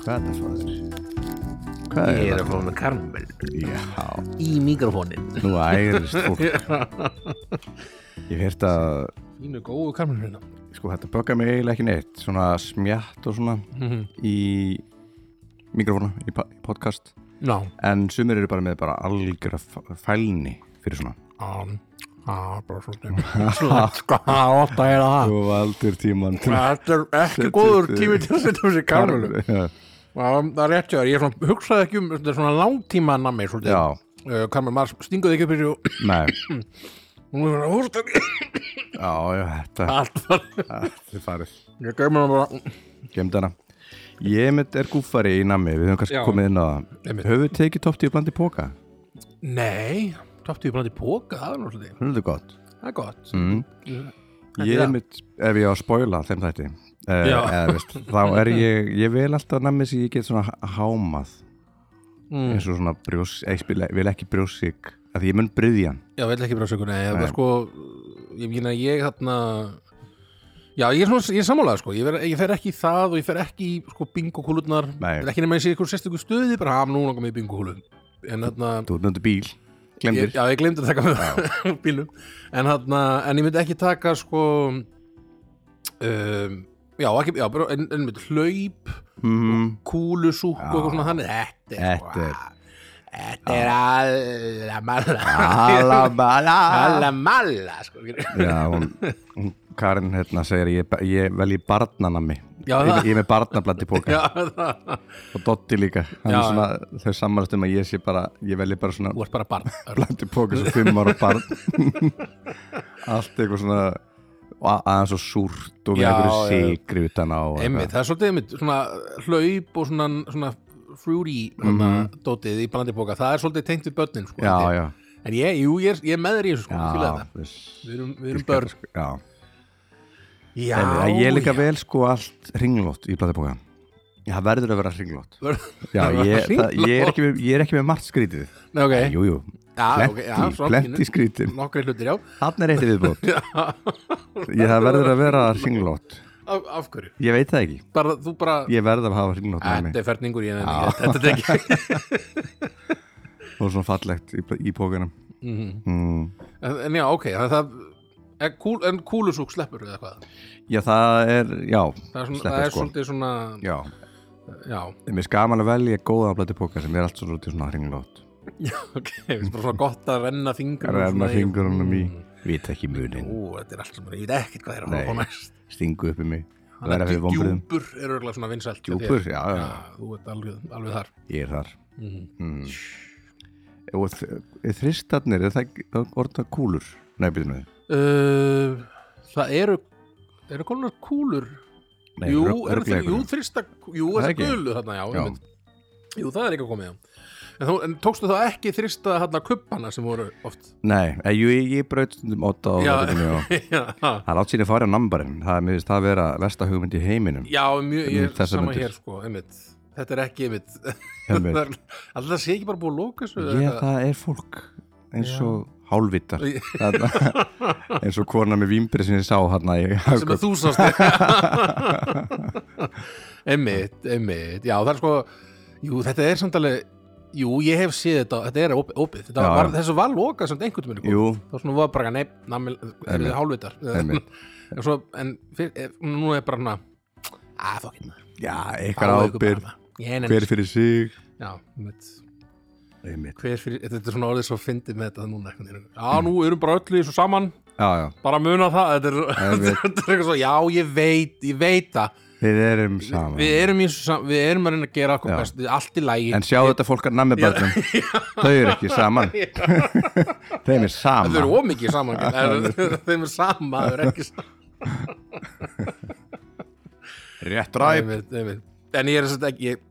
Hvað er það fóður? Hvað Ég er að er það? fá hana karmel Já, í mikrofónin nú ærist fólk Ég hef hérta að Fínu góðu karmelina sko þetta böggar mig eiginlega ekki neitt svona smjatt og svona Mhm. í mikrofónu, í, pa- í podcast Ná, en sumir eru bara með bara algjör fælni fyrir svona án Á, um, bara svona Sko, ofta er það Þú valdur tíman Þetta er ekki góður tími til að setja um sig karmelu Já, Það er rétt hjá þér, ég svona, hugsaði ekki um þetta er svona langtíma nammi já, uh, Karmel, maður stinguði ekki upp fyrir og nei hún er svona hústak Já, já, þetta Allt var þetta er farið Ég gæmur hann bara Gemd hana Ég mitt er gúfari í nammi, við höfum kannski Já. komið inn á það Einmitt. Höfum við tekið topp tíu bland í póka? Nei, tóttu ég bara til póka, það er náttúrulega Hún er þetta gott Það er gott mm. er Ég það. mitt, ef ég á að spoila þeim þætti uh, Já. eða, veist, Þá er ég, ég vil alltaf nammi sem ég get svona h- hámað Mm. eins og svona brjós, ég spila, vil ekki brjósik af því ég mun bryðjan Já, vill ekki brjóðsökunni, ég var sko, ég meina ég þarna, já ég er svona, ég er sammálaður sko, ég, ver, ég fer ekki í það og ég fer ekki í sko bingokúlurnar, Nei. er ekki nema ég sé ykkur sérstöku stöði, bara hafum nú langar mig í bingokúlun, en þarna, Þú ert nöndu bíl, glemdir ég, já ég glemdi að taka með það bílum, en þarna, en ég myndi ekki taka sko, um, já ekki, já, bara, en, en mynd, hlaup, mm, kúlusúk og eitthvað svona þannig, þetta er sko, Þetta er- Þetta er allamalla Alabala Allamalla sko. Já, hún, hún Karin hérna segir ég, ég velji barnanami Já, ég, það- ég er með barnablandi póka Já, það- og Dotti líka Hann Já, er svona, þau samanast um að ég sé bara ég velji bara svona Þú ert bara barn Örn. blandi póka svo fimm ára barn allt eitthvað svona a- aðeins og súrt og með Já, einhverju já. sigri utan á og Einmitt, eitthvað. það er svolítið einmitt svona hlaup og svona, svona fruity mm. dótið í blandipóka, það er svolítið tengt við börnin sko, Mhm. Já, held ég. já, En ég, jú, ég er, ég er með þér í þessu sko, ég fíla já það. viss. Við erum, við erum börn Já, Já, en sko. ég er líka já. vel sko allt ringlót í blandi póka Það verður að vera ringlót Já, Það var ég, það, hringlátt. ég, er ekki með, ég er ekki með margt skrítið Nei, ok, Jú, jú, já, Ah, plenty, ok, já, svona plenty sko. pínu. skrítin Nokkri hlutir, já Þannig er eitt viðbót Ég það verður að vera hringlót Af, af hverju? Ég veit það ekki, Bara, þú bara, ég verð að hafa hringlót með þetta mig er ferningur ég, ég Þetta er ekki Og svona fallegt í, í pókanum Mhm. mm. En en já, ok, það, það en, kúl, en kúlusúk sleppur eða hvað Já, það er, já Það er, svona, Sleppur, það er sko. svolítið svona Já, Já, mér er gaman að velja góða blæti póka sem er allt svo rútið svona hringlót ok, það er bara svona gott að renna fingur Renna fingurunum í Mm. Vita ekki munin, Ú, þetta er allt sem ég veit ekkert hvað er að Nei. horfa á næst stingu upp í mig Þannig Verða að fyrir vombriðum Djúpur er örgulega svona vinsælt hjá Djúpur, þér. já, Já, já, þú ert alveg, alveg þar ég er þar mm. mm. Og þ- þristarnir, er það ekki- það er orða kúlur? Nei, byrjum við uh, Það eru eru konar kúlur Nei, Jú, eru rugl- rugla þeir, jú, einhverju. þrista Jú, Það þessi ekki. gulu þarna, já, Já. einmitt. Jú, það er ekki að komið já. En, þú, en tókstu þá ekki þrista hérna kubbana sem voru oft Nei, eh, jú, ég, ég braut stundum óta og Já. verðinu og Já, ha. það látt síðan að fara á nambarinn það er mér finnst það að vera versta hugmynd í heiminum já mjög, Um ég er þessar sama mundir. hér sko, einmitt Þetta er ekki einmitt Einmitt. Það er- Alltaf sé ekki bara búið að lóka þessu eh, ég, það er fólk eins Já. og hálvitar Í- Þarna- eins og kona með výmbrið sem ég sá hann að ég sem að þú sást Einmitt, einmitt Já, það er sko, jú, þetta er samt alveg Jú, ég hef séð þetta, þetta er opið, opið. Þetta Já, var, já. þessu var lokað samt einhvern tímann í kvöld. jú, þá svona var bara nefn, namil, er Einmitt. þið hálfvitar Einmitt. en, svo, en fyr, ef, nú er bara hana að fokkin maður, já, fáið eitthvað ykkur ábyrð bara. Ég nenni hver fyrir sig þessu. já, einmitt. einmitt. hver fyrir, þetta er svona orðið svo fyndið með þetta núna einhvern veginn. já, nú erum bara öll í þessu saman já, já, bara muna það, þetta er, Einmitt. þetta er eitthvað svo já, ég veit, ég veit það við erum saman við erum, í þessu sam, við erum að reyna að gera okkur Já. best, allt í lægi en sjáu þetta fólk að nammi barnum þau eru ekki saman þeim er þau saman eru ómikið saman þeim er sama, þau eru ekki saman rétt ræp einmitt, einmitt. En ég er þess að ekki ég,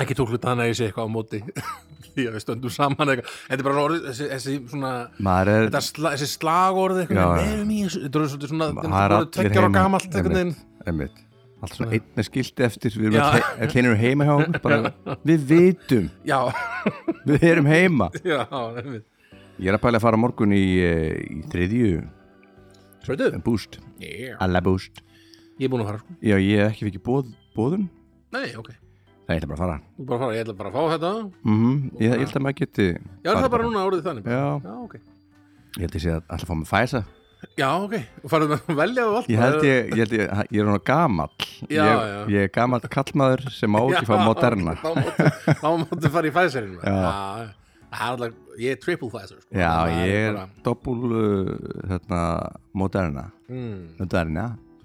ekki tóklut þannig að ég sé eitthvað á móti því að við stöndum saman eitthvað Þetta er bara svona orðið, þessi, þessi svona maður er þetta sla, þessi slagorð Já, eitthvað já. við erum í þessu, þetta er svolítið svona Það er allir tveggjara og heima, gamalt einhvern veginn einmitt, einmitt. Allt svona einn með skilti eftir Við Já. erum he- öll hin eru heima hjá okkur bara, Við vitum, Já, við erum heima já, einmitt Ég er að pæla að fara á morgun í, eh, í þriðju Sveitu? búst Yeah. Alla búst Ég er búin að fara sko Já, ég hef ekki fikið bóð, bóðun Nei, ok Þannig Nei, ég ætla bara að fara Þú bara fara, ég ætla bara að fá þetta Já, mm Ég ég held að maður geti er það bara núna árið þannig Já, Já, ok ég held ég sé að alltaf fá með fæsa Já, ok, og farið með að velja og allt Ég held ég, ég, held ég, ég er núna gamall Já, ég, já. ég er gamall kallmaður sem má ekki fá Já, moderna Þá máttu- þá máttu fara í Pfizerin Já. Það er alltaf, ég er triple Pfizer sko. Já, Það ég er bara- doppul uh, hérna, moderna mm, moderna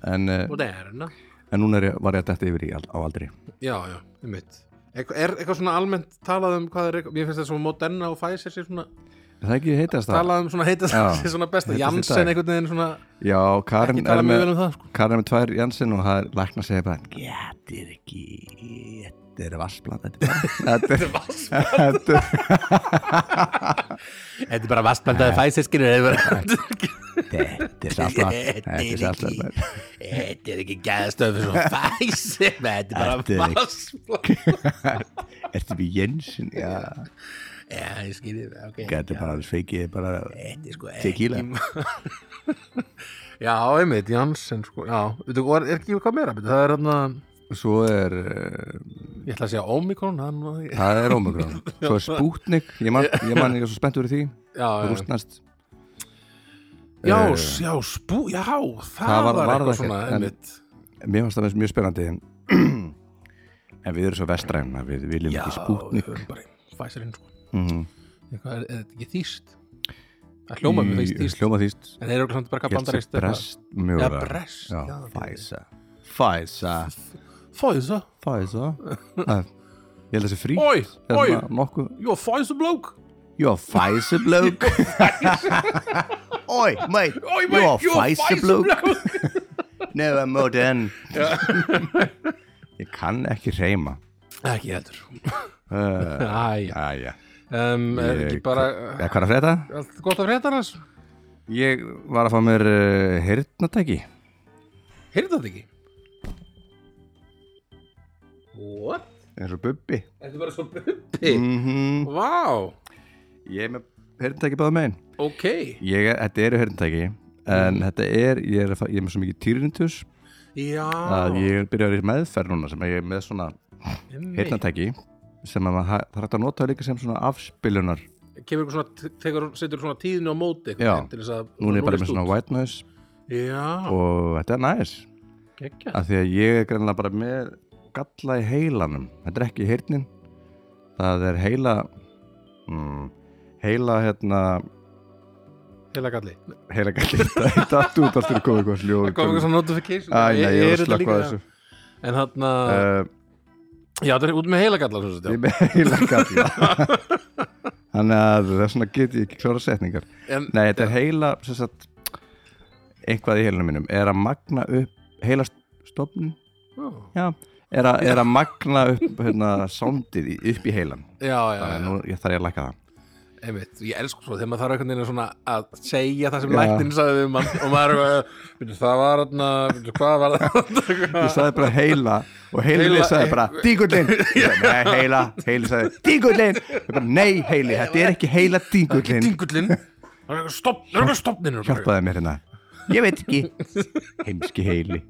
en, uh, Og það er hérna en núna er ég, var ég að detta yfir í al- á aldri Já, já, um mitt Er eitthvað svona almennt talað um hvað er eitthvað Mér finnst þetta svona Moderna og Pfizer sér svona Er Það ekki heitast það? talað um svona heita Já. sér svona besta Heitast í Janssen dag. einhvern veginn svona Já, Ekki Karin er talað mjög með vel um það sko Karin er með tvær Janssen og það er lækna að segja bara Þetta er ekki Þetta er vassblad Þetta er Þetta er- Þetta er bara vastblandaði Pfizer skilur þetta er saltblad Þetta er saltblad Þetta er ekki gæðastöð fyrir svona Pfizer Þetta er Þetta er bara ekki- vastblandaði Þetta er við Jensen Já, Já, ég skilur það ok. þetta er bara sveikið bara Þetta er sko Tequila. Já, einmitt, Janssen sko Já, veitu, og er, er ekki hvað meira byrju, Það er hérna, Svo er uh, ég ætla að segja Omikron hann, Já, Það er ómögrun Svo er Sputnik Ég man, ég, man, ég er svo spennt fyrir því já, já. Rústnast já, Eh, s- já, spú, já Það, það var, var- var eitthvað það svona, ekkert, en- einmitt Mér fannst það mjög spennandi En en við erum svo vestræn að Við viljum ekki Sputnik við erum bara í Pfizerinn sko Mhm. Eitthvað, er, er þetta ekki þýst? Það hljóma mér veist Í- þýst Hljóma þýst En þeir eru samt bara Ég held bandarist sem brest Já, mjögulega brest, Já, já, ok. Fæsa Fæsa Pfizer, Fæsa Það- Ég held að það sé frí Oj, Það oj. er svona nokkuð jú, Pfizer blók Jó, Fæsa blögg Oi, mate Oj, mate, Jó, Fæsa blögg Never modern Ég kann ekki reyma Ekki heldur uh, Æja, Æja um, er Ég- ekki bara Eða hvað er að frétta? Allt gott að frétta hans? Ég var að fá mér uh, heyrnatæki Heyrðu þetta ekki? What? eins og bubbi Þetta er bara svo bubbi mm -hmm. Vá, Ég er með heyrnatæki báða megin ok ég, Þetta eru heyrnatæki en þetta er, ég er, að fa- ég er með svo mikið týrinitus Já að ég er byrjað í meðferð núna sem ég hérna er með svona einmitt. heyrnatæki sem að maður ha- það er hægt að nota líka sem svona afspilunar Kemur eitthvað svona, tekur, setur svona tíðinu á móti einhvern Já. veginn til þess að Núna er ég bara með núllist svona út. white noise Já, og þetta er næs geggja af því að ég er greinlega bara með galla í heilanum þetta er ekki heyrnin það er heila mm, heila hérna Heila galli heila galli þetta er allt út allt er komið eitthvað sljóð Það kom eitthvað svona notification Æ, nei, ég er að þetta slökka á líka- Ah. þessu En þarna, uh, já þetta er út með heila galla svo, ég er með heila galla þannig að þess vegna get ég ekki klára setningar En nei, þetta er heila sem sagt, einhvað í heilanum mínum er að magna upp heila stofnin Já, já, er, að, er að magna upp hérna, sándið í- upp í heilan já, já, þannig að já. nú ég þarf ég að lækka það Einmitt, ég elsku svo þegar maður þarf einhvern veginn svona að segja það sem Já. læknin sagði við mann og maður er eitthvað, "Bíddu, það var hérna, bíddu, hvað var Ég það? sagði bara heila og heili Heila- sagði bara díkullin Nei, heila, heili sagði díkullin Ég bara, Nei, heili, þetta er ekki heila díkullin Dingullin, það er eitthvað stopp, það er eitthvað stoppnin Hjálpaði mér hérna Ég veit ekki, heimski heili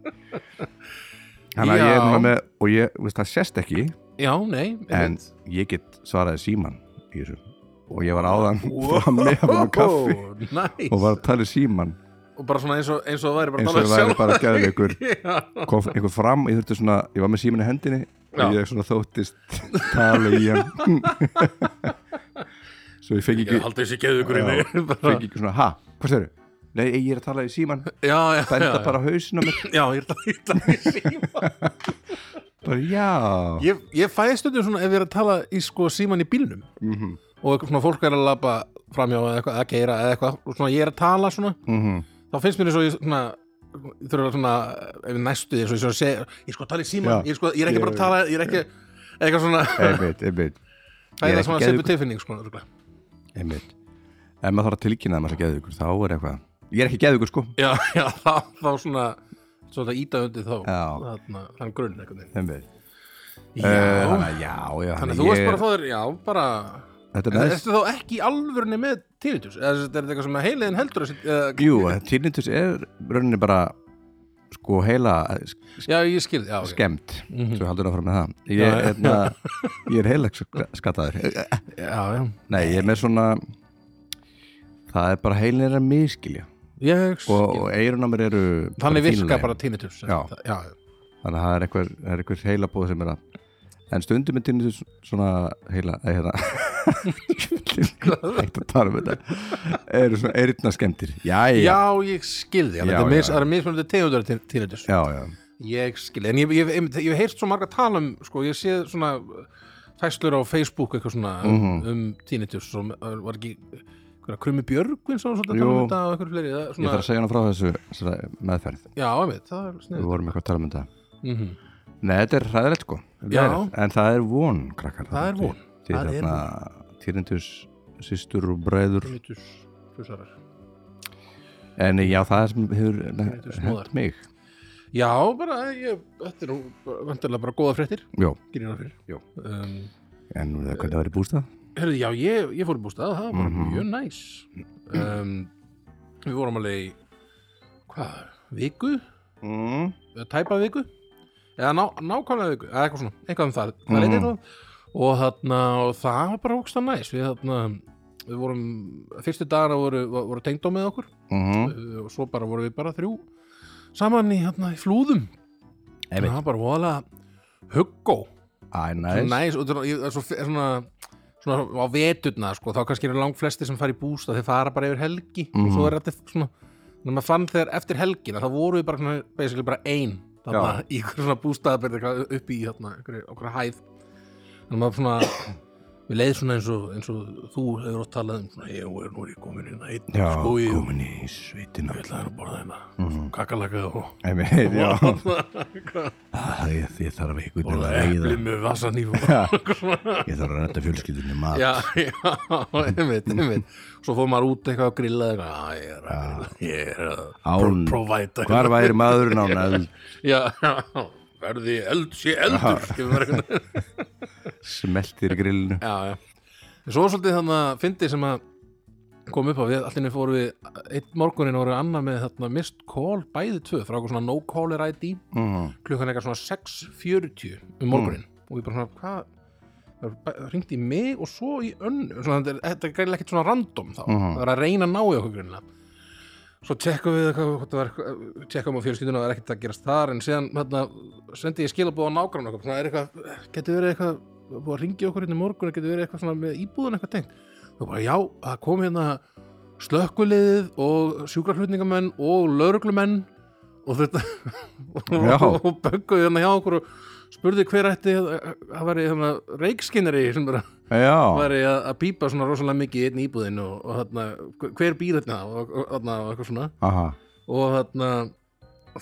Þannig að ég er Já. núna með og ég, veist, það sést ekki Já, nei, en einmitt. ég get svaraði síman í þessu og ég var áðan frammi að fá mér kaffi Ó, Næs, og var að tala í síman og bara svona eins og, eins og það væri bara eins og það væri bara að geða ykkur Já, kom einhver fram, ég þurfti svona ég var með síminu hendinni Já. og ég svona þóttist tala í hann svo ég fekk ég ekki haldi þessi geðugur Já, inni bara, fekk ekki svona, ha, hvað störu? Nei, ég er að tala í síman Já, já, já, benda já. bara á hausinu mér já, ég ætla ég ætla að síma bara, já, Ég, ég fæði stundum svona ef ég er að tala í sko síman í bílnum Mhm. og eitthvað svona fólk er að labba framjá eða eitthvað, að keira eða eitthvað og svona ég er að tala svona mhm, þá finnst mér eins og ég svona ég þurfa svona, ef ég næstu því eins og ég svona seg, ég er sko að tala í síman, Já. ég, er sko, ég er ekki bara að tala ég er ekki, eitthvað svona einmitt, einmitt það er ég er það svona ekki sepu geðveikur. tilfinning sko, örugglega. einmitt ef maður þarf að tilkynna að maður er geða ykkur, þá er eitthvað ég er ekki geða ykkur, sko já, já, þá, þá svona svona það íta undir þá Já. þarna, þann grunn eitthvað já, einmitt, Eh, þannig þannig að já, já að þú ég- varst bara að fá þér, já, bara þetta en er næst ertu þá ekki í alvörunni með tinnitus, eða er þetta eitthvað sem heiliðin heldur að, uh, Jú, tinnitus er rauninni bara sko heila já, ég skil, já, ok. skemmt Mhm. svo haldur áfram með það Já, ég, já. hérna, ég er heila skattaður já, já, nei, ég er með svona það er bara heilin er að miskilja ég skil og, og eirun á mér eru þannig virka fínleg. bara tinnitus sem Já. sagt, já, þannig að það er einhver, það er einhver heila búið sem er að en stundum er tinnu svona heila eða hérna hægt að tala um þetta eru svona eirna skemmtir já. jæja já, ég skil þig, Já, það er mis- já, já. það eru mismunandi tegundar tin- tinnitus já, já. Ég skil, en ég, ég, ég, ég hef heyrt svo marga tala um, sko, ég sé svona fæslur á Facebook eitthvað svona um, Mhm. um tinnitus og uh, var ekki hverja krummi björgvin svo svolítið að tala um Jú. þetta og eitthvað fleiri það, ég svona, þarf að segja hana frá þessu, þessu meðferð Já, einmitt, það er við snið vorum eitthvað að tala um þetta mm Nei, þetta er hræðilegt sko Já. En það er von, krakkar Það er von. Þið Það er þarna týrindus systur og bræður Tinnitus, hlusarar En já, það sem hefur Tinnitus hent móðar. mig Já, bara, eh, ég, þetta er nú vantarlega bara góða fréttir, Jó, gerir það fyrir Jú. um, en nú er það hvernig að vera í bústað Herðu, já, ég, ég fór í bústað, það var bara Mhm. mjög næs um, Við vorum alveg í, hvað, viku? mm. eða tæpa viku eða ná, nákvæmlega viku, eða eitthvað svona eitthvað um það, það Mhm. mm -hmm. og þarna, og það var bara ógsta næs við þarna, við vorum fyrstu dagana voru, voru tengdó með okkur Mm. uh, og svo bara voru við bara þrjú saman í, þarna, í flúðum Einmitt. það var bara voðalega huggó, Æ, nice. næs næs og þetta er- ég- það er svo, fe- svona svona á veturna, sko, þá kannski eru lang flesti sem fara í bústa, þeir fara bara yfir helgi og Mhm. svo er þetta svona þannig að maður fann þegar eftir helgina, þá voru við bara svona, basically bara ein þarna, í hverju svona bústaðaberð upp í þarna, einhverju- okkur hæð þannig að maður svona við leið svona eins og, eins og þú hefur oft talað um svona, ég er nú er ég komin hérna einn Já, Mhm. sko, ég komin í sveitina ég ætla þér að borða hérna mm. kakalaka og Einmitt, já Hvað? Æ, Ah, ég, ég þarf einhvern veginn borða að epli reyða með vasanýf Ég þarf að rætta fjölskyldunni mat já, já, einmitt, einmitt svo fór maður út eitthvað að grilla eitthvað, "Ah, ég er að grilla, ég er að pro- Án- provæta Hvar væri maðurinn á næld já, já, verði eld, sé eldur skilur maður einhvern veginn. Smeltir í grillinu já, já En svo var svolítið þannig að fyndi sem að kom upp á við, allir fórum við einn morguninn voru annað með þarna mist call bæði tvö frá eitthvað svona no caller ID mm. klukkan eitthvað svona 6.40 um morguninn og við bara svona, hvað það ringdi í mig og svo í önnu svona, þetta, er- þetta er greinilega ekkert svona random þá Mhm. það er að reyna að ná í okkur greinilega svo tekkum við eitthvað, hvort það var eitthvað- tekkum á fjölskylduna og það er ekkert að gerast þar en síðan hérna, sendi ég skilabóð á nágrann okkur svona, er eitthvað, getur verið eitthvað búið að ringi okkur hérna í morgun getur verið eitthvað svona með íbúðan eitthvað tengt og bara já, það kom hérna slökkuliðið og sjúkraflutningamenn og lauruglumenn og þetta Já. og, og bögguði hérna hjá okkur og spurði hver ætti það væri hérna reikskinari sem bara Já, væri að, að pípa svona rosalega mikið í einn íbúðin og, og hérna, hver- hver býr hérna og, og, hérna, og eitthvað svona aha og hérna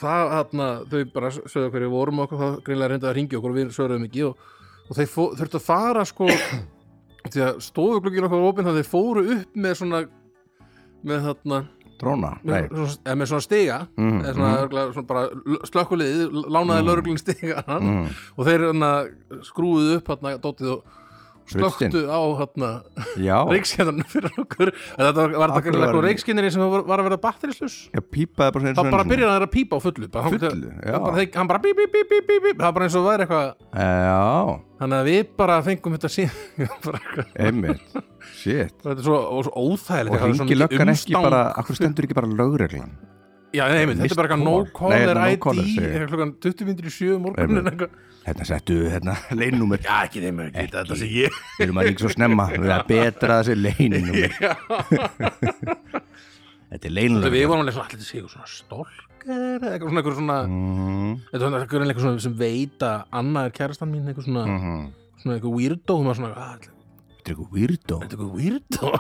það hérna, þau bara sögðu hverju vorum og okkur, það greinlega reyndaði að ringja okkur og við sögðum ekki og, og þau fó- þurftu að fara sko því að stofuglugginn okkur var opinn þannig að þau fóru upp með svona með þarna Dróna, með, nei svona, eða með svona stiga Mm, eða svona, mm. svona bara l- slökkuliðið Mhm. lánaði mm. lauruglinn stiga mm. og þeir hérna skrúðuðu upp hérna dóttið og Ruddstinn. slöktu á hérna Já, reikskjöndan fyrir okkur en þetta var, var Akkur þetta var- var reikskjöndinni sem var, var að vera batterislaus ég pípaði bara eins þá og bara einu sinni. byrjaði hann að pípa á fullu bara, þangað til- Fullu, já. hann bara, þeir- hann bara bíp, bíp, bíp, bíp, bíp, bíp það var bara eins og væri eitthvað Já, þannig að við bara fengum þetta sín bara eitthvað einmitt Shit Þetta er svo, og svo óþægilegt það var Og svo ringi mikið löggan ekki umstang. bara Akkur stendur ekki bara lögreglan Já, nei, einmitt, þetta er bara eitthvað Mist no call. Nei, caller þetta er no ID caller, segi ég. eitthvað klukkan 20 myndir í um 7 morgunin Einmitt. Hérna settu, hérna, leinnúmer Já, ekki þeim ekki, þetta sé ég Við erum að ringa svo snemma Við erum að betra þessi leinnúmer Þetta er Við leinlega vorum alveg svona, allir þetta séu svona stólkar eða eitthvað svona, eitthvað svona Mm. Mhm. Þetta var eitthvað einhver svona sem veit að Anna er kærastan mín, eitthvað svona Þetta svona eitthvað weirdo, og maður svona, "Ah, ætli- er eitthvað weirdo þetta er eitthvað weirdo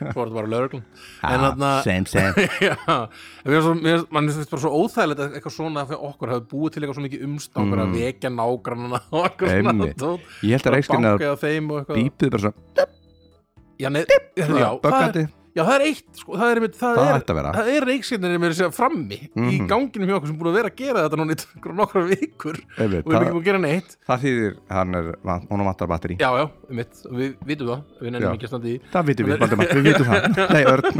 Svo var þetta bara lögreglun En Ah, þarna, Same, same Já, en mér finnst svo, mér, mann finnst bara svo óþægilegt að eitthvað svona fyrir okkur hafi búið til eitthvað svo mikið umstangur að vekja nágrannana og eitthvað Mm. Einmitt. dót. Ég held að Bara reikskinn að bankaði á þeim og eitthvað bípið bara svo Já, nei, já, það er, Böggandi Já, það er eitt, sko, það er, einmitt- það það er, ætti að vera það er reikskirnir með þess að segja frammi í Mhm. ganginum hjá okkur sem búin að vera að gera þetta núna í nokkra- nokkra vikur Einmitt, og við erum ekki það, búin að gera neitt það þýðir, hann er, hún vantar batteri Já, já, um mitt, við vitum það, við Já. nefnum ekki að standa í Það vitum við, Valdimar, við vitum það Nei, Örn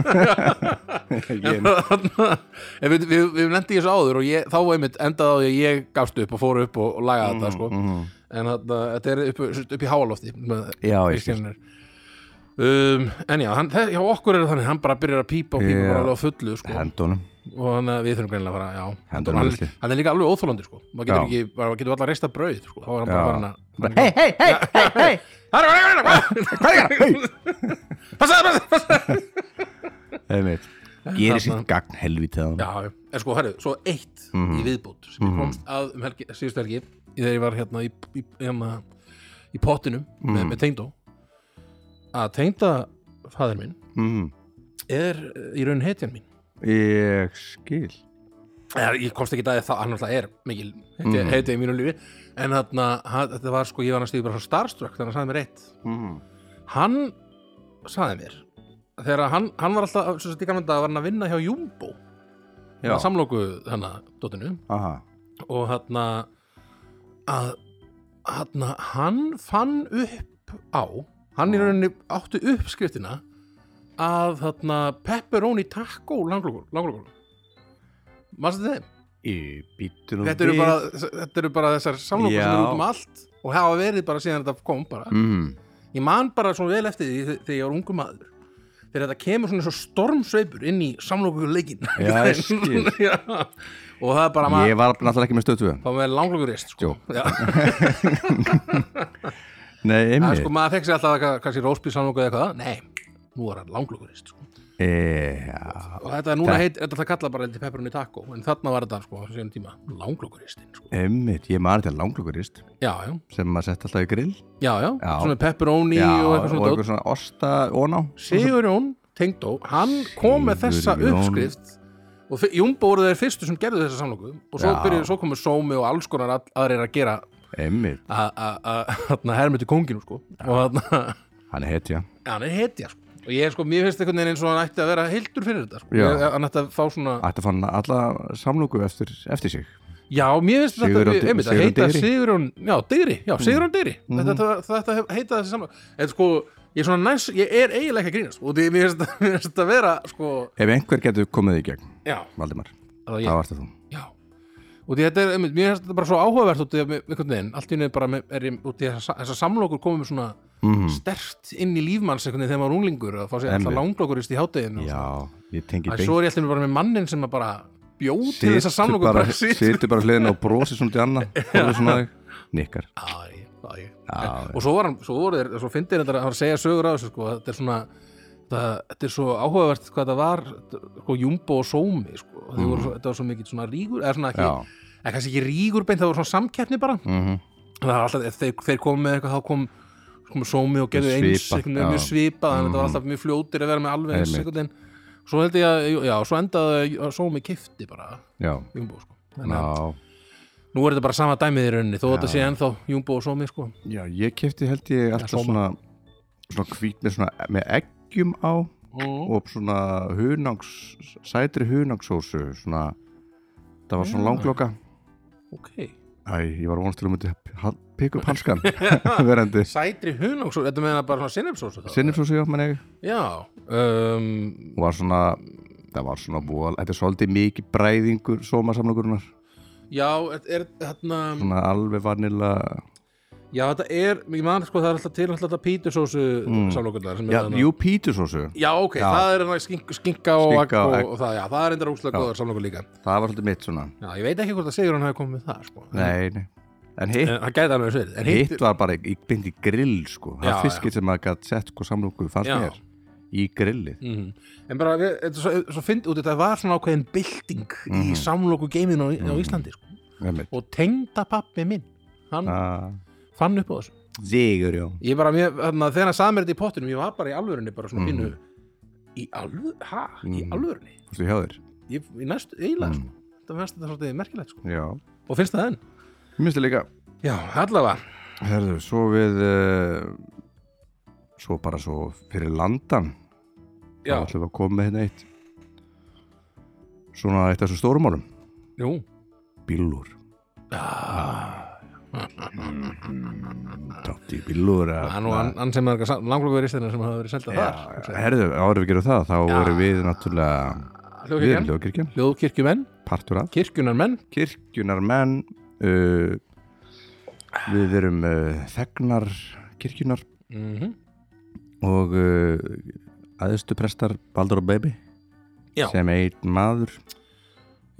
Ég er- En við, við, við lendi í þessu áður og ég, þá einmitt endaði á því að ég gafst upp og fór upp og, og lagaði þetta sko. Mhm. en þarna, þetta er upp, upp í háalofti með Já, ég skil virkjanir um, En já, hann, þe- hjá okkur er það þannig hann bara byrjar að pípa og pípa Já. bara alveg á fullu sko. Hendunum, og hann, eh, við þurfum greinilega að fara já, Hendur hann, mannslið. hann er líka alveg óþólandi sko. maður getur, Já. ekki, bara, maður getur allar reist að brauð sko. þá er hann Já. bara farin að Hei, hei, hei, hei, hei Hvað er að gera? Hvað er að gera? Passaðu, passaðu, passaðu Einmitt. Gerir sitt gagn helvítið á hann Já, já. en sko, herru, svo eitt Mhm. í viðbót sem ég Mhm. komst að um helgi, síðustu helgi í þegar ég var hérna í, í, hérna, í pottinum með, Mhm. með tengdó að tengda fæðir minn Mhm. er eh, í raun hetjan mín Ég skil Eða, ég komst ekki að því að það, hann alltaf er mikil hetja, Mhm. hetja í mínu lífi en þarna, hann- þetta var sko, ég var hann stíð bara svo starstruck þannig að hann sagði mér eitt Mhm. hann sagði mér þegar hann, hann var alltaf, svo sem þetta var hann að vinna hjá Jumbo Já, samlóku þarna, dóttinu aha og þarna að þarna hann fann upp á hann í rauninni átti upp skriftina að þarna pepperoni taco langlokul mannstu þeim? Í bítunum Þetta eru, bara, þetta eru bara þessar samlokur sem Já. eru út um allt og hafa verið bara síðan þetta kom bara mm. ég man bara svona vel eftir því þeg- þegar ég var ungu maður þegar þetta kemur svona svo stormsveipur inn í samlokur leikin Já, ég skil. Já. og það er bara maður Ég var náttúrulega ekki með stöðtöðu þá með langlokur rist sko. Já. Nei, Það einmitt er sko, maður fekk sér alltaf eitthvað, kannski rósbýr samlokuð eða eitthvað, nei, nú var hann langlugurist sko. e, já, og þetta er núna heit, þetta það kalla bara eitthvað pepperoni taco, en þarna var þetta sko, á þessum tíma, langluguristinn sko. Einmitt, ég maður þetta langlugurist Já, já, sem maður sett alltaf í grill já, já, Já. svona pepperoni og eitthvað svona dót. svona osta óná Sigurjón Tengdó, hann kom með þessa Sigurjón. uppskrift og fi- Jumbo voru þeir fyrstu sem gerðu þessa samloku og svo, Já. byrjuðu, svo komu Sómi og alls konar all- aðrir að gera Einmitt, að hermið til konginu sko. og þarna hann er hetja Já, hann er hetja sko. og ég sko, mér finnst einhvern veginn eins og hann ætti að vera hildur fyrir þetta sko. Já. Ég- hann ætti að fá svona Ætti að fann alla samlóku eftir, eftir sig já, mér finnst þetta Sigurjón við- Dy- einmitt að Sigurjón Mm. Mhm. heita Digri. Sigurjón já, Digri, já, Sigurjón Digri þetta, þetta, þetta hef- heita þessi samlega en sko, ég er svona næs, ég er eiginlega ekki að grínast sko. og því mér finnst þetta- mér finnst þetta að vera sko, Ef einhver getur komið í gegn, já, Valdimar það er ég þá varstu þú já. og því þetta er, einmitt, mér finnst þetta bara svo áhugavert út í að mér- einhvern veginn, allt í henni bara með, er ég, út í þessa, þessa samlokur komið með svona mm. stert inn í lífmanns einhvern veginn þegar maður er unglingur að fá sér alltaf Einmitt. langlokurist í hádeginu og Já, ég tengi að svo er ég alltaf bara með mannin sem að bara bjóð til þess að samlokur bara, bara sitt situr bara hliðin og brosir svona til annað Horfir svona á þig, nikkar Æ, æ. Já, og svo var hann, svo voru þeir, svo fyndi þetta að hann segja sögur á þessu sko, að þetta er svona það, þetta er svo áhugavert hvað þetta var sko, Jumbo og Sómi sko, mm. voru, svo, þetta var svo mikið svona rígur eða svona ekki, Já. eða kannski ekki rígur beint, það voru svona samkeppni bara mm -hmm. það var alltaf, ef þeir, þeir komu með eitthvað þá kom komu sómi og gerðu eins Svipað, einhvern veginn mjög já. Mm. svipað, þannig að þetta var alltaf mjög fljótir að vera með alveg eins Einmitt. einhvern veginn svo held ég að, já, svo endaði að sómi kifti bara Já, Jumbo sko. þannig að já nú er þetta bara sama dæmið í rauninni þó þetta sé ennþá Jumbo og Somi sko. Já, ég kefti held ég alltaf sóma. svona svona hvít með svona með eggjum á og svona hunangs sætri hunangsósu svona það var svona Já. langloka ok Æ, ég var vonast til að myndi pikka upp hanskan verandi sætri hunangsósu, þetta meðan bara svona sinnefsósu þá? sinnifsósu hjá manni já um, og var svona það var svona voðal, þetta er svolítið mikið bræðingur sómasamlokurinnar, já, þetta er þarna svona alveg vanilla já, þetta er, ég man sko það er alltaf til alltaf þetta pítusósu mm. samlokurnar já, jú, pítusósu já, ok, Já. það er hérna skink, skinka og Skinka agg og, og egg. og, það, já, það er enda rúslega góðar samlokur líka það var svolítið mitt svona, já, ég veit ekki hvort að Sigurinn hafi komið með það sko. nei, nei en hitt, en, hann gæti alveg sverið en hitt, hitt var bara í byndi grill sko, það Já, var fiskir sem maður gætt sett hvað samloku fannst Já. mér í grillið Mm. En bara, við, þetta er svo, svo fyndi út, þetta var svona ákveðin bylting Mhm. í samloku geiminu á, á Íslandi sko. einmitt. og tengda pappi minn hann Ah, fann upp á þessu Sigur, já ég bara, mér, þarna, þegar hann sagði mér þetta í pottinum ég var bara í alvörunni, bara svona pínu í alvörunni, hæ, í Mhm. alvörunni Þú hjá þér? ég, í næstu, eiginlega, Mm. sko þetta fannst þetta svolítið merkilegt, sko Já og finnst það enn? Mér finnst það líka Já, allavega, Herðu, eh, svo við uh, Svo bara svo fyrir landan þá já, ætlum við að koma með hérna eitt svona eitt af þessum stórumálum jú bílur Tótti bílur Það er nú hann hann sem er langlokur í stæðinu sem hafa verið selda þar Ah, Herðu, áður við gerum það þá erum við náttúrulega við erum Hljóðkirkjan, lögkirkjan, hljóðkirkjumenn, partur af kirkjunarmenn kirkjunar menn uh, við erum uh, þegnar kirkjunar mhm, og uh, aðeistu prestar Baldur og Baby Já. sem einn maður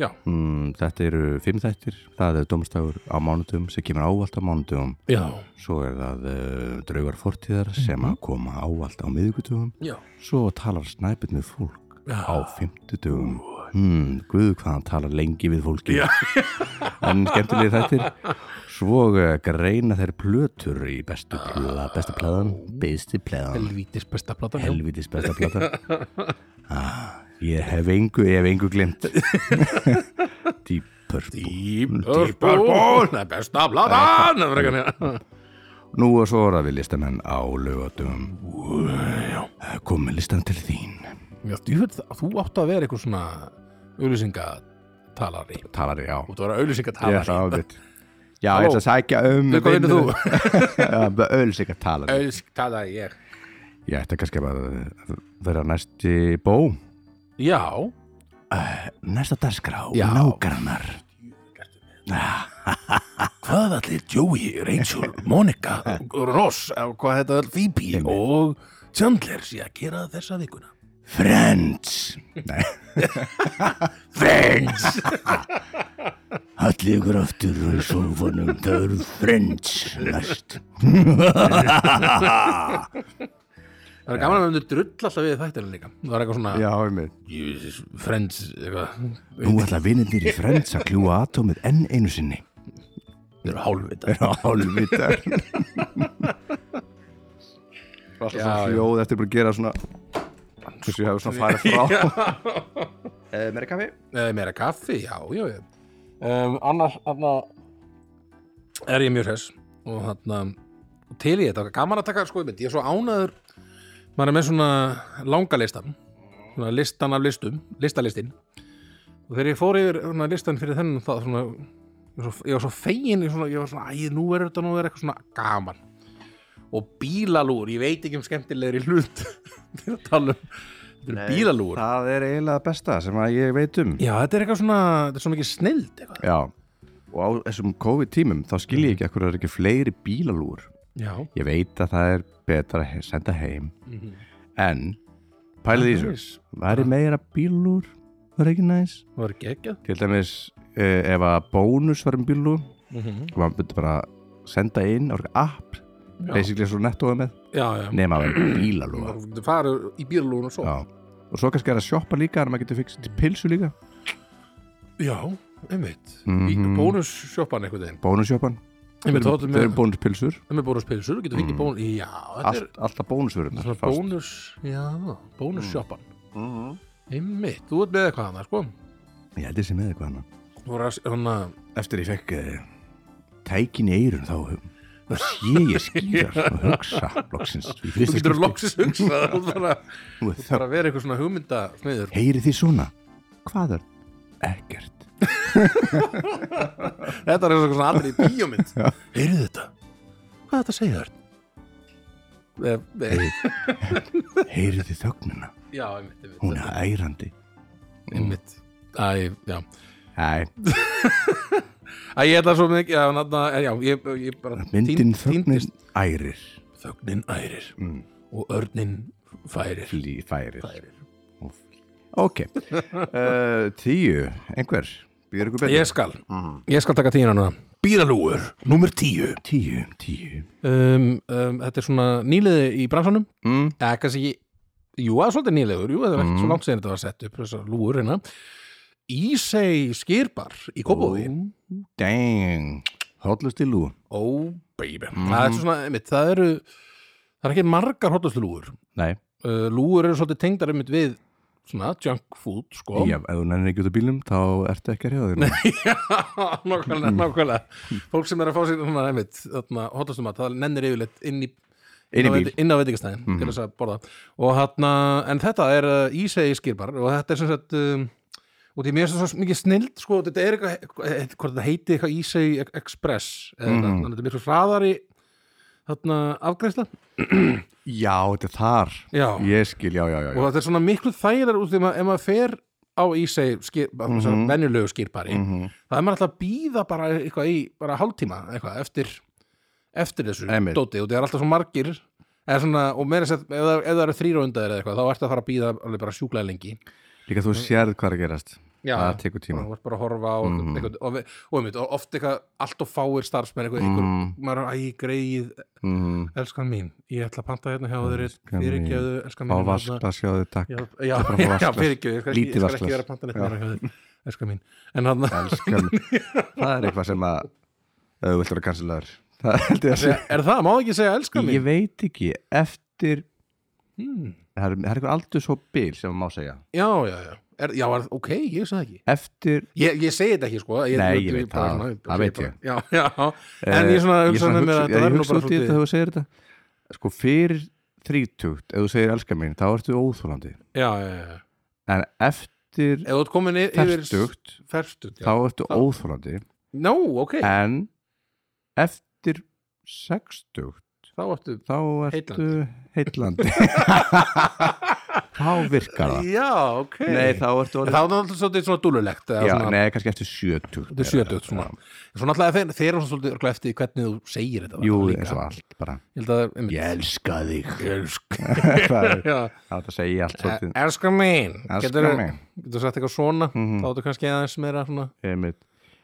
Já. mm, þetta eru fimm þættir það er domstagur á mánudum sem kemur ávallt á mánudum Já, svo er það uh, draugar fortíðar sem Mhm. að koma ávallt á miðvikudugum já svo talar snæpinn við fólk Já. á fimmtudugum hmm, guðu hvað hann talar lengi við fólki Já. en skemmtilegi þættir svo uh, greina þeir plötur í bestu plöðan bestu plöðan, bestu plöðan Helvítis besta platan já. helvitis besta plata ah, ég hef engu, ég hef engu glemt Deep Purple Deep Purple Það er besta platan Það er ekki hann nú og svo er það við listamenn á lögatum komið listan til þín Já, þú, veit, það- þú átt að vera eitthvað svona auðlýsingatalari Þú talar ég á átt að vera ég auðlýsingatalari ætla að ábyggt já, ég ætla að sækja um Hvað vinnur þú? ölsika talar Auðlýsingatalari, ég ég ætla kannski bara að vera næsti bó Já, næsta dagskrá, Já. nágrannar hvað allir Joey, Rachel, Monica Ross, eh, hvað þetta er Phoebe og Chandler sé að gera þessa vikuna Friends Nei Friends Hallið ykkur aftur í sófanum, það eru friends næst. Það er gaman að við myndum drull alltaf við þættinu líka Það er eitthvað svona Já, einmitt. Jesus, Friends eitthvað Nú ætla vinnir í friends að kljúa atómið enn einu sinni. Þeir eru hálfvita Hálfvitar. Alltaf Já, svona já. hljóð eftir bara að gera svona, þessu ég hefur svona farið frá. Eh, Meira kaffi? Eða meira kaffi, já, já, já. Um, annars, annars er ég mjög hress og hann til í þetta, gaman að taka sko, einmitt, ég er svo ánaður maður er með svona langalistan svona listan af listum, listalistin og þegar ég fór yfir svona, listan fyrir þennan það svona ég var svo, ég var svo fegin, ég, svona, ég var svona æ, nú er þetta nú er eitthvað svona gaman og bílalúr, ég veit ekki um skemmtilegri hlut til að tala um þetta eru bílalúr Það er eiginlega besta sem að ég veit um. Já, þetta er eitthvað svona, þetta er svo mikið snild eitthvað. Já. Og á þessum COVID-tímum þá skil ég ekki að hverju það er ekki fleiri bílalúr. Já. Ég veit að það er betra að he- senda heim En pælið í þessu Það er meira bílur Það er ekki næs Það var geggjað. Til dæmis eh, ef að bónus var um bílur og maður myndi bara senda inn á eitthvað app Já. basically svo nettoðu með Já, já. nema að vera bílalúa Og Þú farið í bílalúin og svo. Já Og svo kannski er að sjoppa líka en maður getur fixið til pilsu líka já einmitt. Mhm. Í bónussjoppan einhvern veginn. Bónussjoppan Einmitt, þá Þau áttu eru með, bónuspilsur með bónuspilsur, þú getur fengið bónus. Já, þetta er Allt, Alltaf bónusvörunar svona fast. bónus, já, bónussjoppan. Mhm. Einmitt, þú ert með eitthvað annað, sko. Ég held ég sé með eitthvað annað Þú voru að, svona, eftir ég fekk uh, tækin í eirun þá hum, þá sé ég skýrar og hugsa loksins í þú fyrsta getur skipti. loksins hugsað, þú þarf að- Nú er þú þögn. þarf að vera eitthvað svona hugmyndasmiður. heyrið þið svona hvað er ekkert Þetta er eitthvað svona allir í bíómynd. Heyrðu þetta? Hvað er þetta að segja þér? Eh, eh, heyrið þið þögnuna, Já, einmitt, einmitt, hún er ærandi Mm. einmitt. Æ, já. Æ, Æ, ég ætla svo mikið, já, nafna, já, ég, ég bara... myndin týnd- þögnin Mm. týndist. ærir Þögnin ærir og örnin færir. flý, færir Og fl- ok uh, tíu, einhver býður ykkur betur Ég skal, Mm. ég skal taka tíuna núna. Bílalúur, númer tíu. tíu, tíu Um, um, þetta er svona nýliði í bransanum. mm. Eða kannski ekki, jú, það er svolítið nýliður, jú, það er ekkert svo langt sér þetta var sett upp, þessar lúur hérna. Ísei skýrbar í Kópavogi. dang, hóllust í lú Oh, baby. Það Mm-hmm. er svona, einmitt, það eru, það er ekki margar hotlustlúur. nei, uh, lúur eru svolítið tengdar einmitt við svona junk food sko já, ef þú nennir ekki út af bílum þá ertu ekki að hrjáða þér Já, nákvæmlega, nákvæmlega fólk sem er að fá sér svona einmitt þarna, hotlustumat, það nennir yfirleitt inn í inn í bíl inn á veitingastæðin Mhm. til þess að borða og þarna, en þetta er uh, ísegi skýrbar og þetta er sem sagt um, og því mér er svo mikið snild sko, þetta er eitthvað, eitthvað, hvort þetta heiti eitthvað ísegi express eða Mhm. eitthvað, þannig að þetta er miklu hraðari þarna afgreisla já, þetta er þar já, ég skil, já, já, já, og já. þetta er svona miklu þægilegar út því að ef maður fer á ísegi skýrbar, mm Mhm. venjulegu skýrbari Mm það er maður alltaf að býða bara eitthvað í bara hálftíma eitthvað eftir eftir þessu Einmitt. dóti og það er alltaf svo margir eða svona, og meira sett, ef, það- ef það eru þrýra undaðir eða eitthvað, þá ertu að fara að býða alveg bara sjúklega lengi líka þú sérð hvað er að gerast það tekur tíma og bara að horfa á mm Mhm. eitthvað, og, við- og, einmitt, og oft eitthvað allt og fáir starfsmenn eitthvað, mm. mm, maður er æg greið mm, elskan mín, ég ætla að panta hérna hjá þeir Elskan mín. fyrirgjöðu, elskan á mín hérna- vaskla sjáðu takk já, já, bara að fá já vatnsglas. fyrirgjöðu, ég skal ekki- ég Lítið skal ekki vatnsglas. vera að panta neitt meira hjá þeir elskan mín, en hann elskan það er eitthvað sem að ef þú vilt vera kansilegar það held ég að sé er það, má ekki segja elskan ég mín veit ekki, eftir hmm. það er, það er eitthvað aldrei svo bil sem maður má segja já, já, já, er, já, er, ok, ég sagði ekki eftir Ég, ég segi þetta ekki sko Nei, ég veit bara það, svona- það veit ég. bara- Já, já, en ég svona Eh, ég hugsaði með mér að hugsa- já, þetta ég verður nú hugsa bara út í þetta svolítið þegar þú segir þetta sko fyrir þrítugt ef þú segir elskar mín, þá ertu óþólandi Já, já, já, já en eftir Ef þú ert komin y- yfir ferstugt Ferstugt, þá já ertu óþólandi Nó, ok, en eftir sextugt þá ertu þá ertu heitlandi þá virkar það Já, ok Ah. nei, þá En ertu orðið Þá er það alltaf svolítið svona dúlulegt eða já, svona, nei, kannski eftir sjötugt Þetta er sjötugt svona Svona alltaf þeir, þeir eru svolítið örugglega eftir því hvernig þú segir þetta jú, væntanlega líka. eins og allt bara Ég held að það er ég elska þig Elsk það er Já, það segja allt svolítið elskar mín elskar Geturðu- mig Getur sagt eitthvað svona Mhm. Þá ertu kannski aðeins meira svona Einmitt.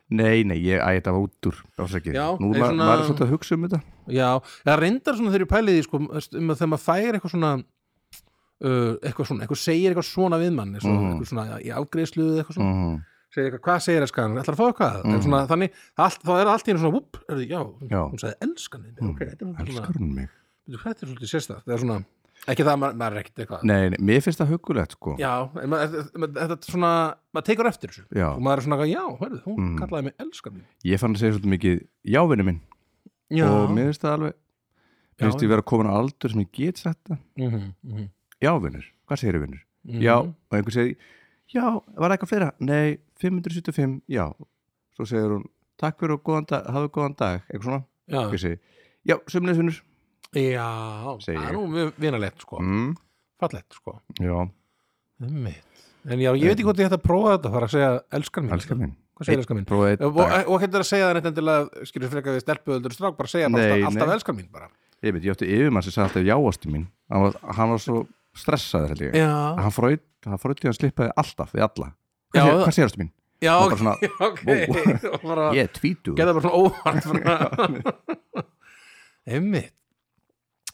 Nei, nei, ég ætti þetta var út úr ásækið. Já, Nú er var, svona- var svolítið að hugsa um þetta Já, það reyndar svona þegar ég pæliði sko, um að þegar maður fær eitthvað svona uh, eitthvað svona, eitthvað segir eitthvað svona við mann eitthvað, Mhm. eitthvað svona í afgreiðslu eða eitthvað svona mm. segir eitthvað, hvað segir elskan, ætlar að fá eitthvað mm. svona, þannig, allt, þá er allt í einu svona whoop, er, já, Mhm. Já. Mhm. hún sagði elskan við mig, ok, þetta er svona, Elskar hún mig Bíddu, þetta er svolítið sérstætt það er svona, ekki það, að maður, maður er ekkert eitthvað Nei, nei, mér finnst það hugulegt sko já, en maður, maður, þetta er svona maður tekur eftir þessu Já. og maður er svona, já, hörðu, hún Mhm. kallaði mig elskan mín. Ég fann að segja svolítið mikið jávinni minn já, og mér finnst það alveg Já. Mér finnst ég vera komin á aldur sem ég get sagt það Mhm, mhm, Jávinnur, hvað segir vinnur? mhm. Já, og einhver segir Já, var eitthvað fleira? Nei, 575, já Svo segir hún, takk fyrir og góðan dag, hafa góðan dag Eitthvað svona, já, ég segi Já, sömulegis vinnur já, Segi það er ég. nú mjög vinalegt sko mm. fallegt sko Já, Einmitt. en já, ég veit ekki hvort ég hætti að prófa þetta bara að segja elskar mín elskar minn hvað segir elskar mín Prófaði einn og, dag. og, og hættir að segja það neitt endilega skilur frekar við stelpuðöldur strák bara segja bara Nei, alltaf, alltaf nei. elskar mín bara Ég veit, ég átti yfirmann sem sagði alltaf jáastu mín hann var, hann var svo stressaður held ég já, hann fröyd, hann fröyd því að hann slippaði alltaf við alla Já, hvað, sé, það- hvað séðastu mín? já var ok, bara svona, ok Og bara, Ég er tvítugur gerða bara svona óvart bara. einmitt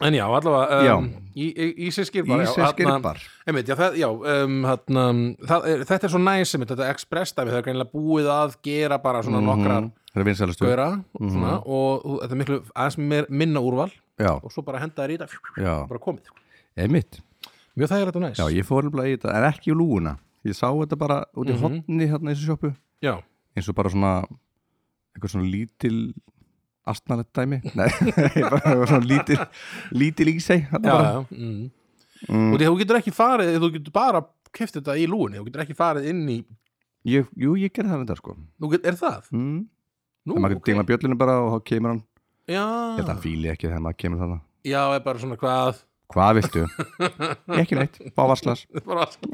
en já, allavega um, í, í, í sér skýrbar Ísi hérna, skirpar Einmitt, já, það, já, um, þarna, það, er- þetta er svo næs einmitt, þetta express dæmi, það er greinilega búið að gera bara Mhm, svona nokkrar Það er vinsælustu gauðra Mhm. svona, og, og þetta er miklu aðeins meir, minna úrval Já, og svo bara henda þær í þetta já, bara komið, einmitt mjög þægilegt og næs Já, ég fór nefnilega í þetta, en ekki í lúguna Ég sá þetta bara út í mm Mhm. hotni hérna í þessu sjoppu já, eins og bara svona eitthvað svona lítil astnalett dæmi Nei, bara eitthvað svona lítil lítil ísei já, já mm. Mm. og því þú getur ekki farið þú getur bara keft þetta í lúinni þú getur ekki farið inn í, ég, Jú, ég gerði það þetta sko þú get, er það? mm. Nú, Það maður getur dingla bjöllinu bara og þá kemur hann já, Ég held að hann fíli ekki þegar maður kemur þarna já, er bara svona hvað Hvað viltu? ekki neitt, fá vasklas þetta er bara allt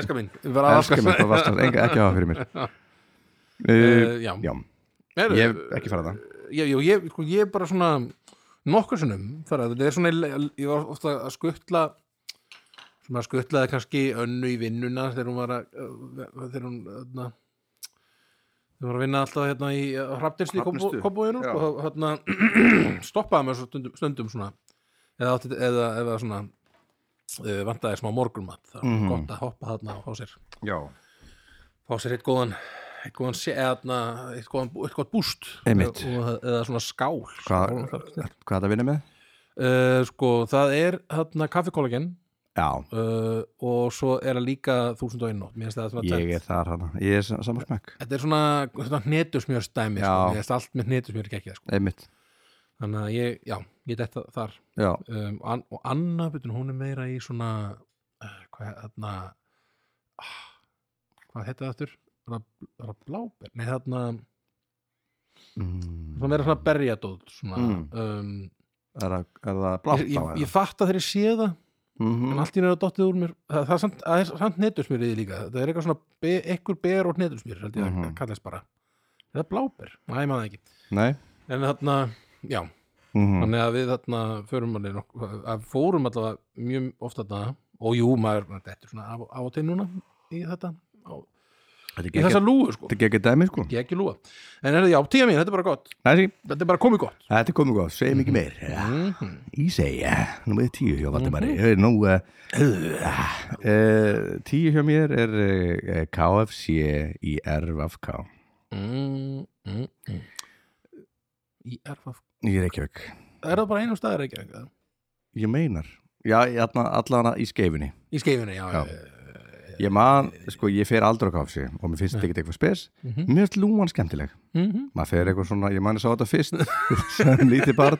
elskar mín, við bara Elskar mig, fá vasklas, Enga, ekki hafa fyrir mér uh, uh, já, Já, Heyrðu, ég hef ekki farað það ég, ég, ég, sko, ég er bara svona nokkur sinnum þar að þetta er svona ég var ofta að skuttla sem að skuttlaði kannski önnu í vinnuna þegar hún var að eh, þegar hún hérna, þegar hún var að vinna alltaf hérna í hrafnistu Hrafnistu, í kobúinu já. og hérna stoppaði mér svo stundum, stundum svona eða, átti, eða, eða svona eh, vantaði smá morgunmat það var Mhm. gott að hoppa þarna og fá sér Já, fá sér eitt góðan eitt góðan, sé- eða, þarna, eitt góðan bú- eitt góðan búst Einmitt. Og- eða svona skál hvað er það að vinna með? uh, sko, það er þarna kaffikollagen Já, uh, og svo er það líka þúsund og einn nótt Mér finnst það svona ég tvennt. er þar hana Ég er saman smekk þetta er svona, svona hnetusmjörstæmi Já. sko. Mér finnst allt með hnetusmjör ekki sko. Einmitt þannig að ég, já, ég detta þar já, um, an, og Anna, betur, hún er meira í svona uh, hvað, þarna ah, hvað heita það aftur? Var það- var það bláber? Nei, þarna, mm, svona meira svona berjadóð svona, Mm. um, er, það- er það Mm. ég, blátt Mhm. á ég, ég fatt að þeirra sé það en allt í nefnir að dottið úr mér það, það er samt, það er samt netusmýrið í líka það er eitthvað svona, be, ekkur ber og netusmýr held ég Mhm. að kallast bara er það bláber? Næ, maður það ekki nei en þarna, já, mhm, þannig að við þarna förum alveg nokkuð, að fórum allavega mjög ofta þarna og jú, maður, maður þetta er svona af, af og til núna í þetta, á, þetta er í ekki- þessa lúu sko, þetta er ekki dæmi sko ekki ekki lúa en er það, já, tíða mín, þetta er bara gott Nei, sí, þetta er bara komið gott þetta er komið góð, segjum ekki meir ja. mm Í segja, nú er tíu hjá Valdimari mm -hmm. Nú uh, uh, Tíu hjá mér er uh, KFC í RFK mm -hmm. í erfa Í Reykjavík er það bara einum staðar ekki ekki það? Ég meinar Já, ég allan, allan í skeifinni í skeifinni, já, Já. já. Ég man, sko, ég fer aldrei á KFC og mér finnst þetta ekkert eitthvað spes Mhm. Mér finnst lúan skemmtileg Mm -hmm. Maður fer eitthvað svona, ég man ég sá þetta fyrst sem lítið barn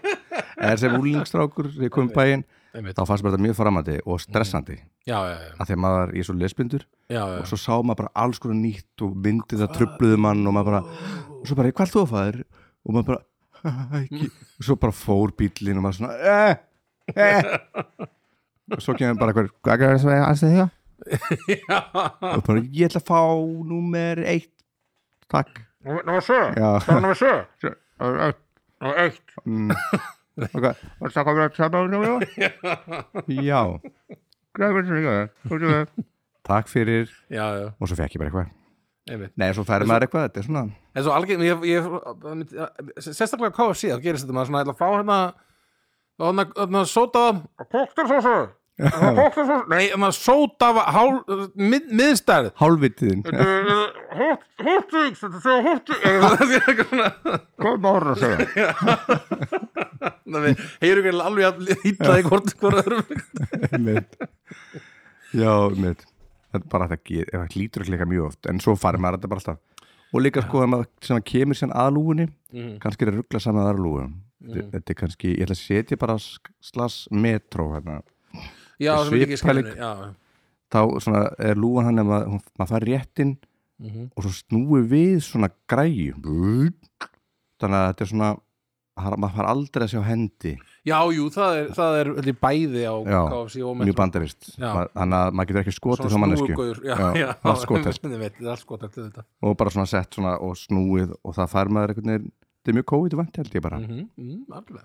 eða sem úlingstrákur, ég kom í bæinn Einmitt. þá fannst mér þetta mjög framandi og stressandi Já, já, já, að því að maður ég er svo lesbindur já, já. og svo sá maður bara alls konar nýtt og myndið það trubluðu mann og maður bara og svo bara, hvað er þú að fæður? og maður bara, "Ah, ekki og svo bara fór bíllinn og maður svona eh, eh. og svo kemur bara hver, hvað er það að segja? já. og bara, ég ætla að fá númer eitt takk Númer 7 já, Númer 7 Númer 1 mm. ok, og það komur að tjá já, takk fyrir Já, já, og svo fekk ég bara eitthvað einmitt nei, svo færi maður eitthvað, þetta er svona En svo algjörn, ég, ég, það myndi- sérstaklega KFC, þá gerist þetta maður svona ætla að fá hérna og hérna, hérna sótaðan kóktarsósu kóktarsósu, nei, hérna sótaða hál, mið, miðstærð hálfvitiðin Hortvíks, þetta segja Hortvíks hvað maður að segja? Þannig við heyrum við alveg að ítlaði hvort hvort öðrum einmitt já, einmitt þetta er bara að það ge- það hlýtur að klika mjög oft en svo farið maður þetta bara alltaf og líka sko að maður sem að kemur sér að lúgunni Mhm. kannski er að ruggla saman að aðra lúgu mm. þetta er kannski, ég ætla að setja bara sk- slags metro hérna. Já, sem ekki Svippæling. skilinu, já þá svona er lúgan hann ef maður, hún- maður fær réttinn Mhm. og svo snúi við svona græju þannig að þetta er svona har- maður fær aldrei að sjá hendi Já, jú, það er, það er held ég, bæði á Já, KFC og mjög bandarist Já. þannig að maður getur ekki skotið svo mannesku snúgugur Já, Já, já, allt skotelt. Ég veit, það er allt skotelt við þetta og bara svona sett svona og snúið og það fær maður einhvern veginn þetta er mjög kóið vant held ég bara mm -hmm, Alveg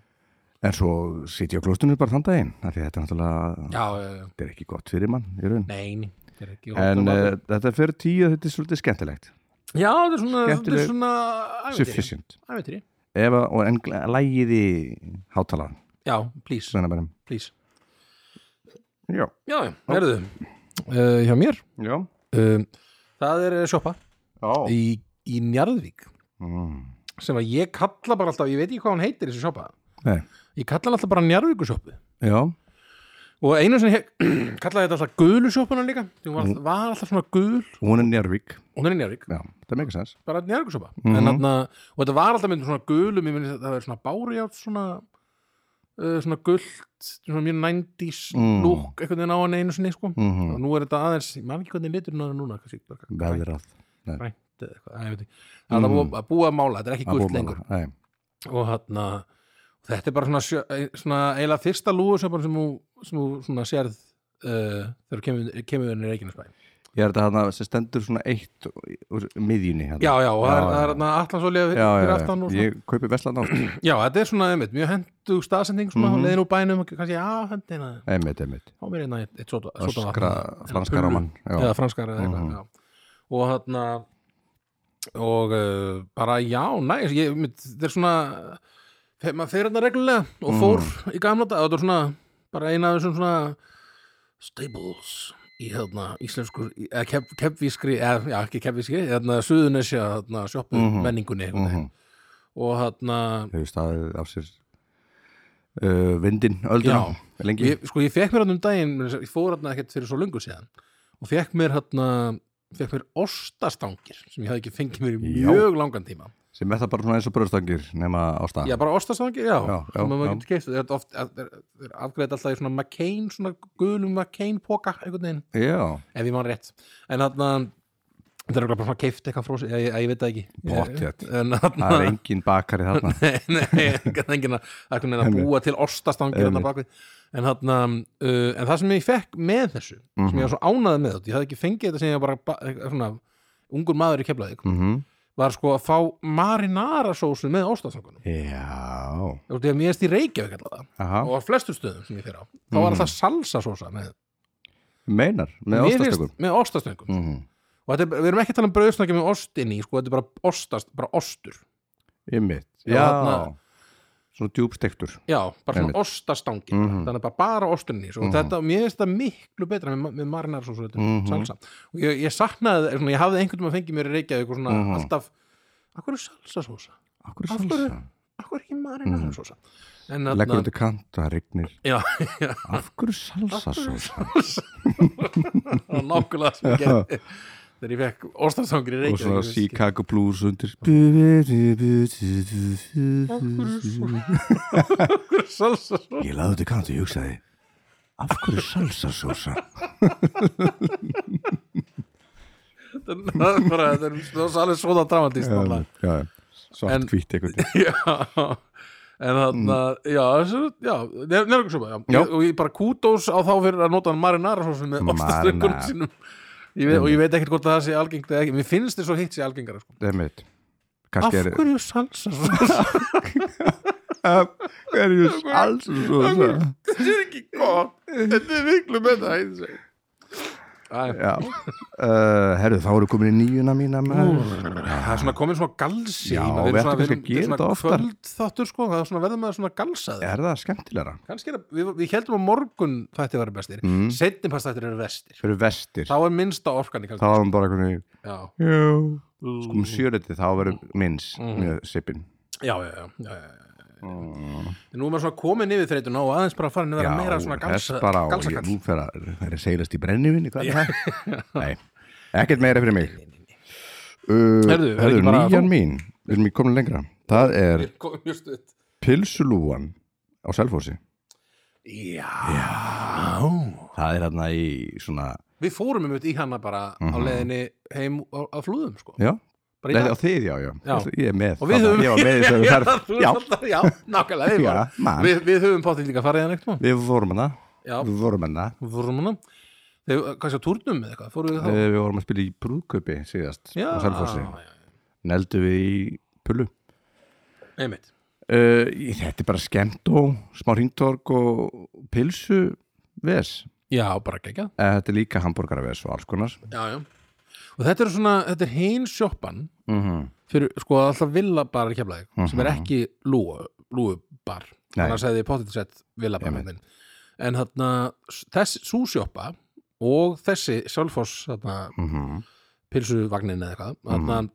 en svo sit ég á klóstunni bara þann daginn af því að þetta er náttúrulega, Já, já, já, þetta er ekki gott fyrir mann í raun nein þetta er ekki en hóttum uh, alveg. þetta er fyrir tíu og þetta er svolítið skemmtilegt Já, þetta er svona, þetta er skemmtileg- svona ævintýri, sufficient ævintýri ef að, og en gl- lægið í hátalan Já, please, svona bærum please já, Já, já, verðu uh, Hjá mér já, um, Það er eh, sjoppa já. í, í Njarðvík Mm. sem að ég kalla bara alltaf, ég veit ekki hvað hann heitir þessi sjoppa, Nei. ég kalla hann alltaf bara Njarðvíkusjoppu já. og einu sem ég kallaði þetta alltaf gulusjópuna líka því hún Mm. var, alltaf, var alltaf svona gul hún er njárvík og hún er njárvík, já, það er mega sens bara njárvíkusjópa Mhm. mm og þetta var alltaf myndir svona gulum ég myndi að það var svona bárjátt svona uh, svona gult svona mjög 90s Mm. lúk einhvern veginn á hann einu sinni sko Mhm. og nú er þetta aðeins, ég man ekki hvernig liturinn á það núna kannski bara veðrað grænt eða eitthvað, að ég veit ekki það er búið- að búa að mála, þetta er ekki Að gult búa lengur með Mm. það. Nei. og hann þetta er bara svona, sjö, eh, svona eiginlega fyrsta lúusöpan sem hún, sem hún svona sérð uh, þegar kemur, kemur henni í Reykjanesbæ ég er þetta hann sem stendur svona eitt úr miðjunni hérna. já, já, og það er- Já, það er já. hann atlansolja já, fyrir já, aftan og já. svona ég kaupi veslan átt já, þetta er svona einmitt, mjög hendug staðsending svona, mm Mhm. -hmm. leiðin úr bænum, kannski, já, hendina einmitt, einmitt á mér einna eitt, eitt sota öskra franska ráman eða franskar eða eitthvað Mhm. já. og þarna og uh, bara já, næs ég, mitt, þetta er svona fe- maður fer þetta reglulega og Mhm. fór í gamla dag, þetta er svona bara eina af þessum svona staples í hérna íslenskur, í- eða kef, kefvískri eða, já, ekki kefvískri, hérna suðunesja hérna, sjoppu Mhm. menningunni einhvern veginn. hefur og hérna staðið af sér uh, vindin, ölduna lengi ég, sko ég fekk mér hann um daginn meira að segja, ég fór hann ekkert fyrir svo lungu síðan og fekk mér hann fekk mér ostastangir sem ég hafði ekki fengið mér í Já. mjög langan tíma sem er það bara svona eins og bröðstangir nema á stað Já, bara ostastangi, já, Já, já, sem að já. maður getur keift þetta er oft, að- er- er afgreitt alltaf í svona McCain, svona gulum McCain póka einhvern veginn, já, ef ég man rétt en þarna, þetta er örugglega bara svona keift eitthvað frósi, ég, ég, ég veit það ekki Pottþétt. Ég- en það er þarna, engin bakari þarna nei, nei, það er enginn að það er einhvern veginn að búa til ostastangi þarna Einmitt. bakvið en þarna, uh, en það sem ég fekk með þessu, sem Mhm. ég var svo ánæði með þetta ég hafði ekki fengið þetta sem ég var bara ba- eh, svona, ungur maður í keflaðið, mm var sko að fá marinarasósu með ostastangunum, já, þú veist, ég mér erst í Reykjavík allavega aha, og á flestu stöðum sem ég fyrir á þá var alltaf salsasósa með, meinar Mm. með Mér finnst- ostastökum með ostastöngum mm -hmm. og þetta, er- við erum ekki að tala um brauðsnöggi með ost inn í sko, þetta er bara, ostast, bara ostur ymmit, Já, já, þarna- svona djúbstektur já, bara svona Einmitt. ostastangin Mhm. þannig bara bara osturinn í svo. og Mhm. þetta, mér finnst þetta miklu betra með, með marinar svo, svo, Mhm. salsa og ég, ég saknaði, svona, ég hafði einhvern veginn að fengi mér í Reykjavík og svona Mhm. alltaf akkur er salsasósa, akkur Af hverju- akkur er ekki marinar sósa en Mhm. leggur þarna undir kant, það rignir já, já, af hverju salsa sósa það var nákvæmlega sem ég gerði þegar ég fekk ostastangir í og Reykjavík svona ég veist ekki. Chicago Blues undir salsa sósa ég laði undir kant og ég hugsaði af hverju salsa sósa það er bara, þetta er það er alveg svona dramatist náttúrulega. En- svart hvít eitthvað já en þannig að, já, þessu, já nefnir svo bara, já, Já. og ég bara kútós á þá fyrir að nota hann marinara svo sem með ostastökkunum Marinara. sínum ég veit, og ég veit ekkert hvort að það sé algengt eða ekki, mér finnst þess að hitt sé algengara sko. Einmitt. af kannski er hverju salsa sósa? af hverju salsa sósa þetta er ekki gott, þetta er miklu betra æ, já uh, herru þá eru komin í nýjuna mína maður. það er svona komin svona galsi Já, maður við er svona- ættum kannski að við erum- gera þetta er þetta oftar. svona kvöldþáttur sko, það er svona verður maður svona galsaður er það skemmtilegra kannski er að, við, við heldum að morgun þætti verður bestir, mm. Mm. setnipass þættir eru vestir, fyrir vestir þá er minnsta orkan í þá kannski, varum bara einhvern já. veginn sko um sjöleti þá verður minns Mhm. með sippin Já, já, já, já, já, já. Mm. En nú er maður svona komin yfir þreytuna og aðeins bara farin að vera meira svona þess galsa, bara á, ég, galsakall nú fer að, fer að seilast í brennivinni, hvað er það? Nei, ekkert meira fyrir mig. Uh, Heyrðu, er ekki bara nýjan þú? mín, við erum í komin lengra. Það er Ég kom mjög stutt. pilsulúan á Selfossi. Já. Það er hérna í svona, Við fórum um í hana bara á Mhm. leiðinni heim á, á flúðum sko. já, Bara í leði á dag. þið, já, já, Já. ég er með. Og við þarna, höfum Ég var með þess að við Já, þú ert þarf, já, alltaf- já, nákvæmlega við já, bara- mann, Við, við höfum páttið líka farið hann eitt mann við vorum hana, Já, við vorum hérna. hana. við vorum hana Þegar, kannski á turnum eða eitthvað, fórum við þá Eh, Við vorum að spila í brúðköpi síðast Já, á Selfossi. já, já. Neldu við í pullu. einmitt Uh, ég- þetta er bara skemmt og smá hringtorg og pilsu ves. Já, bara gegja Eh, Þetta er líka hambúrgara ves og alls konar. já, já. Og þetta er svona, þetta er hinn sjoppan Mm -hmm. fyrir sko alltaf villabar kemlaði mm sem er ekki lúu, lúubar Mhm, Nei. annars hefði ég potið sett villabar Einmitt. myndin. en þarna, s- þessi súsjoppa og þessi sjálffoss þarna, Mm -hmm. pilsuvagnin eða eitthvað Mhm. þarna,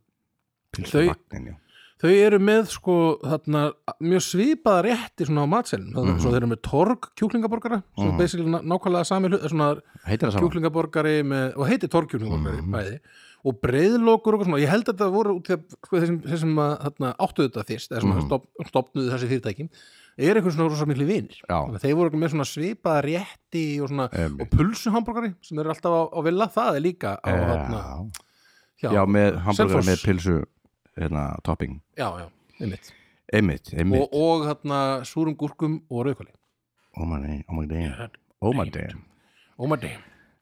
Pilsu vagnin, já. þau eru með sko þarna, mjög svipaða rétti svona á matselin Mhm. mm -hmm. svo þeir eru með torg kjúklingaborgara sem er basically ná- nákvæmlega sami hlut svona Heitir það saman? kjúklingaborgari með, og heitir torkjúklingaborgari Mhm. bæði, og breiðlokur og eitthvað svona, ég held að þetta voru út í að sko, þessum, þessum að, þarna, áttu þetta fyrst eða Mhm. svona stopp, stopnuðu þessi fyrirtæki er einhvern svona rosa miklu vinir Já. Eh, Þannig að þeir voru með svona svipaða rétti og, svona, Einmitt. og pulsuhamborgari sem eru alltaf á, á vilja, það er líka á, þarna, Já, já, með hambúrgara Selfoss. með pilsu hérna, topping. já, já, einmitt Einmitt, einmitt. og, og þarna súrum gúrkum og rauðkóli Oh my name, oh my damn. Oh my damn. oh my damn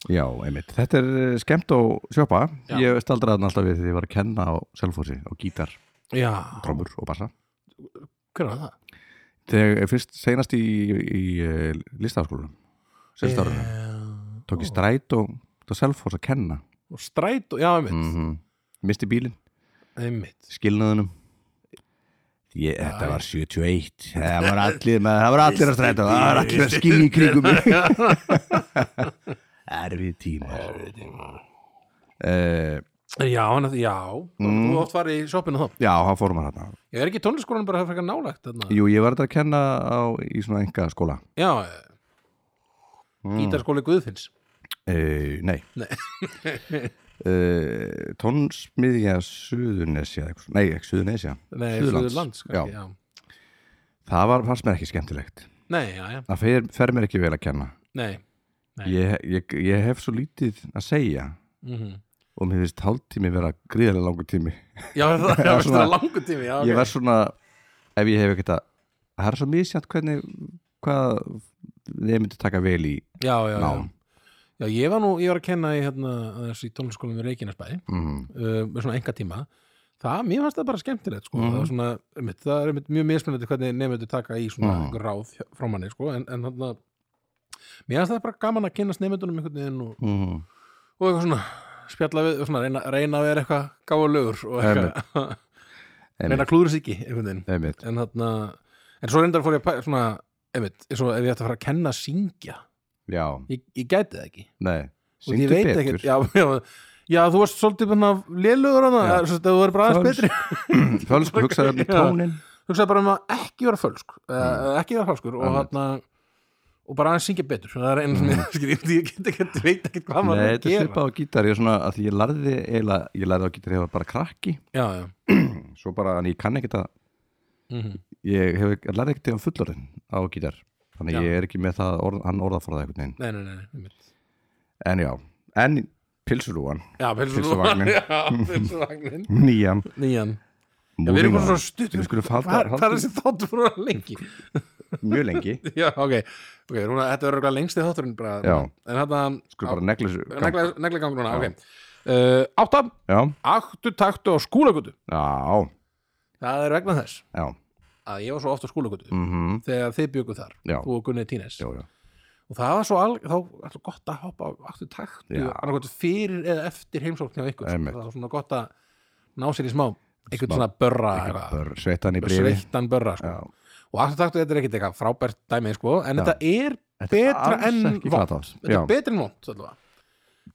Já, einmitt. Þetta er eh, skemmt og sjópa. Já. Ég staldraði hann alltaf við þegar ég var að kenna á Selfossi og gítar, já, trommur og bassa. hvernig var það? Þegar fyrst seinast í, í, eh, í listafaskólanum, sérstárunum. Já. tók ég stræt og það selfos að kenna Eh, og stræt og, já, einmitt, Mm. misti bílinn, einmitt skilnaðunum ég, þetta var 71 það var allir, með, það var allir að stræta það var allir að skilja í kringum mig erfið Eh, tíma erfið tíma Já, hann, já, Mm. þú oft farið í shoppinu þá já, það fórum að hérna Ég er ekki tónlistkólan bara að frekar nálægt þarna jú, ég var þetta að kenna á, í svona enga skóla Já, mm. gítarskóli Guðfinns uh, Eh, nei, Nei. uh, tónsmiðja Suðunesja, eitthvað svona- nei ekki Suðunesja Nei, Suðurlands. Suðurlands, kannski, já. það var, fannst mér ekki skemmtilegt Nei, já, já, það fer, fer mér ekki vel að kenna nei Nei. ég, ég, ég hef svo lítið að segja mm og mér finnst hálftími vera gríðarlega langur tími Já, það já, veistu, það svona- er langur tími já, ég ok. verð svona, ef ég hef ekkert að það er svo misjant hvernig hvað þeir myndu taka vel í já, já, já. nám já, ég var nú, ég var að kenna í, hérna, aðeins í tónlistaskólanum í Reykjanesbæði mm. uh, með svona enga tíma það, mér fannst það bara skemmtilegt sko. Mhm. það, var svona, einmitt, það er einmitt mjög mismunandi hvernig nefndu taka í svona Mhm. mm. ráð hjá- frá manni sko. en, en hann að mér fannst það bara gaman að kynast nefndunum einhvern veginn og, Mm. og eitthvað svona spjalla við, og svona, reyna, reyna að vera eitthvað gáfulegur og eitthvað reyna einmitt, að klúður sig ekki einhvern veginn einmitt. en, þarna, en svo reyndar fór ég að pæ- svona, einmitt, eins og ef ég ætti að fara að kenna að syngja já, ég, ég gæti það ekki nei Og ég syngdu veit betur ekkert- já, já, já, þú varst svolítið bara lélugur hana, Já. þú verður bara aðeins Fölsk. betri fölsk, hugsaðu um Já. tónin hugsaði bara um að ekki vera fölsk mm. ekki vera fölskur og, Einmitt. Mm. hana, og bara aðeins syngja betur það er einu sem ég skil, ég- ég get ekkert veit ekkert hvað maður Nei, er að þetta er gera svipað á gítar, ég er svona að því ég lærði eiginlega, ég lærði á gítar, ég var bara krakki já, já, svo bara, en ég kann ekkert að mm Mhm. ég hef, ég lærði ekkert á fullorinn á gítar, þannig Já. ég er ekki með það orð, hann orðaforða einhvern veginn, nei, nei, nei, nei einmitt. en já en pilsulúan, já, pilsuvagnin Pylsuvagnin. já, pilsuvagnin nýjan nýjan, já, við erum moving bara svo on, stutt Við skulum halda- Hvað- hvað er halda- þessi þáttur frá lengi mjög lengi já, ok, ok, rúna, þetta er eitthvað lengst í þátturinn bara, Já. en þetta skulum bara negla þessu gang- neglegang núna, Já. ok uh, átta, já, áttu taktu á skúlagutu já, það er vegna þess já að ég var svo ofta skúlagutu mhm, þegar þið bjöguð þar Já. þú og Gunni Tínes já, já, og það var svo al, þá, var svo gott að hoppa á aftur takt Já. annarkvæmt fyrir eða eftir heimsókn hjá ykkur Einmitt. það var svona gott að ná sér í smá einhvern Smá- svona börra eitthvað, Bör- sveitan í brífi sveittan börra sko. Já. og aftur takt þetta er ekkit eitthvað frábært dæmi sko, en Já. þetta er Þetta er betra alls en ekki vont flatáls. þetta Já. er betra en vont allavega.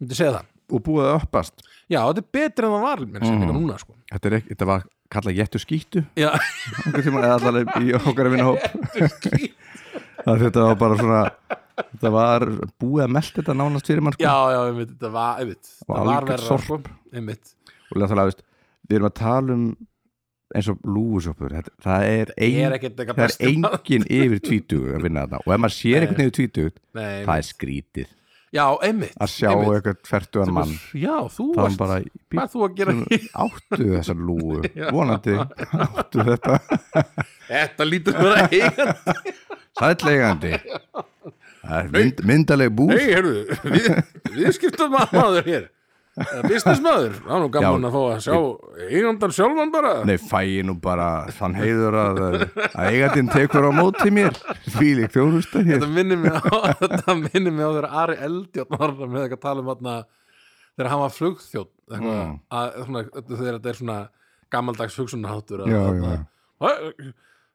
myndi segja það og búið að uppast já, þetta er betra en það var mér sem Mhm. líka núna sko. þetta, er ekki, þetta var kallað jettu skýttu já, einhvern tímann, eða allavega í okkar vinna hóp að þetta var bara svona þetta var búið að melda þetta nánast fyrir mann sko. já, já, einmitt, þetta var einmitt, Og þetta var algjört verra sko. einmitt og náttúrulega, veist, við erum að tala um eins og lúfusjópur þetta, það er, ein, er ekkert eitthvað það er besti maður. engin yfir tvítugur að vinna þarna og ef maður sér einhvern yfir tvítugur Nei, það er skrítið já, einmitt að sjá einmitt. eitthvað færtugan mann já, þú það er varst, bara hvað býr, er þú að gera áttu þessar lúfu Já. vonandi áttu þetta þetta lítur vera eigandi sætlegandi það er mynd, myndaleg búr hei, heyrðu, við, við skiptum maður hér business maður, það er nú gaman Já, að fá að sjá eigandan sjálfan bara Nei, fæ ég nú bara þann heiður að, að eigandinn tekur á móti mér Fílík þjónusta hér þetta minnir mig á þetta minnir mig á þegar Ari Eldjátt var með eitthvað að tala um þarna þegar hann var flugþjótt eitthvað, Mm. að, svona, þegar þetta er svona gammaldags hugsunarháttur að- Já, að- já.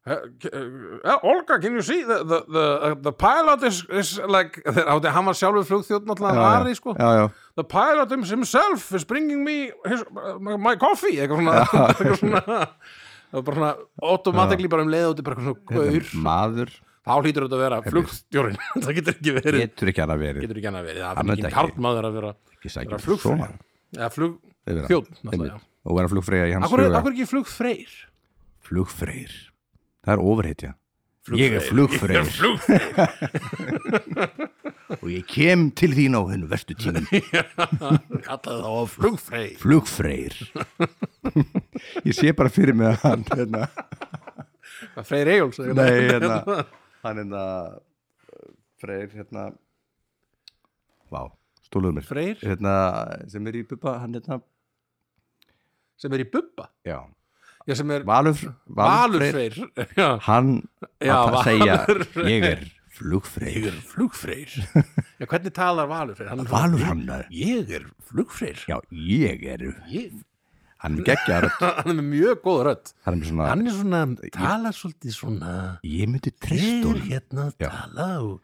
að- Uh, Olga, can you see the, the, the, uh, the pilot is, is like þegar átti- hann var sjálfur flugþjótt náttúrulega Já, Ari sko Já, já, the pilot himself is bringing me his, uh, my coffee eitthvað svona, eitthvað svona það var bara svona automatically bara um leið út í bara eitthvað svona gaur maður þá hlýtur þetta að vera flugstjórin það getur ekki verið getur ekki að verið getur ekki hann að verið, það Hann er veit ekki ekki. karlmaður að vera Ekki vera sækjum flugfreyja svona. eða Þeir vera. flugþjóð Einmitt. og vera flugfreyja í hans akkur, huga akkur ekki flugfreyr Flugfreyr, það er ofurheitja Ég er Ég er flugfreyr flugfreyr og ég kem til þín á hennu verstu tímin kallaði þá að flugfreyr Flugfreyr Ég sé bara fyrir mig að hann hérna, Það er freyr Egil's Nei, hérna Hann hérna Freyr, hérna Vá, stóluðu mér freyr hérna, sem er í bubba hann hérna, sem er í bubba já, já, sem er Valur, Valur Freyr valurfreyr já, hann Já, að Valur það segja Freyr. ég er flugfreyr ég er flugfreyr já, hvernig talar valurfreyr Hann er svona, Valur hann er, ég er flugfreyr já, ég er Ég- hann er geggjar hann er með mjög góð rödd hann er með svona, hann er svona, talar svolítið svona ég myndi Ég treyst er honum hérna að Já. tala og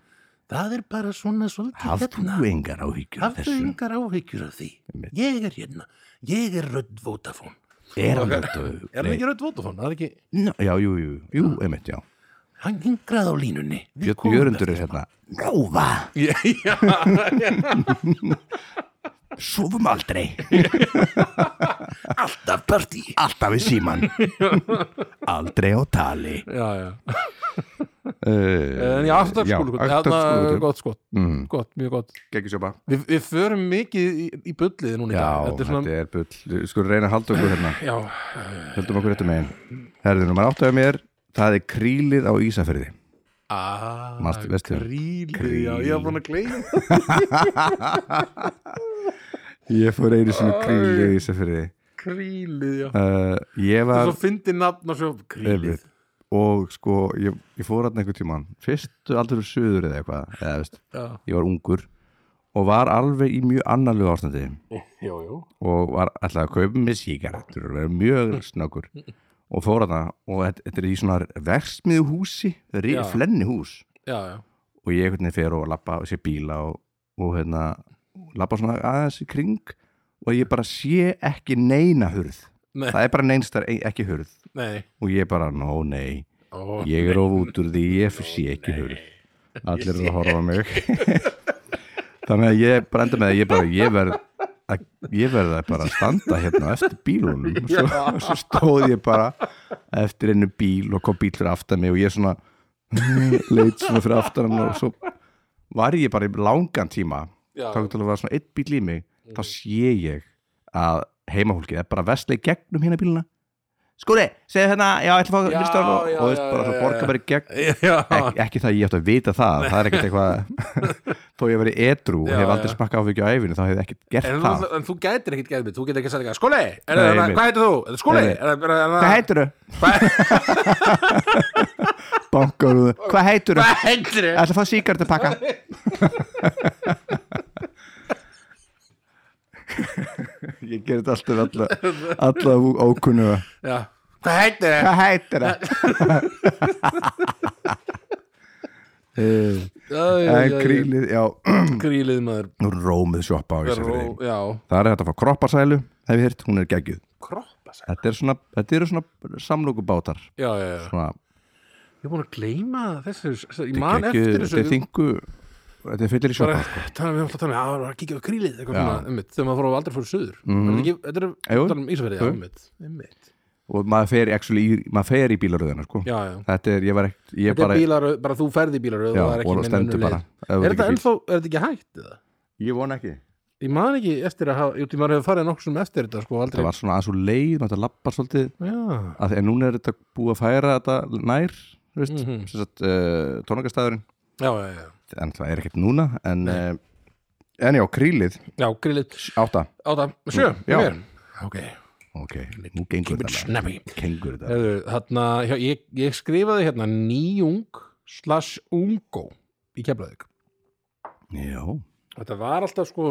það er bara svona svolítið hafðu hérna. þú engar áhyggjur af Hafðu þessu engar áhyggjur af því. Ég er hérna. Ég er rödd Vodafone. er hann þetta Er hann ekki rödd Vodafone? Það er ekki... Ná, já, jú, jú, jú, einmitt, já Hann hingrað á línunni. Við komum hérna. Björn Jörundur er hérna Nóva, eftir- Já, já. Sofum aldrei Alltaf partí Alltaf við síman Aldrei á tali Eh, Já, já En En já, aftarskúlugut, hérna, aftarskúlugut gott skott, gott, mjög gott Gekkiðsjópa Við, við förum mikið í, í bullið núna í dag Já, Þetta er svona, bull Við skulum reyna að halda okkur hérna já, Höldum okkur réttum megin Herðu, nummer áttu af mér Það er krílið á Ísafyrði að, Manstu- veistu? krílið, Ah, já, ég var búin að gleyma Ég fór einu sinni í krílið á Ísafyrði krílið, já uh, Ég Það er var svo fyndi nafn og svo krílið Einmitt. og sko Ég, ég fór hann einhvern tímann Fyrstu aldur fyrir suður eða eitthvað eða, veist, Já, Ég var ungur og var alveg í mjög annarlegu ástandi já, já og var alltaf að kaupa með síkaretur og vera mjög snöggur og fór að það og þetta, þetta er í svona versmiðu húsi, Já. flenni hús Já, já, og ég hvernig fer og lappa og sé bíla og, og hérna lappa svona aðeins í kring og ég bara sé ekki neina hurð Nei. það er bara neinstar e, ekki hurð nei og ég bara, nó nei Ó, ég er of út úr því, ég sé ekki hurð allir eru að horfa á mig þannig að ég bara enda með að ég bara, ég verð að, ég verð að bara standa hérna á eftir bílunum og svo, svo stóð ég bara eftir einu bíl og kom bíl fyrir aftan mig og ég svona leit svona fyrir aftan hann og svo var ég bara í langan tíma Já. Mhm. þá til að vera svona eitt bíl í mig þá sé ég að heimahólkið er bara vestlega í gegnum hérna bíluna Skúli, segðu hérna, já, ég ætla að fá Já, listan og, já, og veist já, bara já, já, svo já. borga bara í gegn Já, ekki, ekki það að ég ætti að vita það það er ekkert eitthvað þó ég verið edru og Já, hef já. aldrei smakkað áfengi á æfinu þá hef ég ekkert gert En, það þú, en þú gætir ekkert gæðið mitt, þú getur ekki að segja eitthvað Skóli, er Nei, það- einmitt. hvað heitir þú? Er það Skóli? Nei, nei. Er það- er það- Hvað heitir þau? Bankar úr þau Hvað heitir þau? Hvað heitir Ég þið? ætla að fá síkart að pakka Ég ger þetta alltaf alla, alla ókunnuga Já, hvað heitir þið? Hvað heitir það? En krílið, já Krílið maður Nú er rómið sjoppa á Ísafirði Ró- Já, Það er hægt að fá kropparsælu, hef ég hirt, hún er geggjuð kroppa sæl Þetta, er svona, þetta eru svona samlokubátar Já, já, já svona, Ég er búin að gleyma þessu, þessu Ég man eftir Þetta er þessu þingu Þetta er fyllir í Bara, sjoppa tala, við erum alltaf að tala um, já, það var að kíkja á krílið eitthvað sko. Já. Mhm. svona, einmitt, þegar maður fór á aldrei fór suður mm -hmm. Þetta er Jú. tala um Ísafjörði, já, Jú. einmitt, einmitt og maður fer, actually, í, maður fer í bílaröðina sko. Já, já Þetta er, ég var ekkert ég Þetta er bara, bílaröð, bara þú ferði í bílaröð já, og það er ekki og nein stendur önnur bara leið. ef Er þú ert þetta ekki bíl. ennþá, er þetta ekki hægt eða? Ég von ekki Ég man ekki eftir að hafa, jú, ég maður hefur farið nokkuð sem eftir þetta, sko, aldrei Það var svona aðeins og leið, maður þetta lappa svolítið Já, að, en núna er þetta búið að færa þetta nær þú veist, mm Mhm. sagt, uh, tónleikastæðurinn já, já, já en það er ekkert núna en, uh, en já, krílið, Já, grillið, átta átta, sjö, Mm, Já. mér Ok, ok, nú gengur þetta snappy kengur þetta Hefðu, þarna, hjá, ég, ég skrifaði hérna nýjung slash ungo í Keflavík. Já, Þetta var alltaf sko,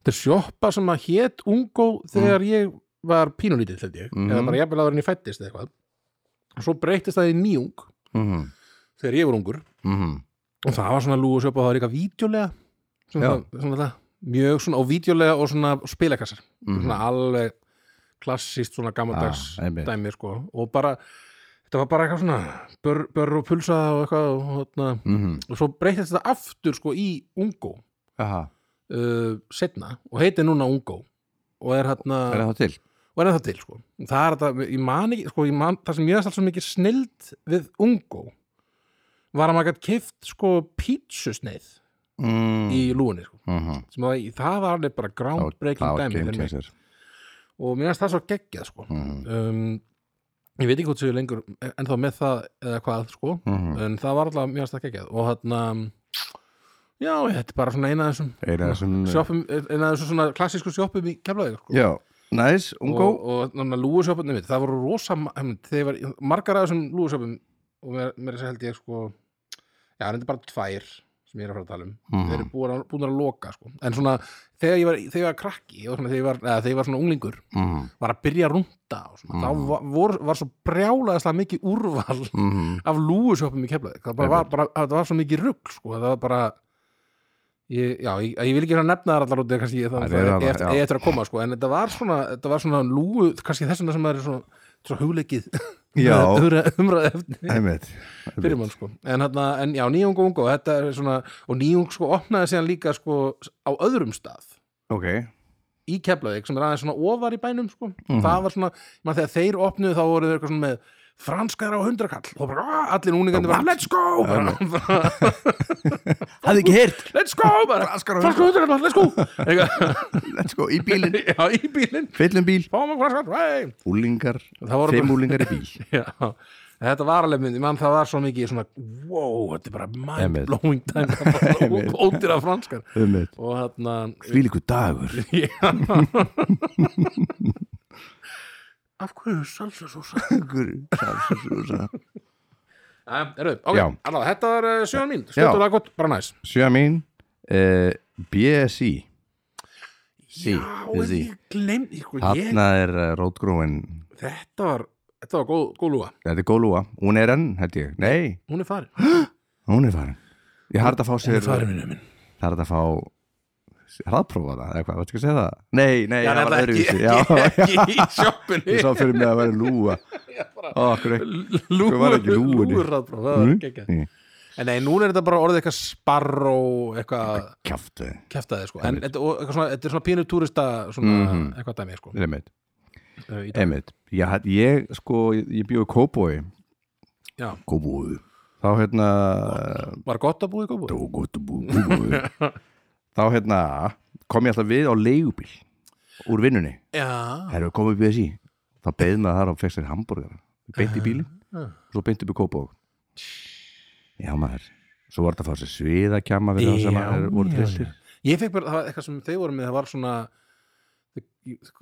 þetta er sjoppa sem að hét ungo Mm. þegar ég var pínulítið, held ég, Mhm. eða bara jafnvel áður en ég fættist eða eitthvað. Og svo breytist það í nýjung mhm, þegar ég var ungur mhm og það var svona lúgu sjoppa og það var eitthvað vídjulega, svona, Já. það- svona það, mjög svona, og vídjulega og svona spilakassar, Mhm. svona alveg klassist svona gammaldags Ah, einmitt. dæmi sko, og bara þetta var bara eitthvað svona bör, bör og pulsa og eitthvað og, hérna, mhm, og svo breytist þetta aftur sko í Ungo aha, uh, setna og heitir núna Ungo og er hérna er það til? og er það til sko Og það er þetta, ég man ekki, sko, ég man það sem ég er alltaf mikið snild við Ungo var að maður gætt keift sko pítsusneið Mm, í lúinni sko mhm, sem að það var alveg bara groundbreaking það var dæmi game fyrir mig. changer og mér finnst það svo geggjað sko Mhm. um, ég veit ekki hvort séu lengur en þá með það eða hvað sko Mhm. en það var alltaf mjög stakk geggjað og þarna já, þetta er bara svona eina af þessum Eina af þessum- sjoppum, eina af þessum svona klassísku sjoppum í kemlaði sko. Já, næs, ungo og, og nána lúusjoppunni mitt það voru rosa, ma- em, þeir var margar af þessum lúusjoppum og mér, mér held ég sko já, þetta er bara tvær sem ég er að fara að tala um Mhm. þeir eru búin að, búin að loka sko. en svona, þegar ég var, þegar ég var krakki og svona, þegar, ég var, eða, þegar ég var svona unglingur mhm, var að byrja að runda og svona, þá var, vor, var svo brjálaðislega mikið úrval mhm, af lúusjópum í keflaði það bara var, bara, það var svo mikið rugg sko, það var bara ég, já, ég, ég vil ekki svona nefna þar allar út kannski, ég, það, Það það, er það, það, eftir, já. eftir að koma sko, en þetta var svona, þetta var svona lúu kannski þess vegna sem það er svona, svona hugleikið Já. umræða eftir einmitt fyrir mann sko en, hana, en já, nýjung og ungu og, þetta er svona, og nýjung sko opnaði síðan líka sko á öðrum stað Ok, í Keflavík sem er aðeins svona ofar í bænum sko. það var svona, mann þegar þeir opnuðu þá voru þau eitthvað svona með franskar á hundrakall og bara "Ah", allir núningandi bara let's go bara, bara, hafði ekki heyrt let's go bara, Franskar á franskar á hundrakall, let's go Eitthvað. let's go, í bílinn, já, í bílinn fyllum bíl fáum að franskar, hei úlingar, Það voru- fimm úlingar í bíl Já, þetta var alveg mynd, ég mann það var svo mikið svona, wow, þetta er bara mind-blowing time, það var bara ódýra franskar umveit, og þarna, þvílíku dagur já Af hverju er salsa sósa? sjö Erðu, ok, Já. allavega, þetta var uh, sjöðan mín, stjórnulega gott, bara næs mín uh, BSI sí, Já, en sí. ég glemt, sko, ég, þarna er uh, rótgróin þetta var, þetta var góð, góð lúa, þetta er góð lúa, hún er enn, held ég nei, hún er farin hún er farin ég harði að fá Hún sér er farin minni minn það er hægt að fá hraðprófa það, eða hvað, veitu ekki að segja það? Nei, nei, Já, það var þetta ekki, öðruvísi ekki, Já, ekki í sjoppunni ég sá fyrir mig að vera lúa Ég bara- Ó, okkur ekki lúgur, Hver var ekki lúgunni? lúgur hraðbróð, það var Mm. ekki ekki en nei, núna er þetta bara orðið eitthvað sparró eitthvað Kjaftu, kæftaði sko en þetta, og eitthvað svona, þetta er svona pínu túrista svona, Mhm. eitthvað dæmi sko einmitt, Ö, í dag. einmitt Ég, had- ég sko, ég- ég bjóði kóbói Já. Kóbói Þá hérna eh, var gott að búa í góðbúi? Dógóttubú Kóbói Þá hérna kom ég alltaf við á leigubíl úr vinnunni, já, erum við komið upp í þessi þá beðið maður þar og fekk sér hambúrgar beint í bílinn, Ah. svo beint upp í kópók Já maður Svo var þetta að fá sér sviðakjama fyrir það sem Já, er, voru já, trilltir ég fekk bara, það var eitthvað sem þeir voru með það var svona ég,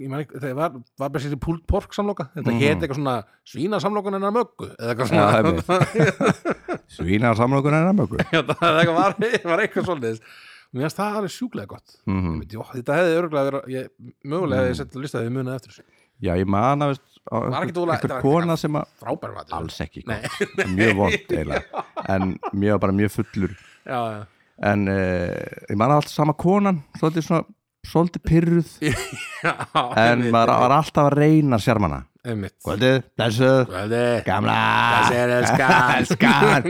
ég man ekki, það var, var bara sér púlt pork samloka þetta mm Mhm. hét eitthvað svona svínasamlokan en að möggu eða eitthvað Já, svona einmitt. Svínar samlokur en ammöku Já, það það var, var eitthvað svolítið mér finnst það alveg sjúklega gott Mhm. Ég veit, jó, þetta hefði örgulega verið ég, mögulega hefði ég sett að lista því muna eftir þessu Já, ég man að veist, á Var ekki einhver, dúla- þetta einhver var kona sem að frábær matur alls ekki gott, mjög vond eiginlega, en mjög bara mjög fullur já, já. en uh, ég man að alltaf sama konan svolítið svona, svolítið pyrruð já en einmitt, maður var alltaf að reyna sjarmana einmitt Kvöldið, blessuð, Guði, gamla þessi er elskan Elskan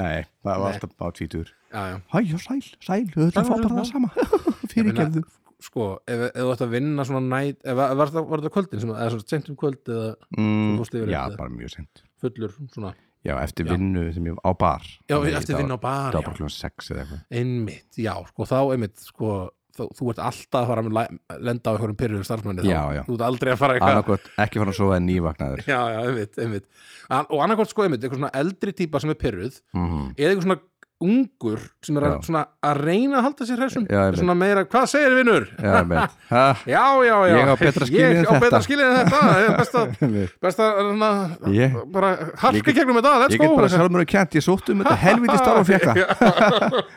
Nei, það var alltaf á tvítur já, já. Hæ, já, sæl, sæl, við ætlum að fá bara það sama Fyrirgefðu sko, ef, ef þú ætti að vinna svona næt ef, ef var, það, var það kvöldin, sem, eða svona sent um kvöld eða mm, fórst yfir Já, þetta. bara mjög sent fullur svona, Já, eftir Já. vinnu sem ég á bar já, Nei, eftir það vinna á var- bar Það var já, bara kljóðan sex eða eitthvað einmitt, já, sko, þá einmitt sko, þú, þú ert alltaf að fara að læ- lenda á einhverjum pyrrjum starfsmanni þá. Já, já. þú ert aldrei að fara eitthvað Annarkot, ekki fara að sofa en nývagnaður já, já, einmitt, einmitt An og annarkvæmt sko, einmitt, eitthvað svona eldri típa sem er pyrruð mm eða eitthvað svona ungur sem er að, Já. svona, að reyna að halda sér hressum Já, einmitt. svona meira, hvað segir vinnur? Já, með Ha, Já, já, já, Ég á betra skilið en Ég á þetta. betra skilið en þetta Ég er best að, einmitt. best að na, Ég- bara harka ég get- gegnum þetta, let's Ég get go bara sjálfur og kjent, ég sótt um þetta helviti starf og fjekka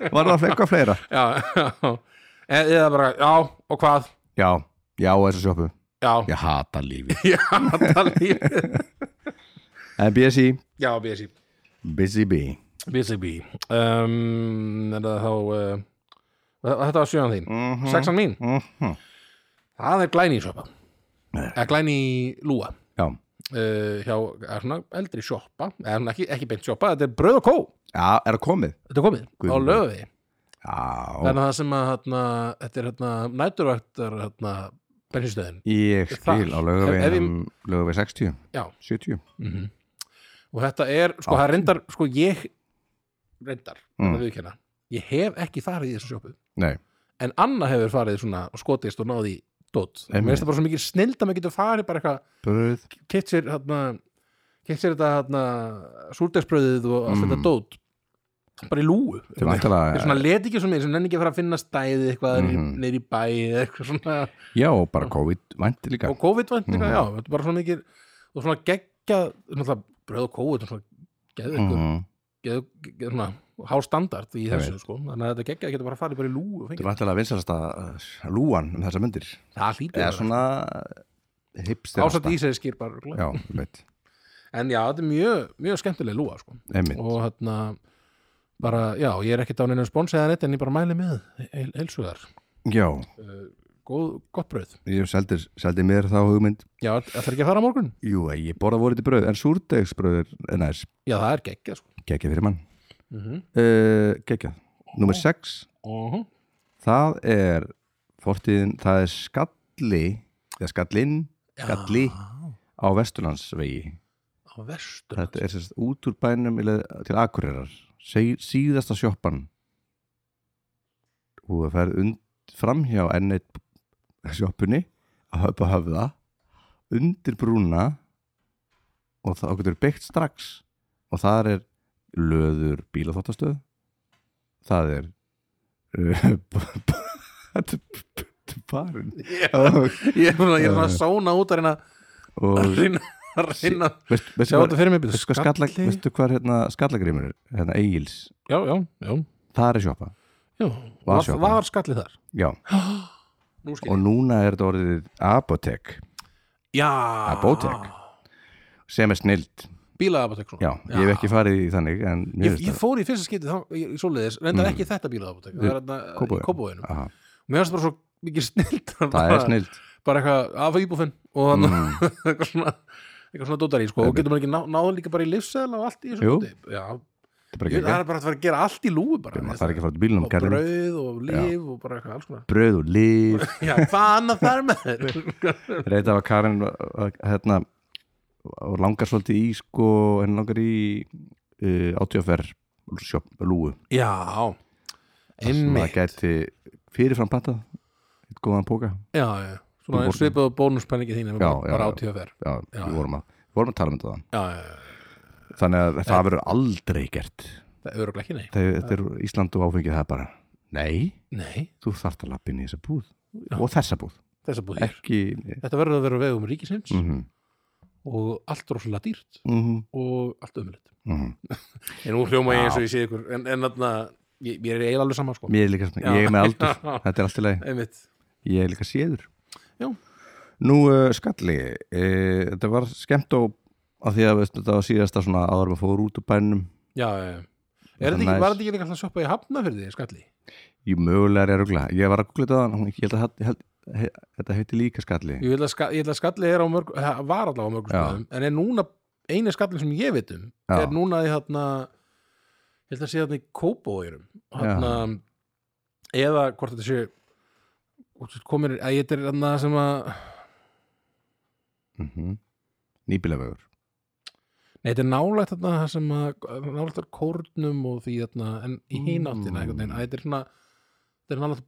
Var það að flekka fleira? Já, já E- eða bara, já, og hvað Já, já, og þessu sjoppu Já, Ég hata lífi já, það líf En BSI, Já, BSI Busy Bee BSI B um, er það þá uh, Þetta var sjöðan þín Sexan mín, Mhm. það er glæni í sjoppa Nei. Eða glæni í lúa Já, uh, hjá er svona eldri sjoppa eða svona ekki, ekki beint sjoppa, þetta er bröð og kó já, er það komið? þetta er komið Guð á minn. löfi Já, þannig að það sem að hérna, þetta er hérna, næturvægtar hérna, bensinstöðin ég skil á Ef- ef um lögavegin ég- Lögaveg 60, Já. 70 og þetta er, sko það reyndar sko ég reyndar, Mm. þetta viðkenna ég hef ekki farið í þessu sjoppu Nei, en Anna hefur farið svona og skotist og náði í dót, mér Einmitt. finnst það bara svo mikið snild að maður getur farið bara eitthvað, bröð keitt sér hérna, keitt sér þetta hérna, súrdegsbröðið og allt Mm. þetta dót bara í lúu Þetta einhvern er veginn. Það er vantala svona leti ekki svo mér sem nenni ekki að fara að finna stæði eitthvað mm Mhm. niður í bæ eða eitthvað svona Já, bara COVID vænti líka og COVID vænt eitthvað, Mhm. já, þetta er bara svona mikið og svona geggja, náttúrulega bröð og COVID og svona geðu mm eitthvað, geðu svona hástandard í Ég þessu veit. sko, þannig að þetta geggja að geta bara farið bara í lú og Þetta fengið, er vantilega vinsalasta lúan um þessa myndir það hlýtur eða að vera. svona hipsterasta ásatt í sig skýr bara örugglega. Já, einmitt, en já, þetta er mjög, mjög skemmtileg lúa sko. einmitt og hérna bara, já, ég er ekki dán einu spons eða neitt en ég bara mæli með heilsugar, Já, góð, gott bröð ég seldi, seldi mér þá hugmynd já, ætlar ekki að fara á morgun? Jú, ég borða voru þetta bröð en súrdegsbröður er næs já, það er geggja sko. Gekja fyrir mann mm uh, Gekja, nummer 6 -huh. Það er fortíðin, það er skatt skalli eða skallinn skalli á á Vesturlandsvegi vestur þetta er sérst út úr bænum í leið til Akureyrar Seg, síðasta sjoppan og það ferð und, fram hjá N1 sjoppunni að höfða höfða undir brúna og það okkur byggt strax og þar er löður bílaþóttastöð það er uh, þetta er- þetta er barinn ég og, ég er svona ég er svona að sána út að reyna að og reyna að reyna veist, sjá veist, þetta fyrir mig Veistu hvað skalla, veistu hvað hérna skallagrimur er? Hérna Egils, já, já, já, það er sjoppa já. Var Var, sjoppa. var skalli þar Já, nú skil og núna er þetta orðið Apotek já Apotek. sem er snild bílaapotek svona Já, ég hef ekki farið í þannig en mér Ég, ég fór í fyrsta skipti þá, í svoleiðis, reyndar ekki þetta bílaðapotek, það er hérna í Mm. Kópavoginum. Kópavóinu. Aha, Mér finnst bara svo mikið snilt. Það er snild Mm, Bara eitthvað af íbúfinn og þannig eitthvað svona, eitthvað svona dótar í, sko. Og Einmitt. getur maður ekki ná, náðan líka bara í lifsæðla og allt í þessu Jú. dóti. Já, Það er bara ég, ekki það er bara að fara að gera allt í lúi bara. Það er ekki að fara til bílunum Og kallinn. brauð og líf og bara eitthvað alls konar. Brauð og líf Já, hvað annað þar með þeir? Reita var Karin uh, hérna og langar svolítið í sko henni langar í uh, átíðafer sjopp, lúu Já, Þar sem það einmitt. gæti fyrirfram pantað eitt góðan póka Já, já, svona Þú- svipað bónuspenningi þín, Já, já, bara já. átíðafer. Já, Já, við já. vorum að, við vorum að tala um þetta þann Já, já, já, Þannig að það verður aldrei gert það er öruglega ekki nei. Þegar þetta er Ísland og áfengið það er bara Nei, Nei, þú þarft að lappa inn í þessa búð Og þessa búð þess að búið hér. Ekki Þetta verður að vera á vegum ríkisins mm -hmm. og allt rosalega dýrt Mm -hmm. og allt ömulegt. Mm -hmm. En nú hljóma ég eins og ég sé ykkur, en, en þarna, ég, ég er eiginlega alveg sama, sko. Mér er líka svona, Já. ég er með aldur Þetta er allt í lagi, Einmitt. ég er líka séður Já. Nú uh, skalli uh, Þetta var skemmt og að því að veist, þetta var síðasta svona áður að fóður út úr bænum Já, já, já. Er þetta Næs. ekki, var þetta ekki líka alltaf sjoppa í Hafnafyrði, skalli? Ég mögulega er að rugla Ég var að googla þetta áðan, ég held að þetta- held- he- þetta heiti líka skalli Ég vil að, ska, ég vil að skalli er á mörg, ha, var allavega á mörgum Já. stöðum, en er núna, eini skallin sem ég veit um, Já. er núna í þarna, ég held að sé þarna í Kópóirum, þarna, eða hvort þetta sé, hvort þetta komir, að ég er þarna sem að, mm -hmm. Nýbílavegur Nei, þetta er nálægt þarna það sem að nálægt þar kórnum og því þarna en í Mm. hináttina einhvern veginn að þetta er svona þetta er nálægt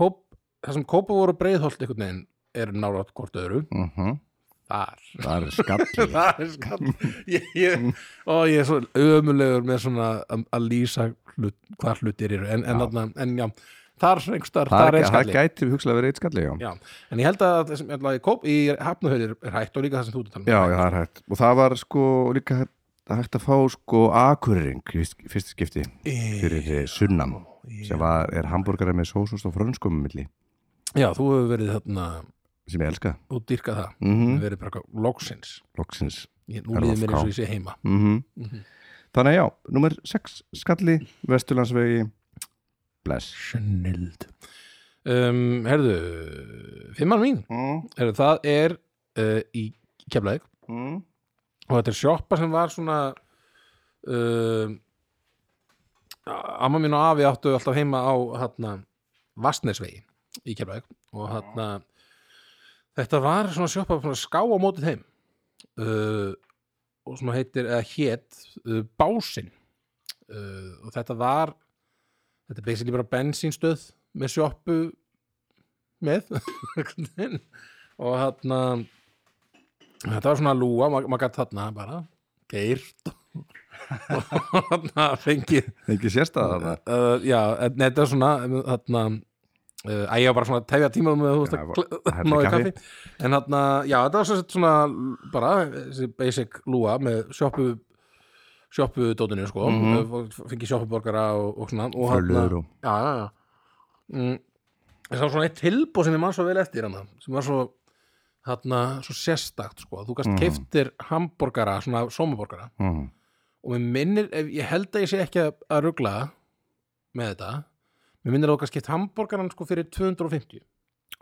kóp, það sem kópa voru breiðholt einhvern veginn er nálægt hvort öðru mm þar Það er skalli það er skall ég, ég, og ég er svo ömulegur með svona að, að lýsa hlut, hvað hlutir eru en, en, Já. þarna, en já, þar, einhverstar, það, þar er, er það skalli gæti hugsalega verið eitt skalli já. já. en ég held að það sem ég ætla að í kóp í hafnahöður er hægt og líka það sem þú ert að Já, tala um já, það er hægt og það var sko líka hægt, hægt að fá sko akurring í fyrsta skipti fyrir eh, sunnan sem var, er hambúrgara með sósust og frönskum milli já, þú hefur verið þarna sem ég elska og dyrka það mm mm. verið bara eitthvað loksins loksins Ég- nú líður mér LFK. eins og ég sé heima mm Mhm. Þannig að já, nummer 6 skalli, Vesturlandsvegi bless snild um, herðu, fimmann mín mm herðu, það er uh, í keflaðið -hmm. og þetta er sjoppa sem var svona uh, amma mín og afi áttu alltaf heima á hérna Vastnesvegi í Keflavík og hérna þetta var svona sjoppa svona ská á mótið heim uh, og sem heitir, eða hét uh, Básinn uh, og þetta var þetta er basically bara bensínstöð með sjoppu með einhvern veginn. og hérna Þetta var svona lúa, ma- maður gætt þarna bara geirt og þarna fengið Ekki sérstæða þarna uh, Já, en þetta er svona um, þarna uh, Æ, ég var bara svona að tefja tíma með þú veist Já, að bara- kl- ná hella í í kaffi. kaffi En þarna, já, þetta var svona, svona bara þessi basic lúa með sjoppu sjoppu dótinu, sko Mhm. mm fengið sjoppuborgara og, og svona og Frölöður og já, já, já. Mm, en það var svona eitt tilbúð sem ég man svo vel eftir hana sem var svo, þarna, svo sérstakt sko. þú gast Mhm. mm. keiftir hambúrgara svona sómaborgara mm. og mér minnir, ef, ég held að ég sé ekki að, að rugla með þetta mér minnir að þú gast keift hambúrgaran sko, fyrir 250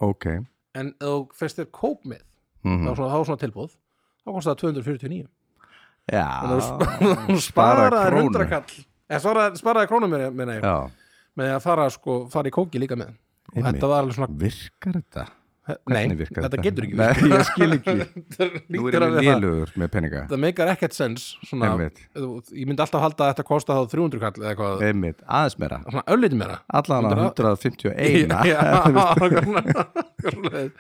Ok en ef þú fyrst þér kóp með mm þá var svona, þá var svona tilbúð þá komst það 249 Já þú Spara sparaði krónu. 100 kall Eh, sparaði, sparaði krónum meina, meina ég, Já, með að fara, sko, fara í kóki líka með og Einmitt. þetta var alveg svona virkar þetta? Nei, Hvernig virkar þetta getur ekki Nei, ég skil ekki Nú Nú er ég lélugur með peninga Þetta meikar ekkert sens svona, Einmitt. þú- Ég myndi alltaf halda að þetta kosta þá 300 kall eða eitthvað Einmitt, aðeins meira Svona öllítið meira Allan að 151 Já, já,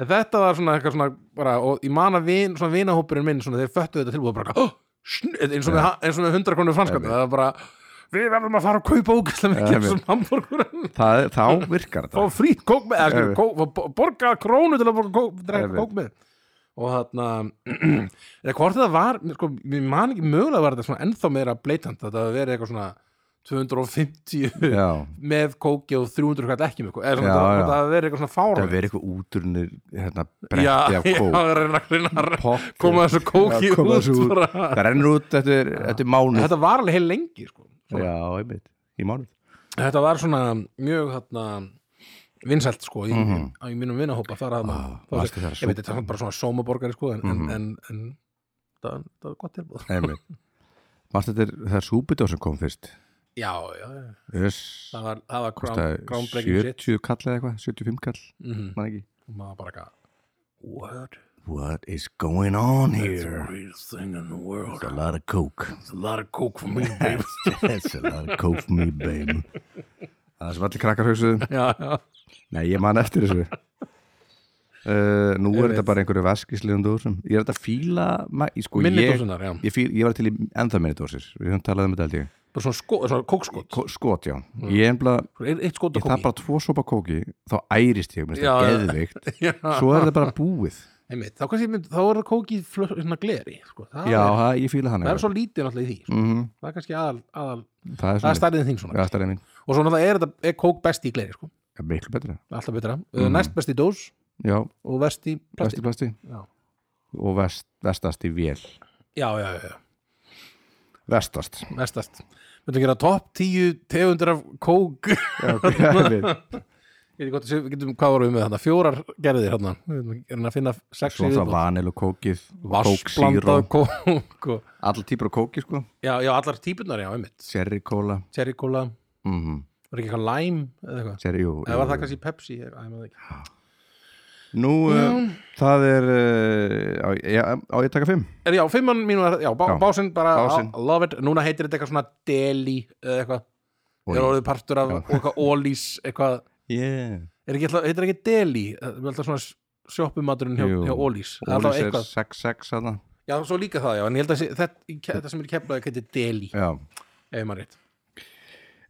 En þetta var svona eitthvað svona bara, og ég man að vin, svona vinahópurinn minn svona, þeir föttu þetta tilbúið bara oh, sn- eins og með, eins og með 100 krónu franskotni það var bara, við verðum að fara að kaupa ógæslega mikið af Einmitt. þessum hambúrgurum Það- Þá virkar fá þetta frýtt kók með eða, skilur, Einmitt. kók, fá bo- borga krónu til að borga kók, drekka Einmitt. kók með og þarna eða hvort þetta var, sko, mér man ekki mögulega var þetta svona ennþá meira bleitant þetta hafi verið eitthvað svona 250 Já, með kóki og 300 kall ekki með kóki eða Já, svona, já, já. það hafi verið eitthvað svona það fára verið eitthvað úturnir hérna, já, bretti af já, kók það er að reyna að Popp. koma þessu kóki Já, koma út, þessu út. bara. Það rennur út eftir, eftir mánuð þetta var alveg heil lengi sko. Já, einmitt, í mánuð þetta var svona mjög þarna vinsælt sko í, í mínum vinahópa þar að Ah, það Mhm. varstu Mhm. þar að ég veit þetta var bara svona sómaborgari sko en, en, en, en það, það var gott tilbúð Einmitt Varst þetta er- það er súbidó sem kom fyrst já, já, já, Þess það var, það var ground- groundbreaking shit 70 kall eða eitthvað, 75 kall mm -hmm. man ekki maður bara eitthvað what What is going on is the here? greatest thing in the world It's a lot of coke it's a lot of coke for me baby It's a lot of coke for me, babe Það sem allir krakkar hugsuðu já, já, Nei, ég man eftir þessu uh, Nú Ég er veit. þetta bara einhverju veskisliðum dósum Ég er þetta að fíla ma- ég- sko, minni ég, dósunar, já ég, fíl, ég var til í ennþá minni dósir Við höfum talað um þetta held ég bara svona, sko, svona kókskot Ko- Skot, já Ég ennbla, eitt skot að ég það Mm. kóki bara tvo sopa kóki Þá ærist ég, minnst Já, það já. geðveikt Já. Svo er þetta bara búið Einmitt, þá, kannski, mynd- þá er það kókið flös- svona gleri sko. það, Já, er, það, ég fíla hann það er svo lítið náttúrulega í því sko. það er kannski aðal, aðal Það er það er svona stærðin þín svona Það er stærðið mín og svo náttúrulega er þetta er kók best í gleri sko. Já, Miklu betra alltaf betra, Mhm. mm. næst best í dós Já, og vest í plasti vesti plasti Já. Og vest, vestast í vél já, já, já, já, Vestast vestast við ætlum að gera topp 10 tegundur af kók ég Já, ok. veit ekki hvort að sé- við getum, hvað vorum við með þarna fjórar gerðir þarna, við erum að- erum að finna sex Svo í það viðbót. vanil og kókið og Coke Zero. vaskblandað kók og, Allar típur af kóki sko já, já, allar típunar, já, einmitt Cherry cola cherry cola, mm -hmm. var ekki eitthvað lime eða eitthvað, Cherry, jú, eða jú, var það jú. kannski Pepsi ég- æ, ég man það ekki. Nú, uh, það er uh, á, ég, á ég að taka fimm? er já, fimmann mínu, er- já, bá, Já. básinn bara, Básinn. I love it, núna heitir þetta eitthvað svona deli eða eitthvað Oj. er orðið partur af og eitthvað ólís eitthvað, Yeah. er ekki, alltaf- heitir ekki deli það er alltaf svona sjoppumaturinn hjá, Jú. hjá ólís Það er alltaf Ólís er eitthvað. 6-6 að það já, svo líka það, já, en ég held að sé- þetta, í ke- þetta sem er keflaði heitir deli, Já ef maður rétt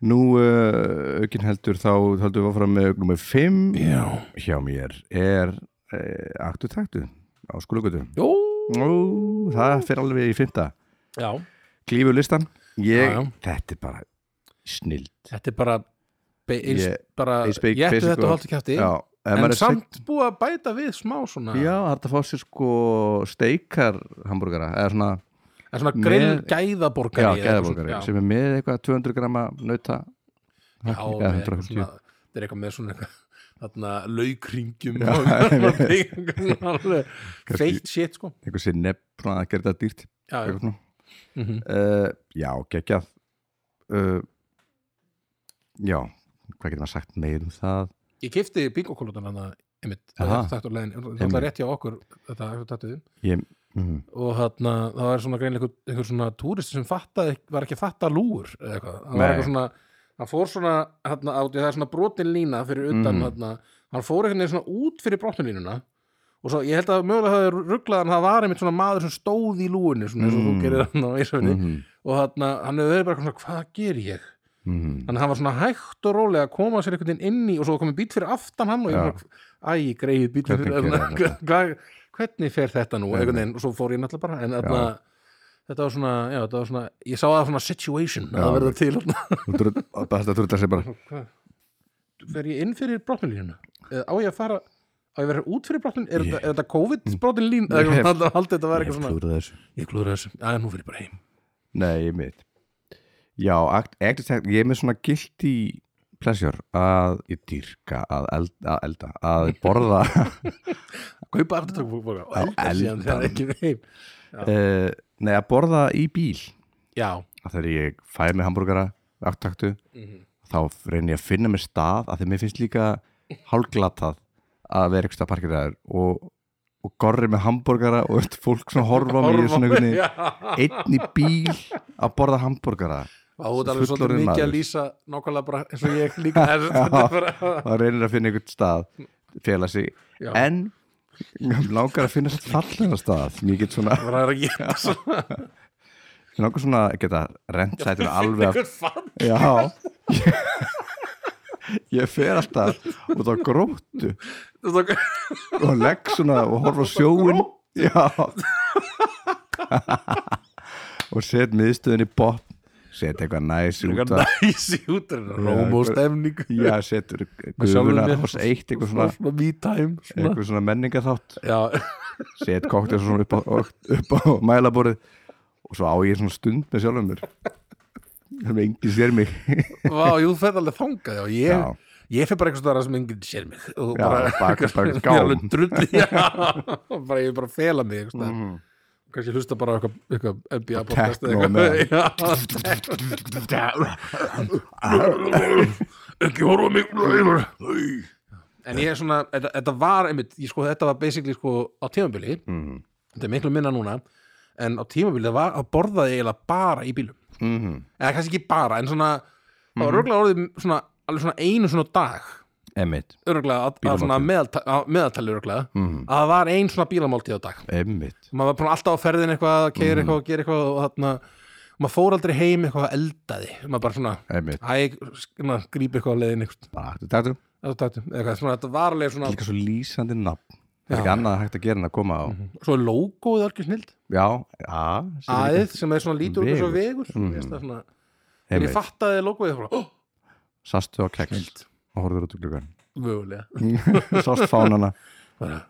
Nú, uh, aukin heldur, þá heldur við áfram með nummer 5 Já. hjá mér er uh, aktu taktu á skulugutu Jú, Nú, það fyrir alveg í fymta já, Klífu listan ég, Já, já. Þetta er bara snild þetta er bara be- eins, Ég- bara, eins big ég ættu basic þetta og- og haldi kjátti En, en samt búið að bæta við smá svona Já, það er hægt að fá sér sko steikar hambúrgara eða svona, en svona með- grill já, gæðaborgari eða eitthvað gæðabúrgari svona, já. sem er með eitthvað 200 gramma nauta Já, Eða með 150. eitthvað svona, þetta er eitthvað með svona eitthvað þarna laukringjum Já, og Kannski- feitt shit sko eitthvað sér nepp, svona að gera þetta dýrt já, já. eitthvað svona. Mm uh, Já, geggjað uh, Já, hvað getur maður sagt meir um það? ég kifti bingokólutan hann að einmitt, það Aha. er þetta leðin, það er Einmitt. rétt hjá okkur þetta er þetta Ég, mm, og þarna, það var svona greinlega einhver, einhver svona túristi sem fattaði, var ekki að fatta lúur eða eitthvað, hann var Nei. eitthvað svona hann fór svona, þarna, á, það er svona brotin lína fyrir utan, Mhm. þarna, hann fór einhvern veginn svona út fyrir brotinlínuna og svo, ég held að mögulega það er rugglaðan það var einmitt svona maður sem stóð í lúinu svona eins og þú Mm. gerir hann á Ísöfni mm, og þarna, hann hefur verið bara eitthvað svona, hvað ger ég mm, þannig að hann var svona hægt og rólega að koma sér einhvern veginn inn í og svo komið bít fyrir aftan hann og ég Já. bara, æ, greið bít Hvernig fyrir gera hvernig, þetta? hvernig, hvernig fer þetta nú einhvern veginn og svo fór ég náttúrulega bara en þarna, þetta var svona, já, þetta var svona ég sá það svona situation að Já. það verða til þarna. Þetta trullar sér bara Hvað? fer ég inn fyrir brotnulínuna Eða á ég að fara á ég að vera út fyrir brotnulínu er, Ég- yeah. er þetta COVID brotnulín Ég hef- eða haldið þetta var Ég eitthvað hef svona klúðrað þessu ég klúður þessu, já, nú fyrir ég bara heim Nei, ég mitt Já, akt, ekti, ég er með svona gilt í pleasure að ég dýrka að elda, að, elda, að borða kaupa afturtökubóka og Á elda síðan þegar eldanum. ekki heim uh, Nei, að borða í bíl já, að þegar ég fæ mig hambúrgara Mhm. aftaktu, þá reynir ég að finna mér stað að því mér finnst líka hálglatað að vera eitthvað parkiraður og, og gorri með hambúrgara og öll fólk svona horfa á mig í svona einhvernig Já. einn í bíl að borða hambúrgara Vá, þú ert alveg svolítið Fullorðinn mikið að maður. lýsa nákvæmlega bara eins og ég líka þessu stundu bara. og reynir að finna einhvern stað fela sig, Já. en mig langar að finna svona fallega stað mér get svona, Það er að geta svona mig langar svona að geta rent sætur alveg af einhvern fann Já Ég fer alltaf út á gróttu Þú tók- og legg svona og horfa á sjóin Já og set miðstöðin í bop set eitthvað næs út Eitthvað að næs í útrinu Rómóstemning Já, setur sjálfum guðuna mér. hos eitt eitthvað svona, Svona me time svona. eitthvað svona menningarþátt Já, set koktel svona upp á, upp á mælaborið og svo á ég svona stund með sjálfum mér sem enginn sér mig Vá, jú, þú ferð alveg þangað já. Ég, Já. ég fer bara eitthvað stöðar sem enginn sér mig og Já, bara, bak- bak við Ég er skám. alveg drulli já, og bara, ég er bara að fela mig eitthvað mm. kannski hlusta bara á eitthvað, eitthvað NBA podcast techno með. eitthvað Já. ekki horfa á mig en ég er svona þetta, þetta var, einmitt, ég sko, þetta var basically sko á tímabili Mhm. þetta er miklu minna núna en á tímabili það var að borða eiginlega bara í bílum mhm eða kannski ekki bara, en svona það var örgulega orðið svona, alveg svona einu svona á dag Emmitt, örgulega að, að Bílamáltíð. svona meðalta- að meðaltali örgulega Mhm. að það var ein svona bílamáltíð á dag emmitt maður var bara alltaf á ferðin eitthvað, keir eitthvað og gera eitthvað og þarna, maður fór aldrei heim eitthvað að eldaði, maður bara svona Einmitt. æg, svona, grípi eitthvað á leiðin eitthvað, bara hættu taktu eða tættu, eða eitthvað, svona þetta var alveg svona, líka svo lýsandi nafn það er ekki annað hægt að gera en að koma á svo er logoið algjör snild, já, já sem er aðið sem er svona lítur út eins og vegur, Mhm. mm. veist það svona ekki- en ég einmitt, fattaði logoið það bara, oh, sastu á keks snild og horfður út í gluggan mögulega, sást fánana bara,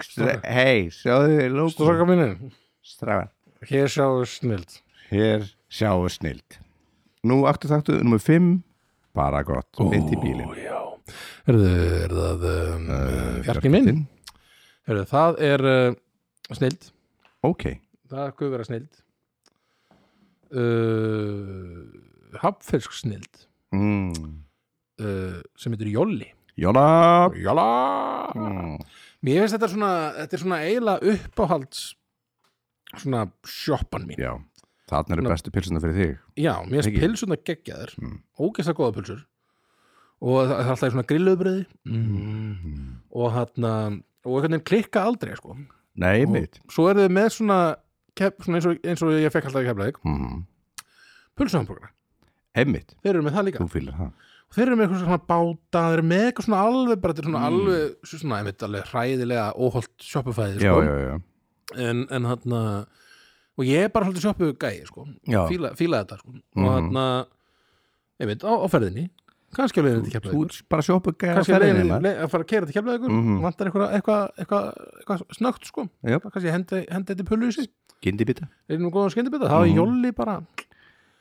Stre- hei, sjáðu logo stróka minni strafan Hér sjáum snild hér sjáu snild nú aktu taktu, nummer 5 bara gott, mitt í bílinn Eh, já. Er það, er það um, Fjarkinn minn? Fjarkinn. Er það, það er uh, snild ok, Það er guðvera snild uh, Hapfisk snild mm. uh, sem heitir Jolli jóla Jolla mm. Mér finnst þetta svona, þetta er svona eiginlega uppáhalds svona sjoppan mín já, þarna eru Ná. bestu pilsuna fyrir þig Já, mér finnst Ekki? pilsunar geggjaðar Mm. ógeðslega góða pilsur og það það er alltaf í svona grilluðbröði mm. og hann og einhvern veginn klikka aldrei sko. nei, mitt svo eru þið með svona, kef, svona eins, og, eins og ég fekk alltaf í keflaðik mm. pulsuhamburgara, Emmitt, þeir eru með það líka þú fylgir það þeir eru með eitthvað svona báta, þeir eru með eitthvað svona alveg bara þetta er Mm. svona alveg svo svona, einmitt, alveg hræðilega óholt sjoppufæði sko. já, já en, en hann og ég er bara haldið sjoppu gæi sko. Já. fíla, fíla þetta sko. Mhm. og hann einmitt á, á ferðinni kannski að leiðin til Þú keflaðik ert bara sjoppu gæða kannski að leiðin að fara að keira til keflaðik Mhm. vantar eitthvað, eitthvað, eitthvað, eitthvað snögt sko. Jöp. kannski hendi, hendi þetta pullu í sig Gindi bita er nú góðan skendibita, það var Mhm. Jolli bara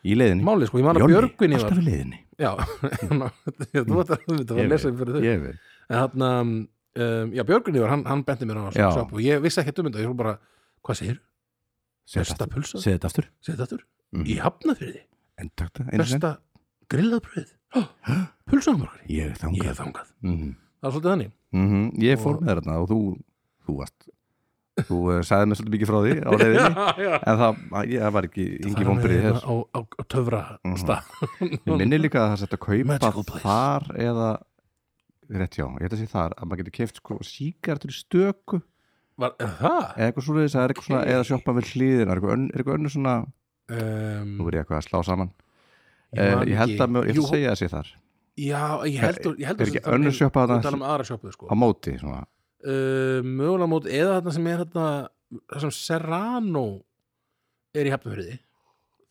Í leiðinni málið sko, ég man að Björgvinni var alltaf í leiðinni já, ná, þú ert að þetta var Mhm. Ég lesið fyrir þau Ég veit en hann, um, já Björgvinni var, hann, hann benti mér á Já. það og ég vissi ekki um þetta, ég var bara hvað segir, besta pulsa Segð þetta aftur segir þetta aftur, Mhm. í hafna fyrir þið En takk það einu sinni besta grillaðbröð pulsanumorgar, Ég er ég þangað hef þangað Mhm. það var svolítið þannig, Mhm, Ég fór með þarna og þú Þú varst Þú eh, sagði mér svolítið mikið frá því á leiðinni já En það, ég, það var ekki Ingi Fara með vonbrið hérna hér á, á, á töfra Mhm. stað Ég minni líka að það setja að Magical kaupa place. þar eða Rétt já, ég held að sé þar að maður getur keft sko síkartur í stöku var, er það? eða eitthvað svoleiðis, það er eitthvað svona, Ok. eða sjoppa við hliðin, er eitthvað önn- er eitthvað önnur svona Um, nú er ég eitthvað að slá saman Ég ég, man eh, ég held ekki. að mjög, ég Jú, ætla að segja það sé þar Já, ég held að ég held er að ekki þetta var önnur ein- sjoppa þarna? Þú talar um aðra sjoppu á sko. móti, svona, uh, Mögulega mót eða þarna sem er þarna það sem Serrano er í hefnumfyrði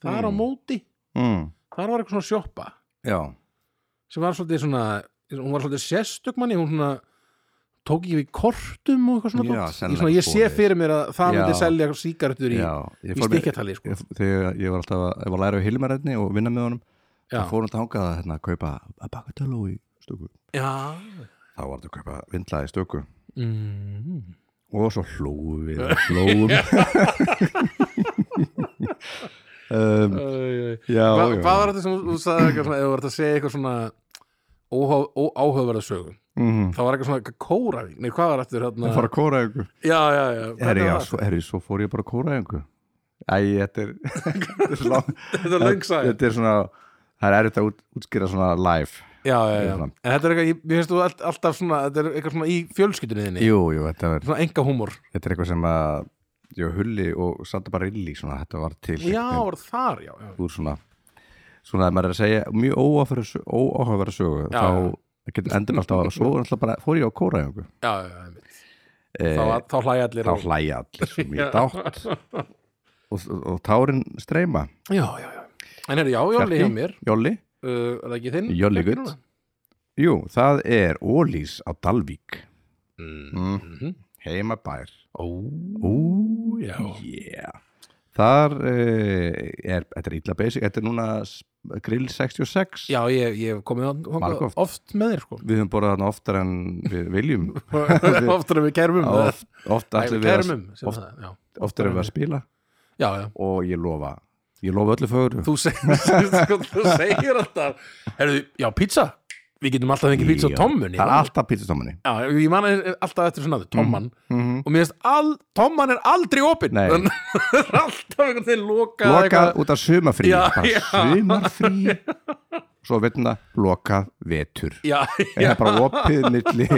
Það er á Mm. móti mm, Það var eitthvað svona sjoppa já sem var svolítið svona hún var svolítið sérstök manni hún svona tók ekki við kortum og eitthvað svona Já, dót. Ég sennilega svona, Ég sé svoleiðis. fyrir mér að það Já. myndi selja sígarettur í, já, í ég fór með stikkjatali sko. ég- þegar ég var alltaf að, ég var að læra við Hilmarætni og vinna með honum, Já, það fór alltaf hangað að hérna, kaupa að baka taló í stöku já. þá var þetta að kaupa vindlaði í stöku Mm. og svo hlóum við og hlóum um, Æ, æ. já, Hva, já hvað var þetta sem þú- þú sagði eitthvað svona, eða var þetta að segja eitthvað svona óhá- ó- áhugaverða sögu Mhm. það var eitthvað svona kóra nei hvað var eftir hérna Ég fór að kóra einhver já já já Herri, hvernig já, var svo, herri, svo fór ég bara að kóra einhver Æ, þetta er Þetta er, svo lang- þetta? þetta er löngsaði þetta er svona Það er erfitt að út, útskýra svona live já já já Þetta en þetta er eitthvað ég mér finnst þú allt- alltaf svona þetta er eitthvað svona í fjölskyldunni þinni Jú, jú, þetta er, svona enga húmor þetta er eitthvað sem að Ég hulli og satt bara illi svona, Þetta var til já einhvern var þar já já veginn úr svona, svona að maður er að segja Mjög óáfæra sögu, óáfæra sögu Já, Þá getur endur alltaf að Svo alltaf bara, fór ég að kóra einhver já já einmitt. Þá var- þá hlæja allir Eh, Þá á- hlæja allir sem ég dátt og, og, og tárin streyma já já já en herri já jólli hjá Bjarki? mér Jolli uh, er það ekki þinn Jolli Bjarki, gutt. núna? Jú, það er Ólís á Dalvík Mm. mm. Mhm. Heimabær ó Ú, já yeah Þar eh, er, þetta er illa basic Þetta er núna s- grill 66 já ég ég hef komið þangað Margoft. oft með þér sko Við höfum borðað þarna oftar en við viljum oftar en við um. kærumum Oft, oft ætlum við að, kærumum um, sem oft- það, já. oftar en við að um. spila já já og ég lofa Ég lofa öllu fögru þú segir, sko, þú segir alltaf Herðu, já, pizza Við getum alltaf fengið pizza á Já. tommunni Það er alltaf pizzatómunni Já, ég man e- alltaf eftir svona tomman mm -hmm. og mér finnst all, tomman er aldrei opinn Nei. Þannig að það er alltaf einhvern veginn lokað lokað út af sumarfrí Já, bara já. sumarfrí svo veitna lokað vetur Já, en það er bara opið milli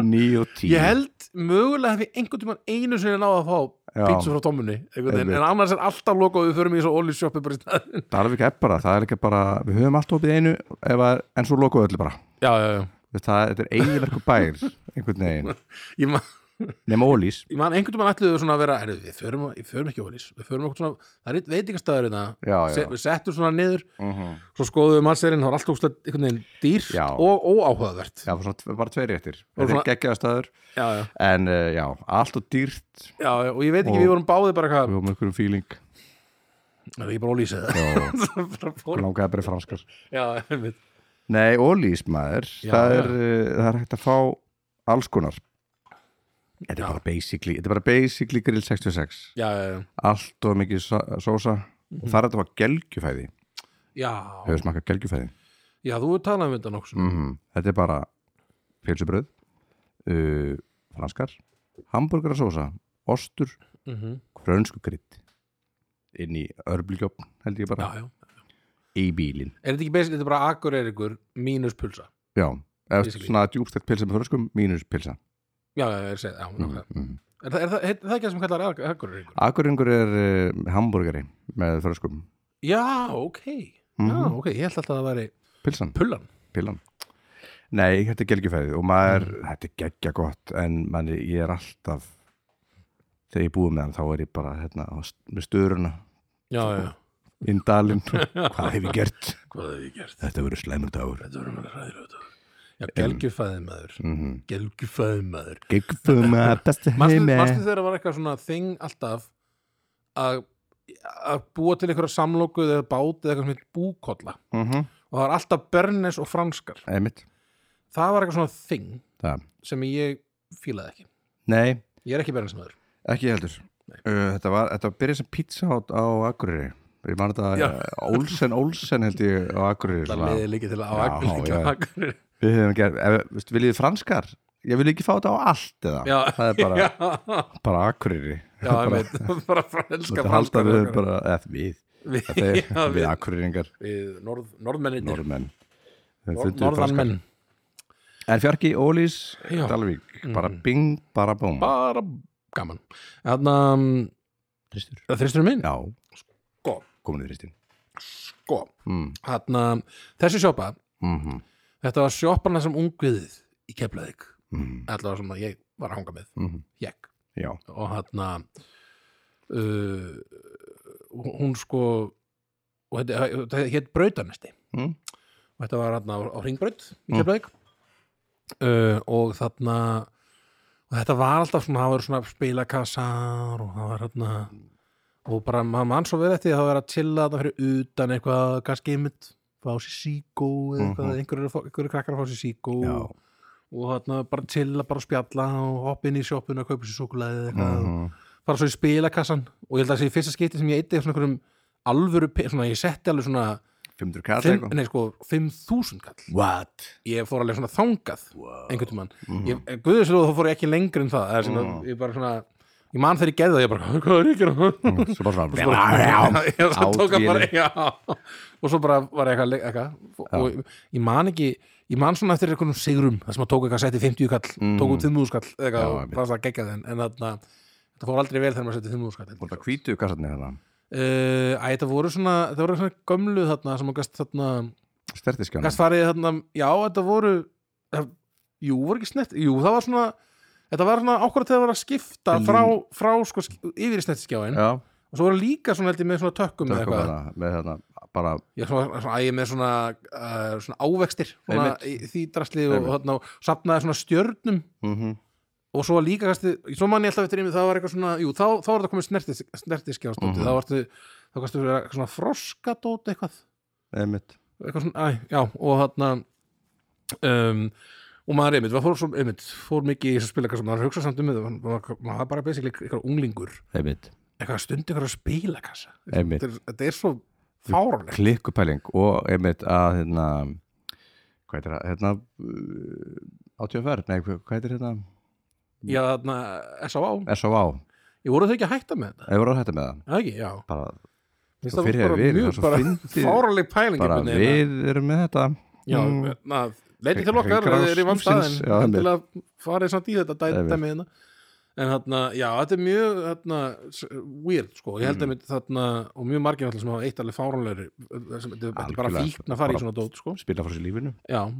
9 og 10 ég held mögulega hef ég einhvern tímann einu sinni náða að fá Já. pizza frá tommunni einhvern veginn, Einmitt. en annars er alltaf lokað og við förum í þessu olísjoppi bara í staðin Dalvík er bara, það er ekki bara við höfum allt opið einu ef að, en svo lokuðu öllu bara Já, já, já, Þú veist, það, þetta er eiginlega bær einhvern veginn, ég man, nema ólís ég man einhvern tímann ætluðu svona að vera herru, við förum, við förum ekki olís, við förum okkur svona það er einn veitingastæður þetta já, já, Se, við settum svona niður mm -hmm. svo skoðum við mannserinn, það var allt ógstlega einhvern veginn dýrt Já. og óáhugaðvert já svona, tve- bara tveir réttir Og þetta svona- er geggjaðastæður já, já. en uh, já, allt og dýrt já, já, og ég veit ekki, Og- við vorum báðið bara við eitthvað höfum einhverjum fíling það er ekki bara ólýsið og það langaði bara í franskar já, einmitt. Nei, ólís maður Já, það, já. er, uh, það er hægt að fá alls konar Þetta Já. er bara basically, þetta er bara basically grill 66 já, já, já. Allt og mikið sa- sósa Mhm. og það er þetta var gelgjufæði já, Hefur smakað gelgjufæði já, þú talaði um þetta nokkuð mm Þetta er bara pilsubröð uh, franskar hamburgerasósa, ostur mm -hmm. frönsku gritt inn í örbulgjófn held ég já, bara, já, í bílinn er þetta ekki basic, þetta er bara akkur er ykkur mínus pulsa Já, eða Basically. svona djúbstætt pilsa með frönskum mínus pilsa já, já, já, ég segi, já, mm mm -hmm. er, það, er, það, er það ekki það sem kallar akkur er ykkur Akureyringur er uh, hambúrgari með fröskum. já, ok, Mhm. já, ok ég held alltaf að það væri Pilsan, pullan pillan. Nei, þetta er gelgjufæði og maður, Mm. þetta er geggja gott en mann, ég er alltaf þegar ég búið með hann þá er ég bara hérna, á st- með störuna já, já, já, inn dalinn, hvað hef ég gert? hvað hef ég gert Þetta verður slæmur dagur. þetta voru mjög ræðilegt já, gelgjufæði maður Mm -hmm. gelgjufæði maður Geggfum að besta Manstu heimi. manstu þegar það var eitthvað svona þing alltaf að, að búa til einhverja samlókuð eða bát eða eitthvað sem heit búkolla Mm -hmm. og það var alltaf bernes og franskar Einmitt, það var eitthvað svona þing það. sem ég fílaði ekki Nei, ég er ekki bernes maður ekki heldur. Uh, þetta var, þetta var byrjað sem pizza á, á Akureyri. Ég man þetta, Já. eh, Olsen, Olsen held ég á Akureyri. það svona. leiði líka til að á Já, Akureyri- já. Akureyri Við höfum gerð, ef, veist, viljið þið franskar? Ég vil ekki fá þetta á allt eða Já. Það er bara, já, bara akureyri já, ég veit bara franska Þetta halda franskar við höfum bara, eða við við, Þeir, já, við, við, akureyringar, við norð, norðmenninir norðmenn Þeir Norð- fundu upp franskar. norðanmenn En fjarki, Ólís, Já. Mm. Dalvík Bara bing, bara búm bara gaman þannig Þristur að þristur minn Já, sko, komin í þristin sko mm. hann þessi sjoppa, mm -hmm. þetta var sjoppan sem ungviðið í Keflavík mm. allavega sem að ég var að hanga með, Mhm. ég Já, og hann uh, hún sko og þetta þetta hétt brautanesti mm. og þetta var hann á, á ringbraut í Mm. Keflavík uh, og þarna og þetta var alltaf svona, það var svona spilakassar og það var hérna og bara maður mann svo vel eftir því að það var að chilla þetta fyrir utan eitthvað, kannski einmitt fá sér síkó eða eitthvað, Mhm. einhverju, einhverju krakkar að fá sér síkó já og þarna bara chilla, bara spjalla og hoppa inn í sjoppuna og kaupa sér súkulega eða eitthvað Mhm. fara svo í spilakassan og ég held að það sé í fyrsta skipti sem ég eitti svona einhverjum alvöru, pe- svona ég setti alveg svona 500 kall Fimm, eitthvað nei, sko, 5.000 kall What? Ég fór alveg svona þangað Wow. Mhm. einhvern tímann mm. Guðislega þá fór ég ekki lengri en það Það er svona, Mm. ég bara svona Ég man þegar ég gerði það, ég bara, hvað er ekki að gera?" Svo bara svona Svo bara- Já, svo tók hann bara, Átvíðinni. já. og svo bara var eitthvað, leik- eitthvað. og ég- ég man ekki ég man svona eftir einhvernum sigrum þar sem að tók eitthvað setti 50 kall, tók út 500 kall Mm. Já, eitthvað og einmitt. bara það geggjað en, en þarna þetta fór aldrei vel þegar maður setti 500 kall Voru það hvítu kassarnir hérna? uh, Æ, þetta voru svona, það voru svona gömlu þarna sem að gast þarna, Stertiskjána gast farið þarna já, þetta voru það, jú, voru ekki snett, jú, það var svona þetta var svona ákvörð þegar það var að skipta frá, frá sko, sk- yfir í snettskjáin Já, og svo voru líka svona held ég með svona tökkum eða tökum eitthvað bara með þarna bara Já, svona, svona, æ, með svona, uh, svona ávextir svona, Einmitt. í- því drasli og, Einmitt. þarna, og safnaði svona stjörnum mhm, og svo líka kannski, svo man ég alltaf eftir yfir það var eitthvað svona, jú, þá, þá var þetta komið snertis, snertiskjástóti, Mhm. þá varstu þá kannski verið eitthvað svona froskadóti eitthvað einmitt eitthvað svona, æ, já, og þarna um, og maður einmitt, maður fór, svo, einmitt, fór mikið í þessu spil eitthvað svona, maður hugsa samt um þetta maður- maður maður var bara basically eitthvað unglingur Einmitt eitthvað stundi eitthvað spilakassa Einmitt. þetta er, þetta er svo fáránlegt Klikkupæling og einmitt að hérna Hvað heitir það? Hérna uh, ATFR? Nei, hvað hvað heitir hérna? já, þarna, S.A.V. S.O.A. Ég voru þau ekki að hætta með þetta? Ef voru að hætta með það Það ekki, já. bara, Mér finnst Svo það fyrir bara við, það mjög er svo bara fyndið. fáraleg pæling bara einhvern veginn. við erum með þetta Já, Mm. na, leiti til Hringrás okkar, eh, það er í vannstæðin lífsins, já, en einmitt. til að farið samt í þetta dæ- Einmitt. dæmi hérna En þarna, já, þetta er mjög þarna, s- weird, sko, ég Mm. held að mitt þarna, og mjög margir alltaf sem hafa eitt alveg fáranlegri sem þetta þetta er bara Algjörlega. fíkn að fara í Bara- svona dót, sko spila frá sér lífinu Já,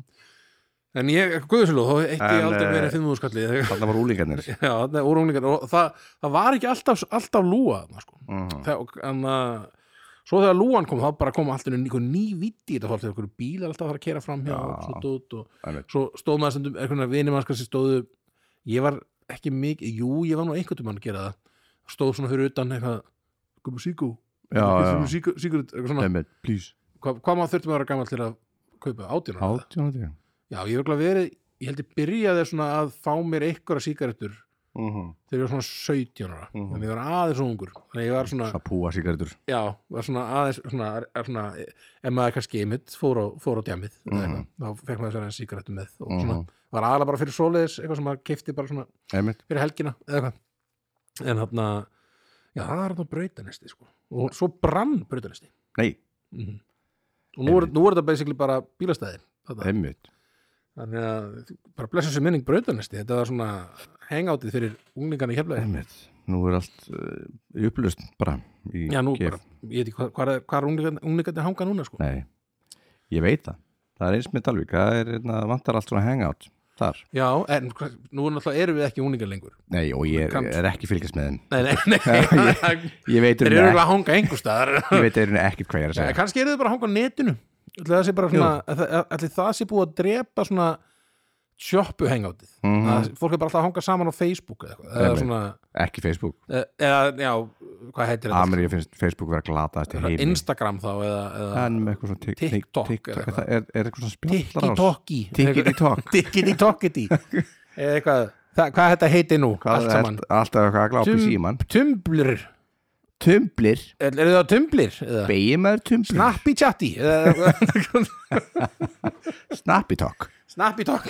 en ég, guðslu, þá eitt En, ég aldrei meira eh, en 5.000 skallið þarna var úlingarnir Já, þarna er úrunglingar og það, það var ekki alltaf, alltaf lúa, þarna, sko Mhm. Þeg- og- en að svo þegar lúan kom þá bara kom alltaf einhver ný viti í þetta fólk þegar einhverju bílar alltaf að fara að kera fram hjá Já. og, svona dót og Einmitt. svo stóð maður stundum einhverjum vinir maður kannski stóðu ég var ekki mikið, jú ég var nú einhvern tímann að gera það stóð svona fyrir utan eitthvað komu síku, Já, já, síkurit eitthvað svona, einmitt, please hvað, hvað maður þurfti maður að vera gammal til að kaupa átján ára? Átján og tíu já ég hef örugglega verið, ég held ég byrjaði svona að fá mér einhverja síkaretur þegar ég var svona 17 ára Mhm. þannig ég var aðeins svo ungur þannig að ég var svona Svona púa sigaretur já, var svona aðeins svona, er svona, ef maður kannski einmitt fór á, fór á djamið eða Mhm. eitthvað, þá fekk maður sér aðeins sígarettu með og Mhm. svona, var aðalega bara fyrir svoleiðis eitthvað sem maður keipti bara svona Einmitt, fyrir helgina eða eitthvað en þarna, já það er þarna brautanesti sko. og svo brann brautanesti nei, mm og nú er, nú er þetta basically bara bílastæði þarna. einmitt þannig að bara blessa sér minning brautanesti þetta var svona hangoutið fyrir unglingarna í heflaði Einmitt, nú er allt uh, í upplust bara í já nú gef. bara, ég veit ekki hvað, hvað, er- hvað er unglingarnir unglingarnir hanga núna sko Nei, ég veit það Það er eins með Dalvík, það er hérna, vantar allt svona hangout þar Já, en hva- nú náttúrulega erum við ekki úningar lengur Nei, og ég Kann- er ekki að fylgjast með þeim Nei, nei, nei Þeir Ég veit eru einu eiginlega að hanga einhver staðar ekkert hvað ég er að Ja, segja Kannski eru þau bara að hanga á netinu Ætli það sé bara svona Ætli það sé búið að drepa svona sjoppu hengátið Mhm. Fólk er bara alltaf að hanga saman á Facebook eða eitthvað Eða Einmitt. svona Ekki Facebook, e- Eða, já, hvað heitir þetta? Ameríu finnst Facebook vera glataðast í heimi Instagram þá eða, eða En með eitthvað svona tik- TikTok tik- eða TikTok eitthvað. Það er, er eitthvað svona spjallarás Tiki-toki Tiki-tok. Tiki-toki Eða eitthvað Þa- Hvað þetta heiti nú? Hvað Allt er saman alltaf eitthvað að glápa í Tum- síman Tumblr Tumblir, Er eru það tumblir? Eða? beigir maður tumblir Snappy chatti eða- Snappy talk Snappy talk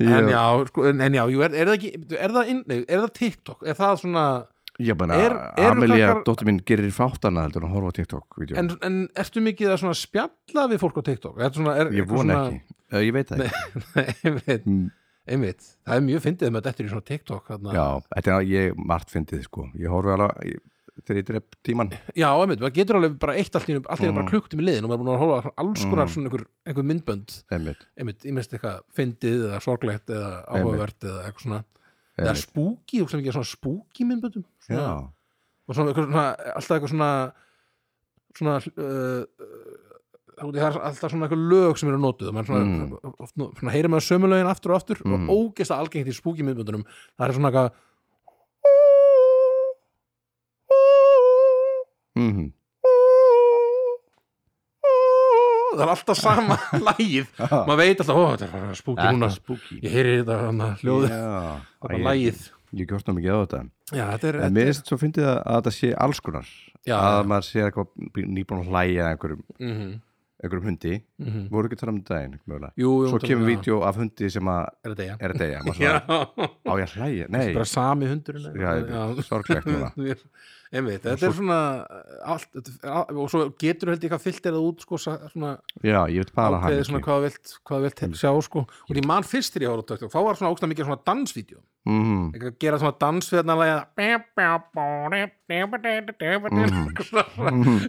En já, sko, en en já, jú, er, er það ekki er það, inn, nei, er það TikTok? Er það svona Ég bara, Er- eru Amelia, krakkar- dóttir mín gerir fáttana heldur en að horfa á TikTok-vídeó en, en ertu mikið að svona spjalla við fólk á TikTok? Er, svona, er, Ég vona ekki, Eh, ég veit það ekki ekki einmitt, Mm. einmitt, það er mjög fyndið með þetta er í svona TikTok þarna. Já, þetta er að ég margt fyndið sko Ég horfi alveg ég- þegar ég dref tíman já, einmitt, maður getur alveg bara eitt allt í einu- allt í einu Mm. bara klukkt um liðin og maður er búin að hóla alls konar svona einhver, einhver myndbönd einmitt, einmitt, ég minnst eitthvað fyndið eða sorglegt eða Einmitt. áhugavert eða eitthvað svona eða einmitt. spúki, þú sem ekki svona spúki myndböndum svona, Já, og svona, eitthvað svona alltaf eitthvað svona svona uh, uh, það er alltaf svona eitthvað lög sem eru notuð og maður svona, Mm. mm. oft, nú- svona heyrir maður sömu lögin aftur og aftur og Mm. ógesta algengt í spúki miðbundunum það er svona eitthvað mhm það er alltaf sama lægið Já. maður veit alltaf, ó þetta er spúki núna spooky ég heyri þetta hana, hljóði Já, þetta Æ, lægið ég gjóst ná mikið á þetta já, þetta er, en mér finnst svo fyndið að, að þetta sé alls konar Já, að já. maður sé eitthvað nýbúin að hlæja að einhverjum, mm -hmm, einhverjum hundi voru ekki að tala um daginn mögulega. mhm. Jú, jú, svo tala- kemur já. vídeo af hundi sem að er þetta ég? er að deyja maður Já, svona, á ég að hlæja, nei bara sami hundurinn já, já. sorglegt núna Einmitt, þetta er svona allt, þetta er al- og svo getur held ég eitthvað fyllt eða út sko, sa- svona, já, ég veit bara hann ákveðið svona hvað þú vilt, hvað þú vilt sjá sko. og því mann fyrst þegar ég horfði á TikTok þá var svona ógstað mikið svona dansvídeó mm, eitthvað að gera svona dans við þarna lagið eitthvað svona,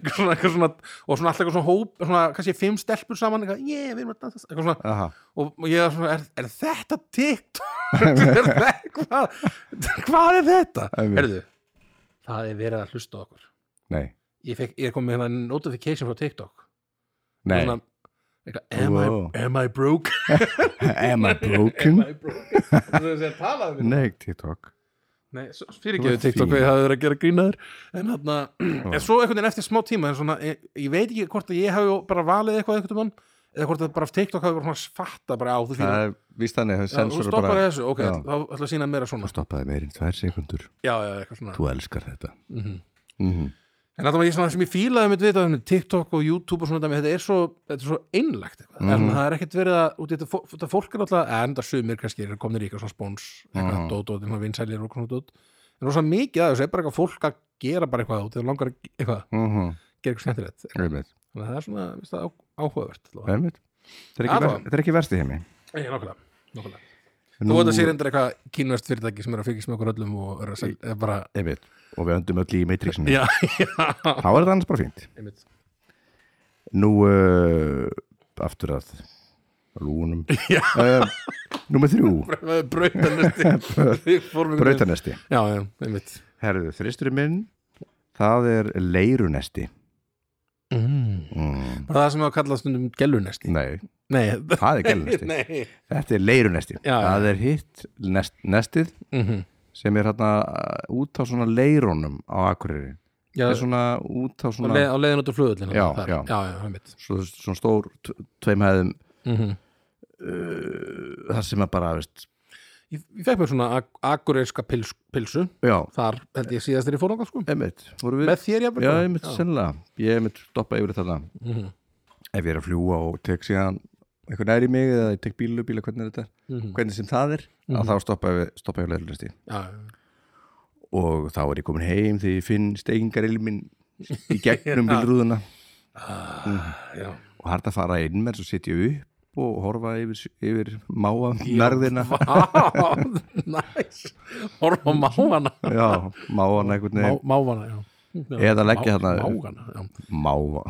eitthvað svona, eitthvað svona og svona alltaf eitthvað svona hóp svona, kannski fimm stelpur saman eitthvað, yeah, við erum að dansa eitthvað svona, aha, og og ég er svona, er, er þetta TikTok er þetta, hvað, hvað er þetta Einmitt. herðu, það er verið að hlusta á okkur nei, ég, fekk, ég kom með hérna notification frá TikTok nei svona, eitthvað, am, Wow. I, am I broke? am I am broken? I broke? það er að tala um nei, TikTok Nei, Þú fyrirgeðu ert TikTok fín. við hafði verið að gera grínaður en þarna, en svo einhvern veginn eftir smá tíma en svona, ég, ég veit ekki hvort að ég hafi bara valið eitthvað einhvern mann eða hvort að bara TikTok hafi bara svona fatta bara á þú það fyrir, er víst þannig, það já, þú sensor stoppar bara þessu, ok, Já. þá ætla að sína meira svona já, stoppaði meirinn tvær sekundur já, eitthvað svona þú elskar þetta Mhm. Mhm. en þarna var ég svona sem ég fílaði mitt við þetta, TikTok og YouTube og svona dæmi, þetta er svo, þetta er svo einlægt eitthvað, en það er ekkert verið að út í þetta, fó- þetta fólk er alltaf, en það sumir kannski eru komnir í eitthvað svona spóns, eitthvað Mhm. dót, dót, eitthvað vinsælir og svona dót en rosa mikið að þessu er bara eitthvað fólk að gera bara eitthvað út, þegar langar að- eitthvað Mhm. gera eitthvað skemmtilegt Einmitt. þannig að það er svona viðst, á, áhugavert allavega. Einmitt. þetta er ekki Aðvá. verst- þetta er ekki verst í heimi Ég, nákvæmlega, nákvæmlega. Nú- þú veit að sé reyndar eitthvað kínvest fyrirtæki sem er að fylgjast með okkur öllum og er að sel, er bara Einmitt. og við öndum öll í Matrixinu já, já, þá er þetta annars bara fínt einmitt nú uh, aftur að lúnum Já. uh, nummer þrjú brautanesti brautanesti brautanesti já, já, einmitt herðu þristurinn minn það er leirunesti mm. mm. bara það sem að kalla stundum gellunesti nei, nei, það er gelunesti nei þetta er leirunesti Já, já. það er hitt nest, nestið Mhm. sem er hérna uh, út á svona leirunum á Akureyri já, það er svona út á á svona leið- á leiðin út af flugöllin Já, þar. já. já, já, einmitt svo, svona stór t- tveim hæðum mm Mhm. -hmm. þar sem að bara, veist ég, ég fekk mér svona ag akureyska pils, pilsu já, þar held ég síðast þegar ég fór okkar sko einmitt, voru við með þér jafnvel já, einmitt, sennilega, ég einmitt stoppa yfir þarna Mhm. ef ég er að fljúa og tek síðan eitthvað næri mig eða ég tek bílu, bíla, hvernig er þetta Mhm. hvernig sem það er, að þá stoppa ég, stoppa ég á leirunesti já, já, já. og þá er ég komin heim þegar ég finn steigingarilmin í gegnum bílrúðuna já. og hægt að fara inn með svo setja upp og horfa yfir, yfir máa nærðina Vá, næs Horfa á Mm-hmm. máfana já, máan einhvern Má, veginn Máfana, já Eða Má- leggja þarna- Máfana, já máa,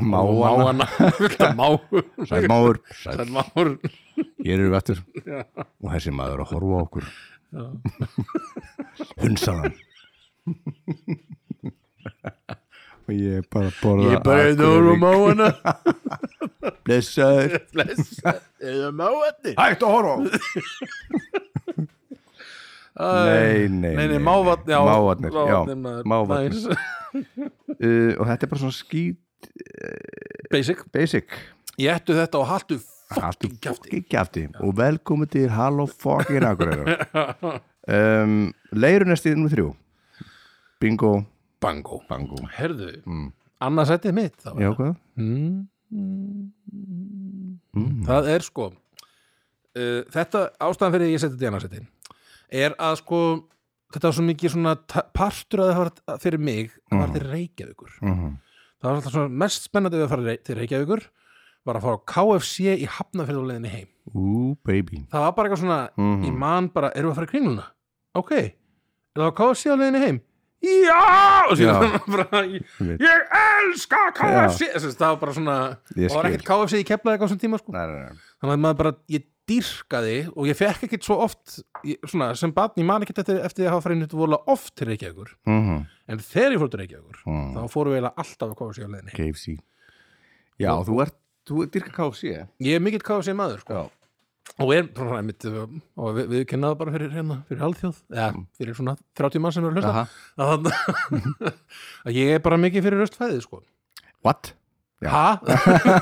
máana, Máfana, fullt af máfur sæl máur sæl, Sæl máfur hér eru við eftir og þessi maður er að horfa á okkur hunsaðan og ég er bara að borða Ég bara Akureyri. eður og máfana blessaður, Bless Eða máfandi hægt að horfa á nei, nei, Nei, nei, máfan já, mávarnir, máfarnir, já, maður. mávarnir Næs. uh, og þetta er bara svona skýt Basic basic Ég ættu þetta og hattu Haltu fucking kjafti fokkin kjafti og velkomin til Halló fokkin Akureyrar um, Leirunesti nr. 3 Bingo, Bango bango Herðu, annars ættið mitt þá Mm. Já, hvað? Mm. Mm. Það er sko uh, þetta ástæðan fyrir að ég seti þetta í annarsetti er að sko þetta var svo mikið svona ta- partur að það var fyrir mig að Mm. var til Reykjavíkur Mhm. það var alltaf svona mest spennandi við að fara rey- til Reykjavíkur var að fara á KFC í Hafnafjörð og leiðinni heim Ú, baby það var bara eitthvað svona, Mhm. ég man bara erum við að fara í kringluna? Ok, er það á KFC á leiðinni heim? Já! Og síðan Já. bara, ég, Einmitt. ég elska KFC Þess, það var bara svona, Ég það var skil. ekkert KFC í keflaði á þessum tíma sko Nei, nei, nei þannig að maður bara, ég dýrkaði og ég fekk ekkert svo oft ég, svona, sem batn, ég man ekkert eftir, eftir að hafa farið nýtt vola oft til Reykjavíkur Mhm. en þegar ég fór til Reykjavíkur Mm. þá fórum við eiginlega alltaf að KFC á leiðinni heim. KFC Já, þú ert, þú ert dyrka KFC ég er mikill KFC maður sko. Já, og er bara svona einmitt uh, og við, við kennaði bara fyrir hérna, fyrir alþjóð eða fyrir svona 30 mann sem eru að hlusta Mm. aha að, þarna- að ég er bara mikið fyrir röstfæði sko. What? Já. ha?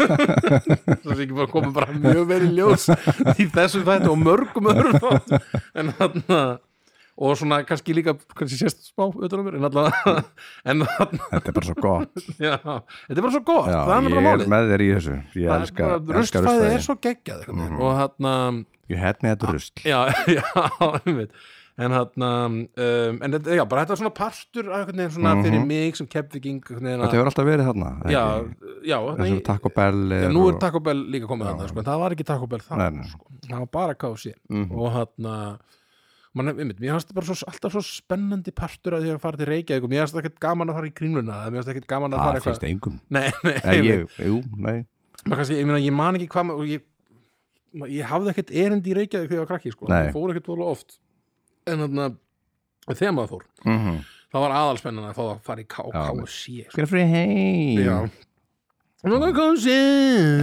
það sé ekki bara komið bara mjög verið ljós í þessum þættu og mörgum öðrum þáttum en þarna og svona kannski líka kannski sést smá utan á mér en allavega en þarna, Þetta er bara svo gott já, þetta er bara svo gott, Já, það er Ég bara er málið með þér í þessu Ég Það er elska, bara- elska Mhm. Ruslfæði er rustfæði svo geggjað mm -hmm. og hann Ég hefni þetta rusl já, já, einmitt en hann, um, en þetta, já, bara þetta er svona partur af einhvern veginn svona fyrir mig sem keppvíking Mhm. Þetta hefur alltaf verið þarna ekki? já, já, Þessu nei, Taco Bell Já, nú er Taco Bell líka komið þarna sko, en það var ekki Taco Bell Nei, Mhm. það nei. sko. það var bara KFC og hann Man, einmitt, mér fannst þetta bara svo, alltaf svo spennandi partur að því að fara til Reykjavík og mér fannst ekkert gaman að fara í kringluna eða mér fannst ekkert gaman að fara Það eitthvað Ah, finnst engum nei, nei, Nei, einmitt. ég, jú, nei maður kannski, ég, meina, ég man ekki hvað maður- ég, ma- ég hafði ekkert erindi í Reykjavík þegar ég var krakki sko. Nei. ég fór ekkert vola oft en þannig að þegar maður fór Mhm. það var aðalspennan að fá að fara í K- Já. KFC sko. Get free heim Já. Nú er KFC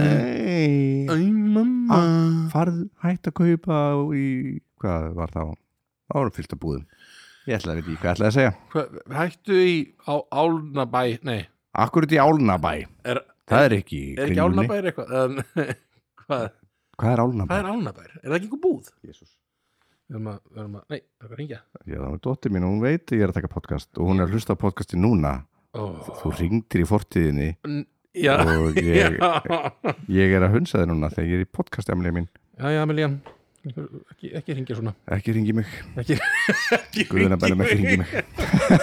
Hey. Æ mamma farð hægt að kaupa í, hvað var þá það voru fyllt að búðum ég ætlaði að veit í hvað ég ætlaði að segja Hva- hættu í á Álnabæ nei, akkur út í Álnabæ, er, það er ekki í er ekki Kringlunni. Álnabær eitthvað Um, hvað, hvað er hvað Álnabæ? er Álnabær? er það ekki einhver búð? Jesus. Við erum að, við erum að, nei, það er að ringja já það var dóttir mín og hún veit að ég er að taka podcast og hún er að hlusta á podcasti núna oh. þú ringdir í fortíðinni já, og ég, já ég er að hunsa þið núna þegar ég er í podcasti amlega mín Já, já, Amelía ekki, ekki ringja svona ekki ringi mig, ekki, ekki guðuna bæna með ringi mig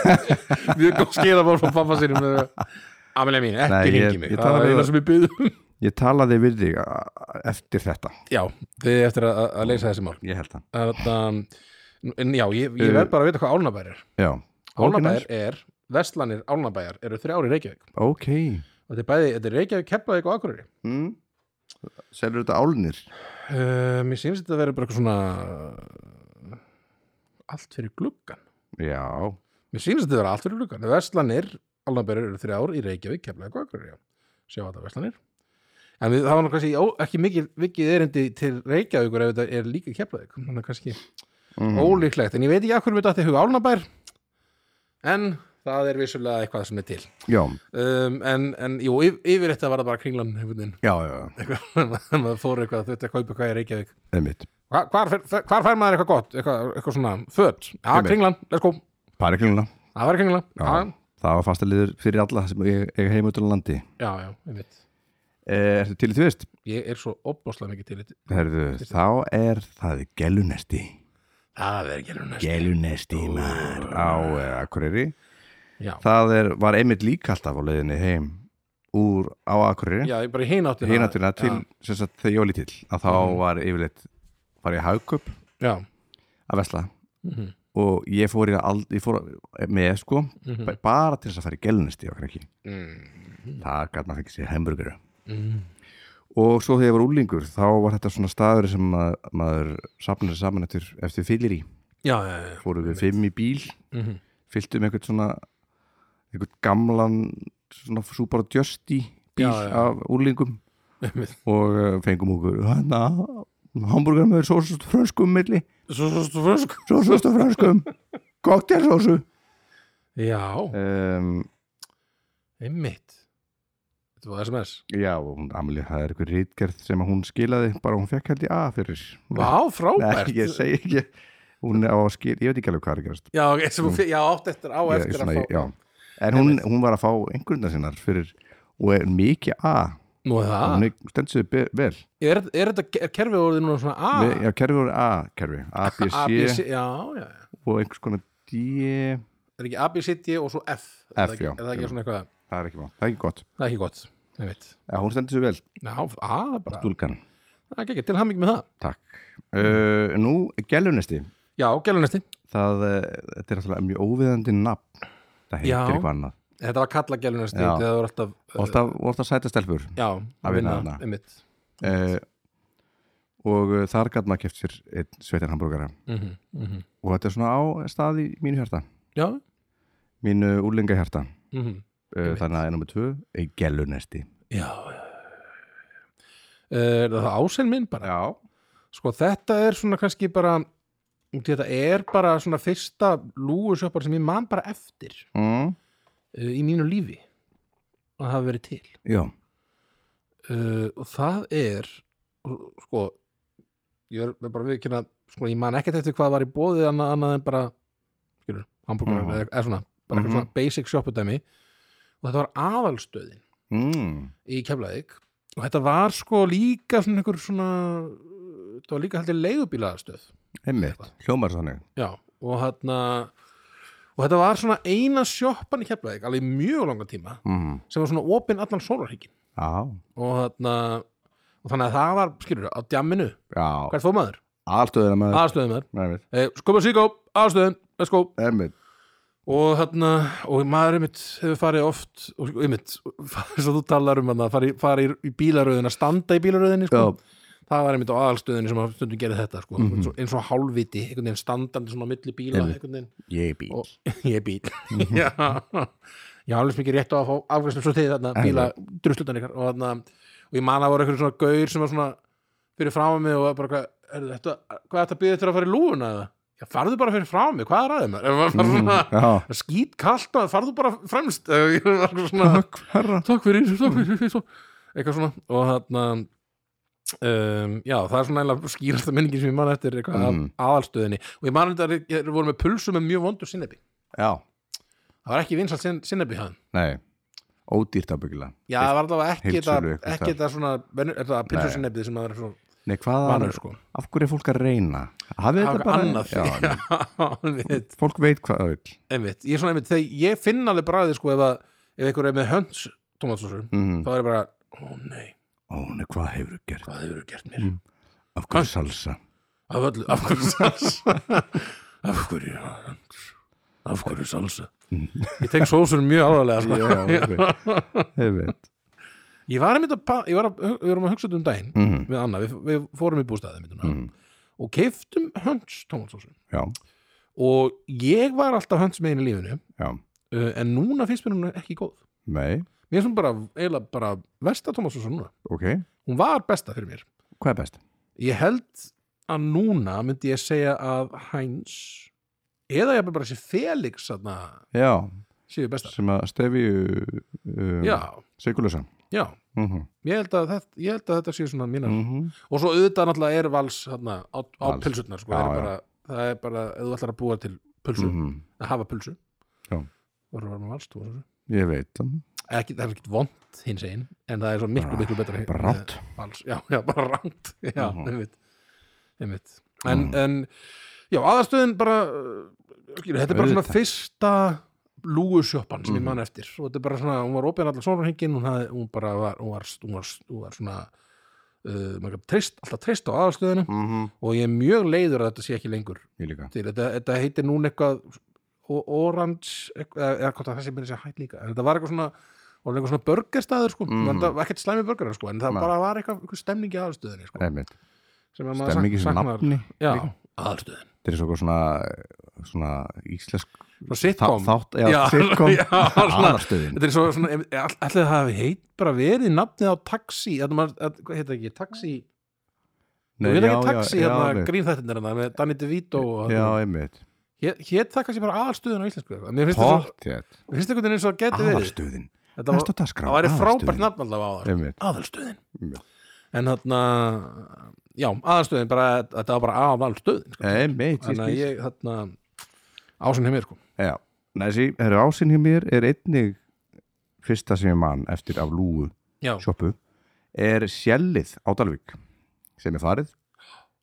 mjög góð skilabál frá pappa sínum Amelía mín, Nei, ekki ég- ringi mig ég það tala var við- eina sem ég byggðum ég talaði við þig a- eftir þetta já, þið eftir að, að leysa þessi mál ég held það Þann, en já, ég, ég verð bara að vita hvað álnabær er já, álnabær er, vestlanir álnabæjar eru þrjári í Reykjavík ok og þetta er bæði, þetta er Reykjavík, Keflavík og Akureyri mm. selur þetta álnir uh, mér sýnst þetta að vera bara eitthvað svona allt fyrir gluggan Já, Mér sýnist þetta vera allt fyrir gluggan. Vestlanir, Alnabergur eru þrjár í Reykjavík, Keflavík og Akureyri. já. Sjá þetta Vestlanir. En við, það var nú kannski ó, ekki mikið, mikið erindi til Reykjavíkur ef þetta er líka Keflavík. Þannig að kannski Mhm. Mm. ólíklegt. En ég veit ekki að hverju við þetta huga Alnabær. En það er vissulega eitthvað sem er til. já, Um, en, en jú, yf- yfir þetta var það bara kringlan hefðin. já, já, maður fór eitthvað, þetta að kaupa eitthvað í Reykjavík. einmitt Hva, hvar, fer- hvar fær maður eitthvað gott? Eitthvað, eitthvað svona föt? Já, Einmitt. kringlan, let's go. Pariklinguna, Það var kringlan. Já. Já, það var fasta liður fyrir alla sem ég, ég heim út á landi já, já, ég veit. Eh, Ertu til í tvist? ég er svo opbáslega mikið til þetta Herðu, þá er það gelunesti það er ekki hérna næst Gelunesti maður á eh, Akureyri já. Það er, var einmitt líka alltaf á leiðinni heim úr á Akureyri já, ég bara í hináttina hinatuna til, já, Mhm. sem sagt, þegar ég var lítill að þá var yfirleitt farið í hagköp já, að vesla Mhm. og ég fór, í að ald, ég fór með sko ba- Mhm. bara til þess að fara í gelunesti á Krakki Mm. það gæti maður fengið sér hembúrguru og svo þegar ég var úlingur þá var þetta svona staður sem maður, maður safnar sér saman eftir, eftir fyllir í já, já, já, já. fórum við fimm í bíl Mhm. fylltum einhvern svona einhvern gamlan svona súpar og djösti bíl Já, já. af úlingum Einmitt. og eh, fengum okkur hana hambúrgar með sósu og frönskum milli svo, svo, svo, svo, svo. sósu og frönskum koktelsósu já, um, einmitt þetta var sms já, og hún, Amelie, það er einhver rítgerð sem að hún skilaði bara hún fekk held í A fyrir vá, frábært Nei, ég segi ekki hún á að skil, ég veit ekki alveg hvað er að gerast já, ok, sem, mm. já, átt eftir á ég, eftir svona, að fá já. en hún, hún var að fá einhverjum sinnar fyrir, og er mikið A nú er það hún er- stendur sig be- vel er, er þetta ke- er kerfið orðið núna svona A Við- já, kerfi voru A kerfi, A, B, A, B, C, C já, já, já og einhvers konar D er ekki A, B, C, D og svo F F, er það ekki, já. er það ekki svona eitthvað það er ekki, mál, það er ekki gott það er ekki gott, einmitt já, hún stendur sig vel, já, A, það er bara stúlkan það er ekki til hamming með það takk uh, nú, gælunesti Já, gælunesti. það, uh, þetta er alltaf mjög óviðandi nafn það heitir Já. eitthvað annað Þetta var kalla gælunesti, Já. það var alltaf, eh, og alltaf, og alltaf sæta stelpur já, Að vinna þarna. einmitt. uh, og uh, þar gæt maður keft sér einn sveitin hambúrgara Mm -hmm, mm -hmm. og þetta er svona á stað í mínu hjarta Já, mínu úrlinga hjarta mm -hmm. uh, þannig að ennum með tvö, er gælunesti já, já. Eh, Er það ásinn minn bara? já, Sko, þetta er svona kannski bara, þetta er bara svona fyrsta lúusjöpar sem ég man bara eftir mm. uh, í mínu lífi að hafa verið til. já. Uh, og það er, sko, ég er bara viðkynna, sko, ég man ekkert eftir hvað var í bóðið annað, annað en bara skilur, hambúrgar Mhm. eða, eða svona, bara eitthvað Mhm. svona basic shoppudæmi og þetta var aðalstöðin mm. í Keflavík og þetta var sko líka svona einhver svona þetta var líka heldur leigubílaðarstöð einmitt, hljómar þannig Já, og hérna og þetta var svona eina sjoppan í Keflavík alveg í mjög langan tíma mm. sem var svona opinn allan sólarhyggjum Já, og hérna og þannig að það var, skilur, á djamminu já, Ah. hvert fór maður? allstöðina maður Aðstöðum maður Einmitt, e, Skopa síkó, aðstöðum, let's go einmitt og hérna, og maður einmitt hefur farið oft, og sko, einmitt svo þú talar um hann að farið fari í bílaröðin að standa í bílaröðinni sko. Já, það var einmitt á aðalstöðinni sem að stundum gerði þetta sko. Mhm. eins og hálfviti, einhvern veginn standandi svona á milli bíla, Einmitt. einhvern veginn ég er bíl og ég er bíl já, ég hafði mikið rétt á að fá afgræstum svo þið þarna bíla druslutan ykkar og, þarna, og ég man að voru eitthvað svona gaur sem var svona fyrir frá mig og var bara hvað, er þetta, hvað er þetta býðið til að fara í lúfuna eða? Já, farðu bara fyrir frá mig, hvað er aðeim er maður bara Mm, svona Já, skýt kallt og farðu bara fremst eða ég var eitthvað svona, hverra takk fyrir, takk fyrir svo- eitthvað svona og þarna Um, já, það er svona eiginlega skýrasta minningin sem ég man eftir eitthvað mm. Mm. aðalstöðinni og ég man eftir að ég voru með pulsu með mjög vondur sinnebi Já, Það var ekki vinsalt sin sinnebi hann nei, ódýrt ábyggilega Já, það var allavega ekki þetta Heildsölu eitthvað ekki þetta svona, venju- er það Nei. pilsu sinnebið sem það er svo Nei, hvað vanur sko af hverju er fólk að reyna? Það Hafið þetta var bara annað Já, Já, einmitt, Fólk veit hvað það vil einmitt Ég er svona einmitt, þegar ég finn alveg bræði sko ef, að, ef einhver er með hönds tómatsósur mm. þá er ég bara, ó nei, Ó, nei, hvað hefur þú gert? hvað hefur þú gert mér? Mm. Af hverju salsa? Af öllu, af hverju salsa Af hverju hönds? Af hverju salsa? Mm. Ég tek sósunum mjög alvarlega sko. Já, einmitt Einmitt Ég var einmitt að, pa- ég var að, við vorum að hugsa þetta um daginn Mhm, við Anna, við, við fórum í bústæði mittuna mhm. og keiftum hönds tómatsósu Já, og ég var alltaf hönds megin í lífinu já, uh, en núna finnst mér hún ekki góð nei, mér finnst hún bara, eiginlega bara versta tómatsósu núna, ok hún var besta fyrir mér Hvað er best? ég held að núna myndi ég segja að Heinz eða ég bara sé Felix þarna, Já, séu besta sem að stefi um, já, Sigurlösa já, Mhm, ég held að þetta, ég held að þetta séu svona mínar mhm. og svo auðvitað náttúrulega er vals þarna, á, á Vals. pilsurnar sko, Já, það, er já. bara, það er bara, ef þú ætlar að búa til pulsu Mhm. að hafa pulsu Já. voru að vera með valstúr Ég veit það ekki, það er ekkert vond hins einn en það er svo miklu, Bara- miklu betra Bara rátt vals, já, já, bara ránt já, Mhm. einmitt, einmitt. En, Mhm. en já, aðastöðin bara uh, skilur, þetta er bara svona Auðvitað. fyrsta lúgusjoppan sem ég Mhm. man eftir og þetta er bara svona, hún var opið allar svona hengin hún, hafði- hún bara var, hún var, hún var, hún var svona uh, maður gat treyst, alltaf treyst á aðastöðinu og ég er mjög leiður að þetta sé ekki lengur Mhm. Ég líka til, þetta, þetta heitir núna eitthvað o- Orange, eitthvað- eða eða hvort að þessi byrja sér hætt líka, en þetta var eitthvað svona og eitthvað svona börgarstaður sko Mhm. mm. þetta var ekkert slæmi börgarar sko, en það Nei. bara var eitthvað, eitthvað stemning í aðalstöðinni sko, Einmitt sem að maður Stemmingi sem saknar- nafni já, líka. aðalstöðin, Þetta er svo eitthvað svona svona íslensk svona Þa- sitcom Þátt, já, Já, sitcom já, svona- Aðarstöðin þetta er svo svona, em- all- ætli það hafi heit bara verið nafnið á taxi þetta maður, að- hvað heit það ekki, taxi þú veit ekki taxi, hérna grínþættinir hérna, með Danny DeVito og, Já, einmitt hétt það kannski bara aðalstöðin á íslensku, eitthvað. mér finnst þetta svo- Tóttjætt mér finnst einhvern veginn eins og það geti verið Aðarstöðin þetta var, Næst á dagskrá það væri frábært Aðalstöðin. nafn allavega á það sko. Einmitt aðalstöðin Já. en þarna já, aðalstöðin bara, þetta var bara aðalstöðin sko. Einmitt, ég þannig að skil ég þarna ásinn hjá mér sko Já, næsí, það eru ásinn hjá mér er einnig fyrsta sem ég man eftir af lúu já, sjoppu er sjellið á Dalvík sem er farið,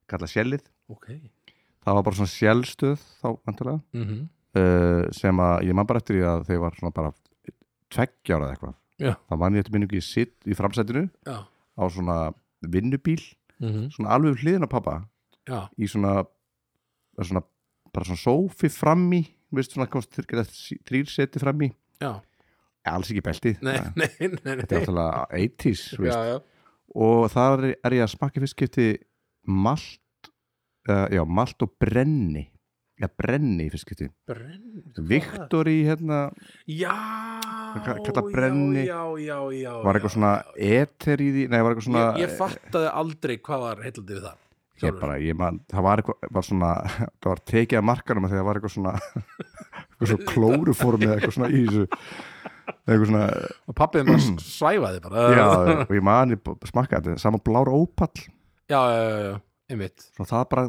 kallað sjellið ok mm það var bara svona sjellstöð þá vantilega Mhm, uh, sem að ég man bara eftir því að þeir var svona bara tveggja ára eða eitthvað Já. það man ég eftir minningu ég sitt í framsætinu já, á svona vinnubíl mm svona alveg við hliðina á pappa já, í svona, svona bara svona sófi frammi veist svona komst þrír- geta þrýr seti frammi já alls ekki beltið nei, þetta nei, nei, nei. er alltaf 80s þú veist. já, já, og þar er ég að smakka fyrst skipti malt uh, já, malt og brenni já, brenni í fyrst skipti brenni Viktor í hérna já, ka- kallað brenni. já, já, já var eitthvað svona já, já. eter í því, nei, var eitthvað svona ég, ég fattaði aldrei hvað var heillandi við það ég sjálfur. bara, ég man, það var eitthvað var svona, það var tekið af markanum af því að það var eitthvað svona eitthvað svona klóruformi eða eitthvað svona í þessu eitthvað svona, og pappið bara svæfaði bara já, og ég man ég smakkaði þetta, saman blár ópall já, já, já, já, einmitt svona það bara,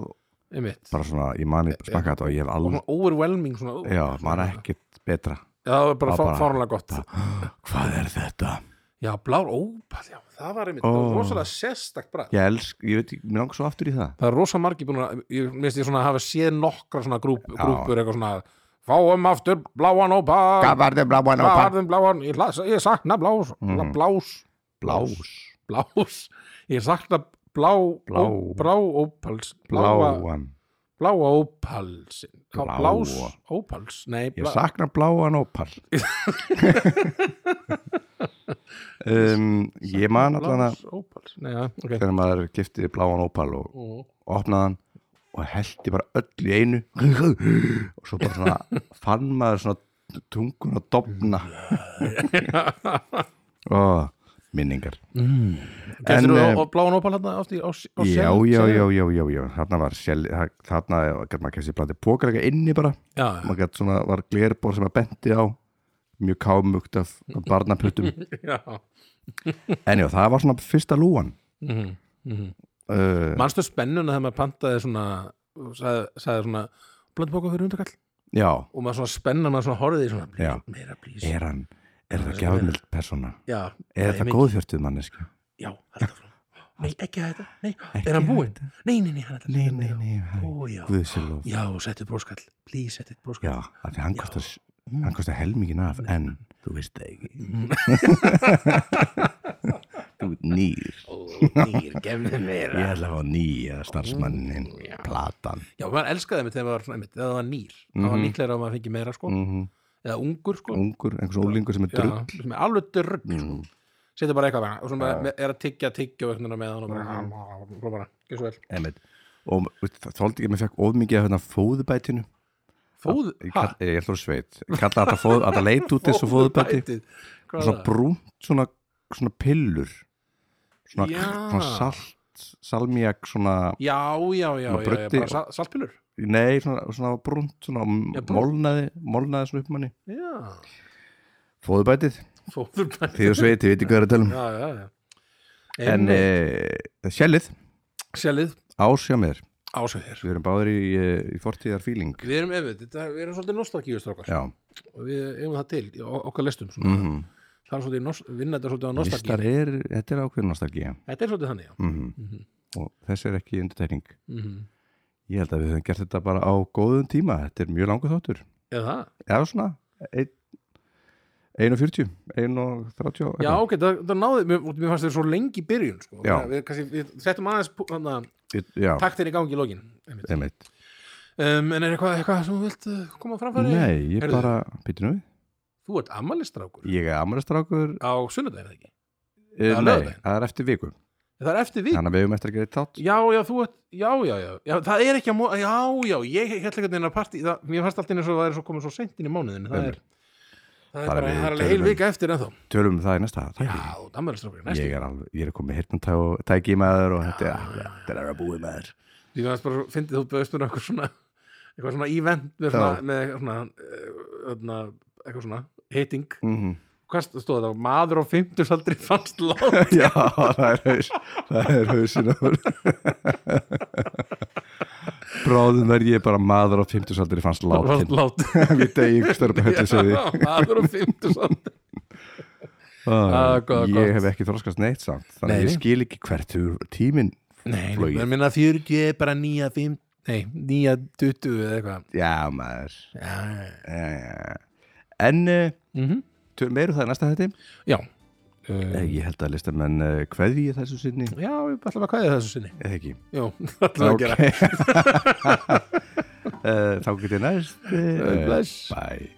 einmitt bara svona, ég mani smaka þetta og ég hef og alveg svona overwhelming svona, ó, já, man svona- ekkert betra Já, það var bara, Það var bara bara- fárlega gott hvað er þetta? Já, blár ópal, já, það var einmitt Ó. það var rosalega sérstakt bragð ég elsk, ég veit, mér langar svo aftur í það Það er rosa margi búin að, ég minnst ég svona hafa séð nokkra svona grúp, Já. grúpur eitthvað svona Fáum aftur bláan ópal gavarðin bláan og Bláan, bláan, ég, las- ég sakna blás Mhm. Blás, blás blás Ég sakna blá, Blá. ó- Brá ópals Bláa, bláan, bláa ópalsin Blá. Bláa. Blás ópals, nei ég blá, sakna bláan opal um, ég man allan að Blás ópals, nei, já, ok þegar maður giftið bláan opal og Mhm. opnaði hann og hellti bara öll í einu og svo bara svona fann maður svona tungun að dofna og minningar En, Getur eh, þú bláan ópal hérna oft í á, s- á já, sel- já, sel- já, já, já, já þarna var sjæl, þarna gæt maður kemst í blandi pókarleika inni bara já, já. maður gæt svona, var glerbor sem að benti á mjög kámugt af af barnaputtum já. en já, það var svona fyrsta lúan Mhm, mhm. uh, Manstu spennuna þegar maður pantaði svona sagði, sagði svona blöndbóka fyrir hundakall já, og maður svona spenna, maður svona horfið í svona Já. "Please, meira plís er hann er það gjafmild persóna já, er það góðfjörtuð manneski já, held áfram nei, ekki að þetta, nei, er hann búinn nei, nei, nei, hann er nei, nei, nei, Ó, já. hæ, guðsilóf já, settu bróskall, plís, settu bróskall Já, af því hann kostar, hann kostar helmingin af en Mm. þú veist það ekki Þú ert nýr Ó, nýr, gefðu mér Ég ætla að fá nýja starfsmannin platan já, maður elskaði mig þegar maður var svona einmitt, þegar það var nýr það Mhm. var líklega að maður fengi meira, sko eða ungur, sko Ungur, einhvers ólingur sem er Já, drull sem er alveg drugg mm. setja bara eitthvað bara, og svona bara, er að tyggja tyggja og eitthvað með hann og bara, mm. bara, ekki svo vel Einmitt. Og veist, það þóldi ekki að mér fekk óðmikið af hérna fóðubætinu fóð, Ég ha, kall- Ég ætla úr sveit Ég Kalla þetta fóð, þetta leit út þessu fóðubæti hvað Og er Svona það? brúnt, svona, svona pillur Svona, Já. svona salt Salmiak, svona já, já, já, já, Svona já, bruddi- bara sa- saltpillur Nei, svona, svona brúnt, svona Já, brúnt. molnaði, molnaði svona upp manni já, Fóðubætið, fóðurbæti þið og sveit, þið veit ekki hvað er að tala um já, já, já En e, sjælið, selið ásjá mér ásöðir Við erum báðir í, eh, í fortíðar fíling við erum, ef, þetta, við erum svolítið nostalgíustrákar Já, og við eigum það til, í o- okkar listum svona. mm -hmm. það er svolítið, nos, vinna þetta svolítið á listar nostalgíu er, þetta er ákveðin nostalgía þetta er svolítið þannig, já mm Mhm. Og þess er ekki undirtekning mm -hmm. Ég held að við höfum gert þetta bara á góðum tíma Þetta er mjög langur þáttur eða það Já, svona, ein- 1.40, 1.30 Já, ok, það, það náði, mér, mér fannst þér svo lengi í byrjun sko. Já. við, kannski, við settum aðeins pú- þarna, eitthvað. já, taktin í gangi í lokin um, einmitt En er eitthvað, eitthvað sem þú vilt uh, koma á framfæri? Nei, ég Heyrðu. bara, býttu nú við. Þú ert ammælistrákur Ég er amrastrákur á sunnudaginn, eða ekki? Eh, Eða Nei, laugardaginn? það er eftir viku Það er eftir vik Þannig að við höfum eftir að gera eitt þátt Já, já, þú ert, já, já, já, já Það er ekki að móða, já, já, ég hérna held ekki að neina partí það, Mér fannst alltaf eins og það er svo komið svo seint inn í mánuðinu Það er, það er, Bara bara, við það er alveg tölum heil um- vika eftir ennþá Tölum um það í næsta Já, þætti. þú ert ammælistrákur, næstu Ég er alveg, ég er komið hirtmantæki í maður og þetta er, þetta er að búið maður Því fannst bara, fyndið þú bauðst mér eitthvað svona eitthvað svona event með svona, með svona, eh, öðna, eitthvað svona heiting, Mhm. hvað stóð þetta maður á fimmtusaldri fannst lát Já, það er haus það er hausin á mér. Bráðum verð ég bara maður á 50 aldri fannst fannst látin lát Við degi störpa Já, hellu segði maður á fimmtusaldri Ah, góða, gott. Ég hef ekki þroskast neitt samt Þannig Nei, að ég nei. skil ekki hvert þú- tíminn nei, Flogið. mér minna 40 er bara nýja fimm, nei, nýja 20 eða eitthvað Já, maður já, Eh, En eh, mm -hmm. tölum meira um það í næsta þetta já. Uh, Ég held að listamenn uh, kveði ég þessu sinni já, við ætlum að kvæði þessu sinni eða ekki já, ætlum að gera Eh, þá get ég næst uh, Bless. bye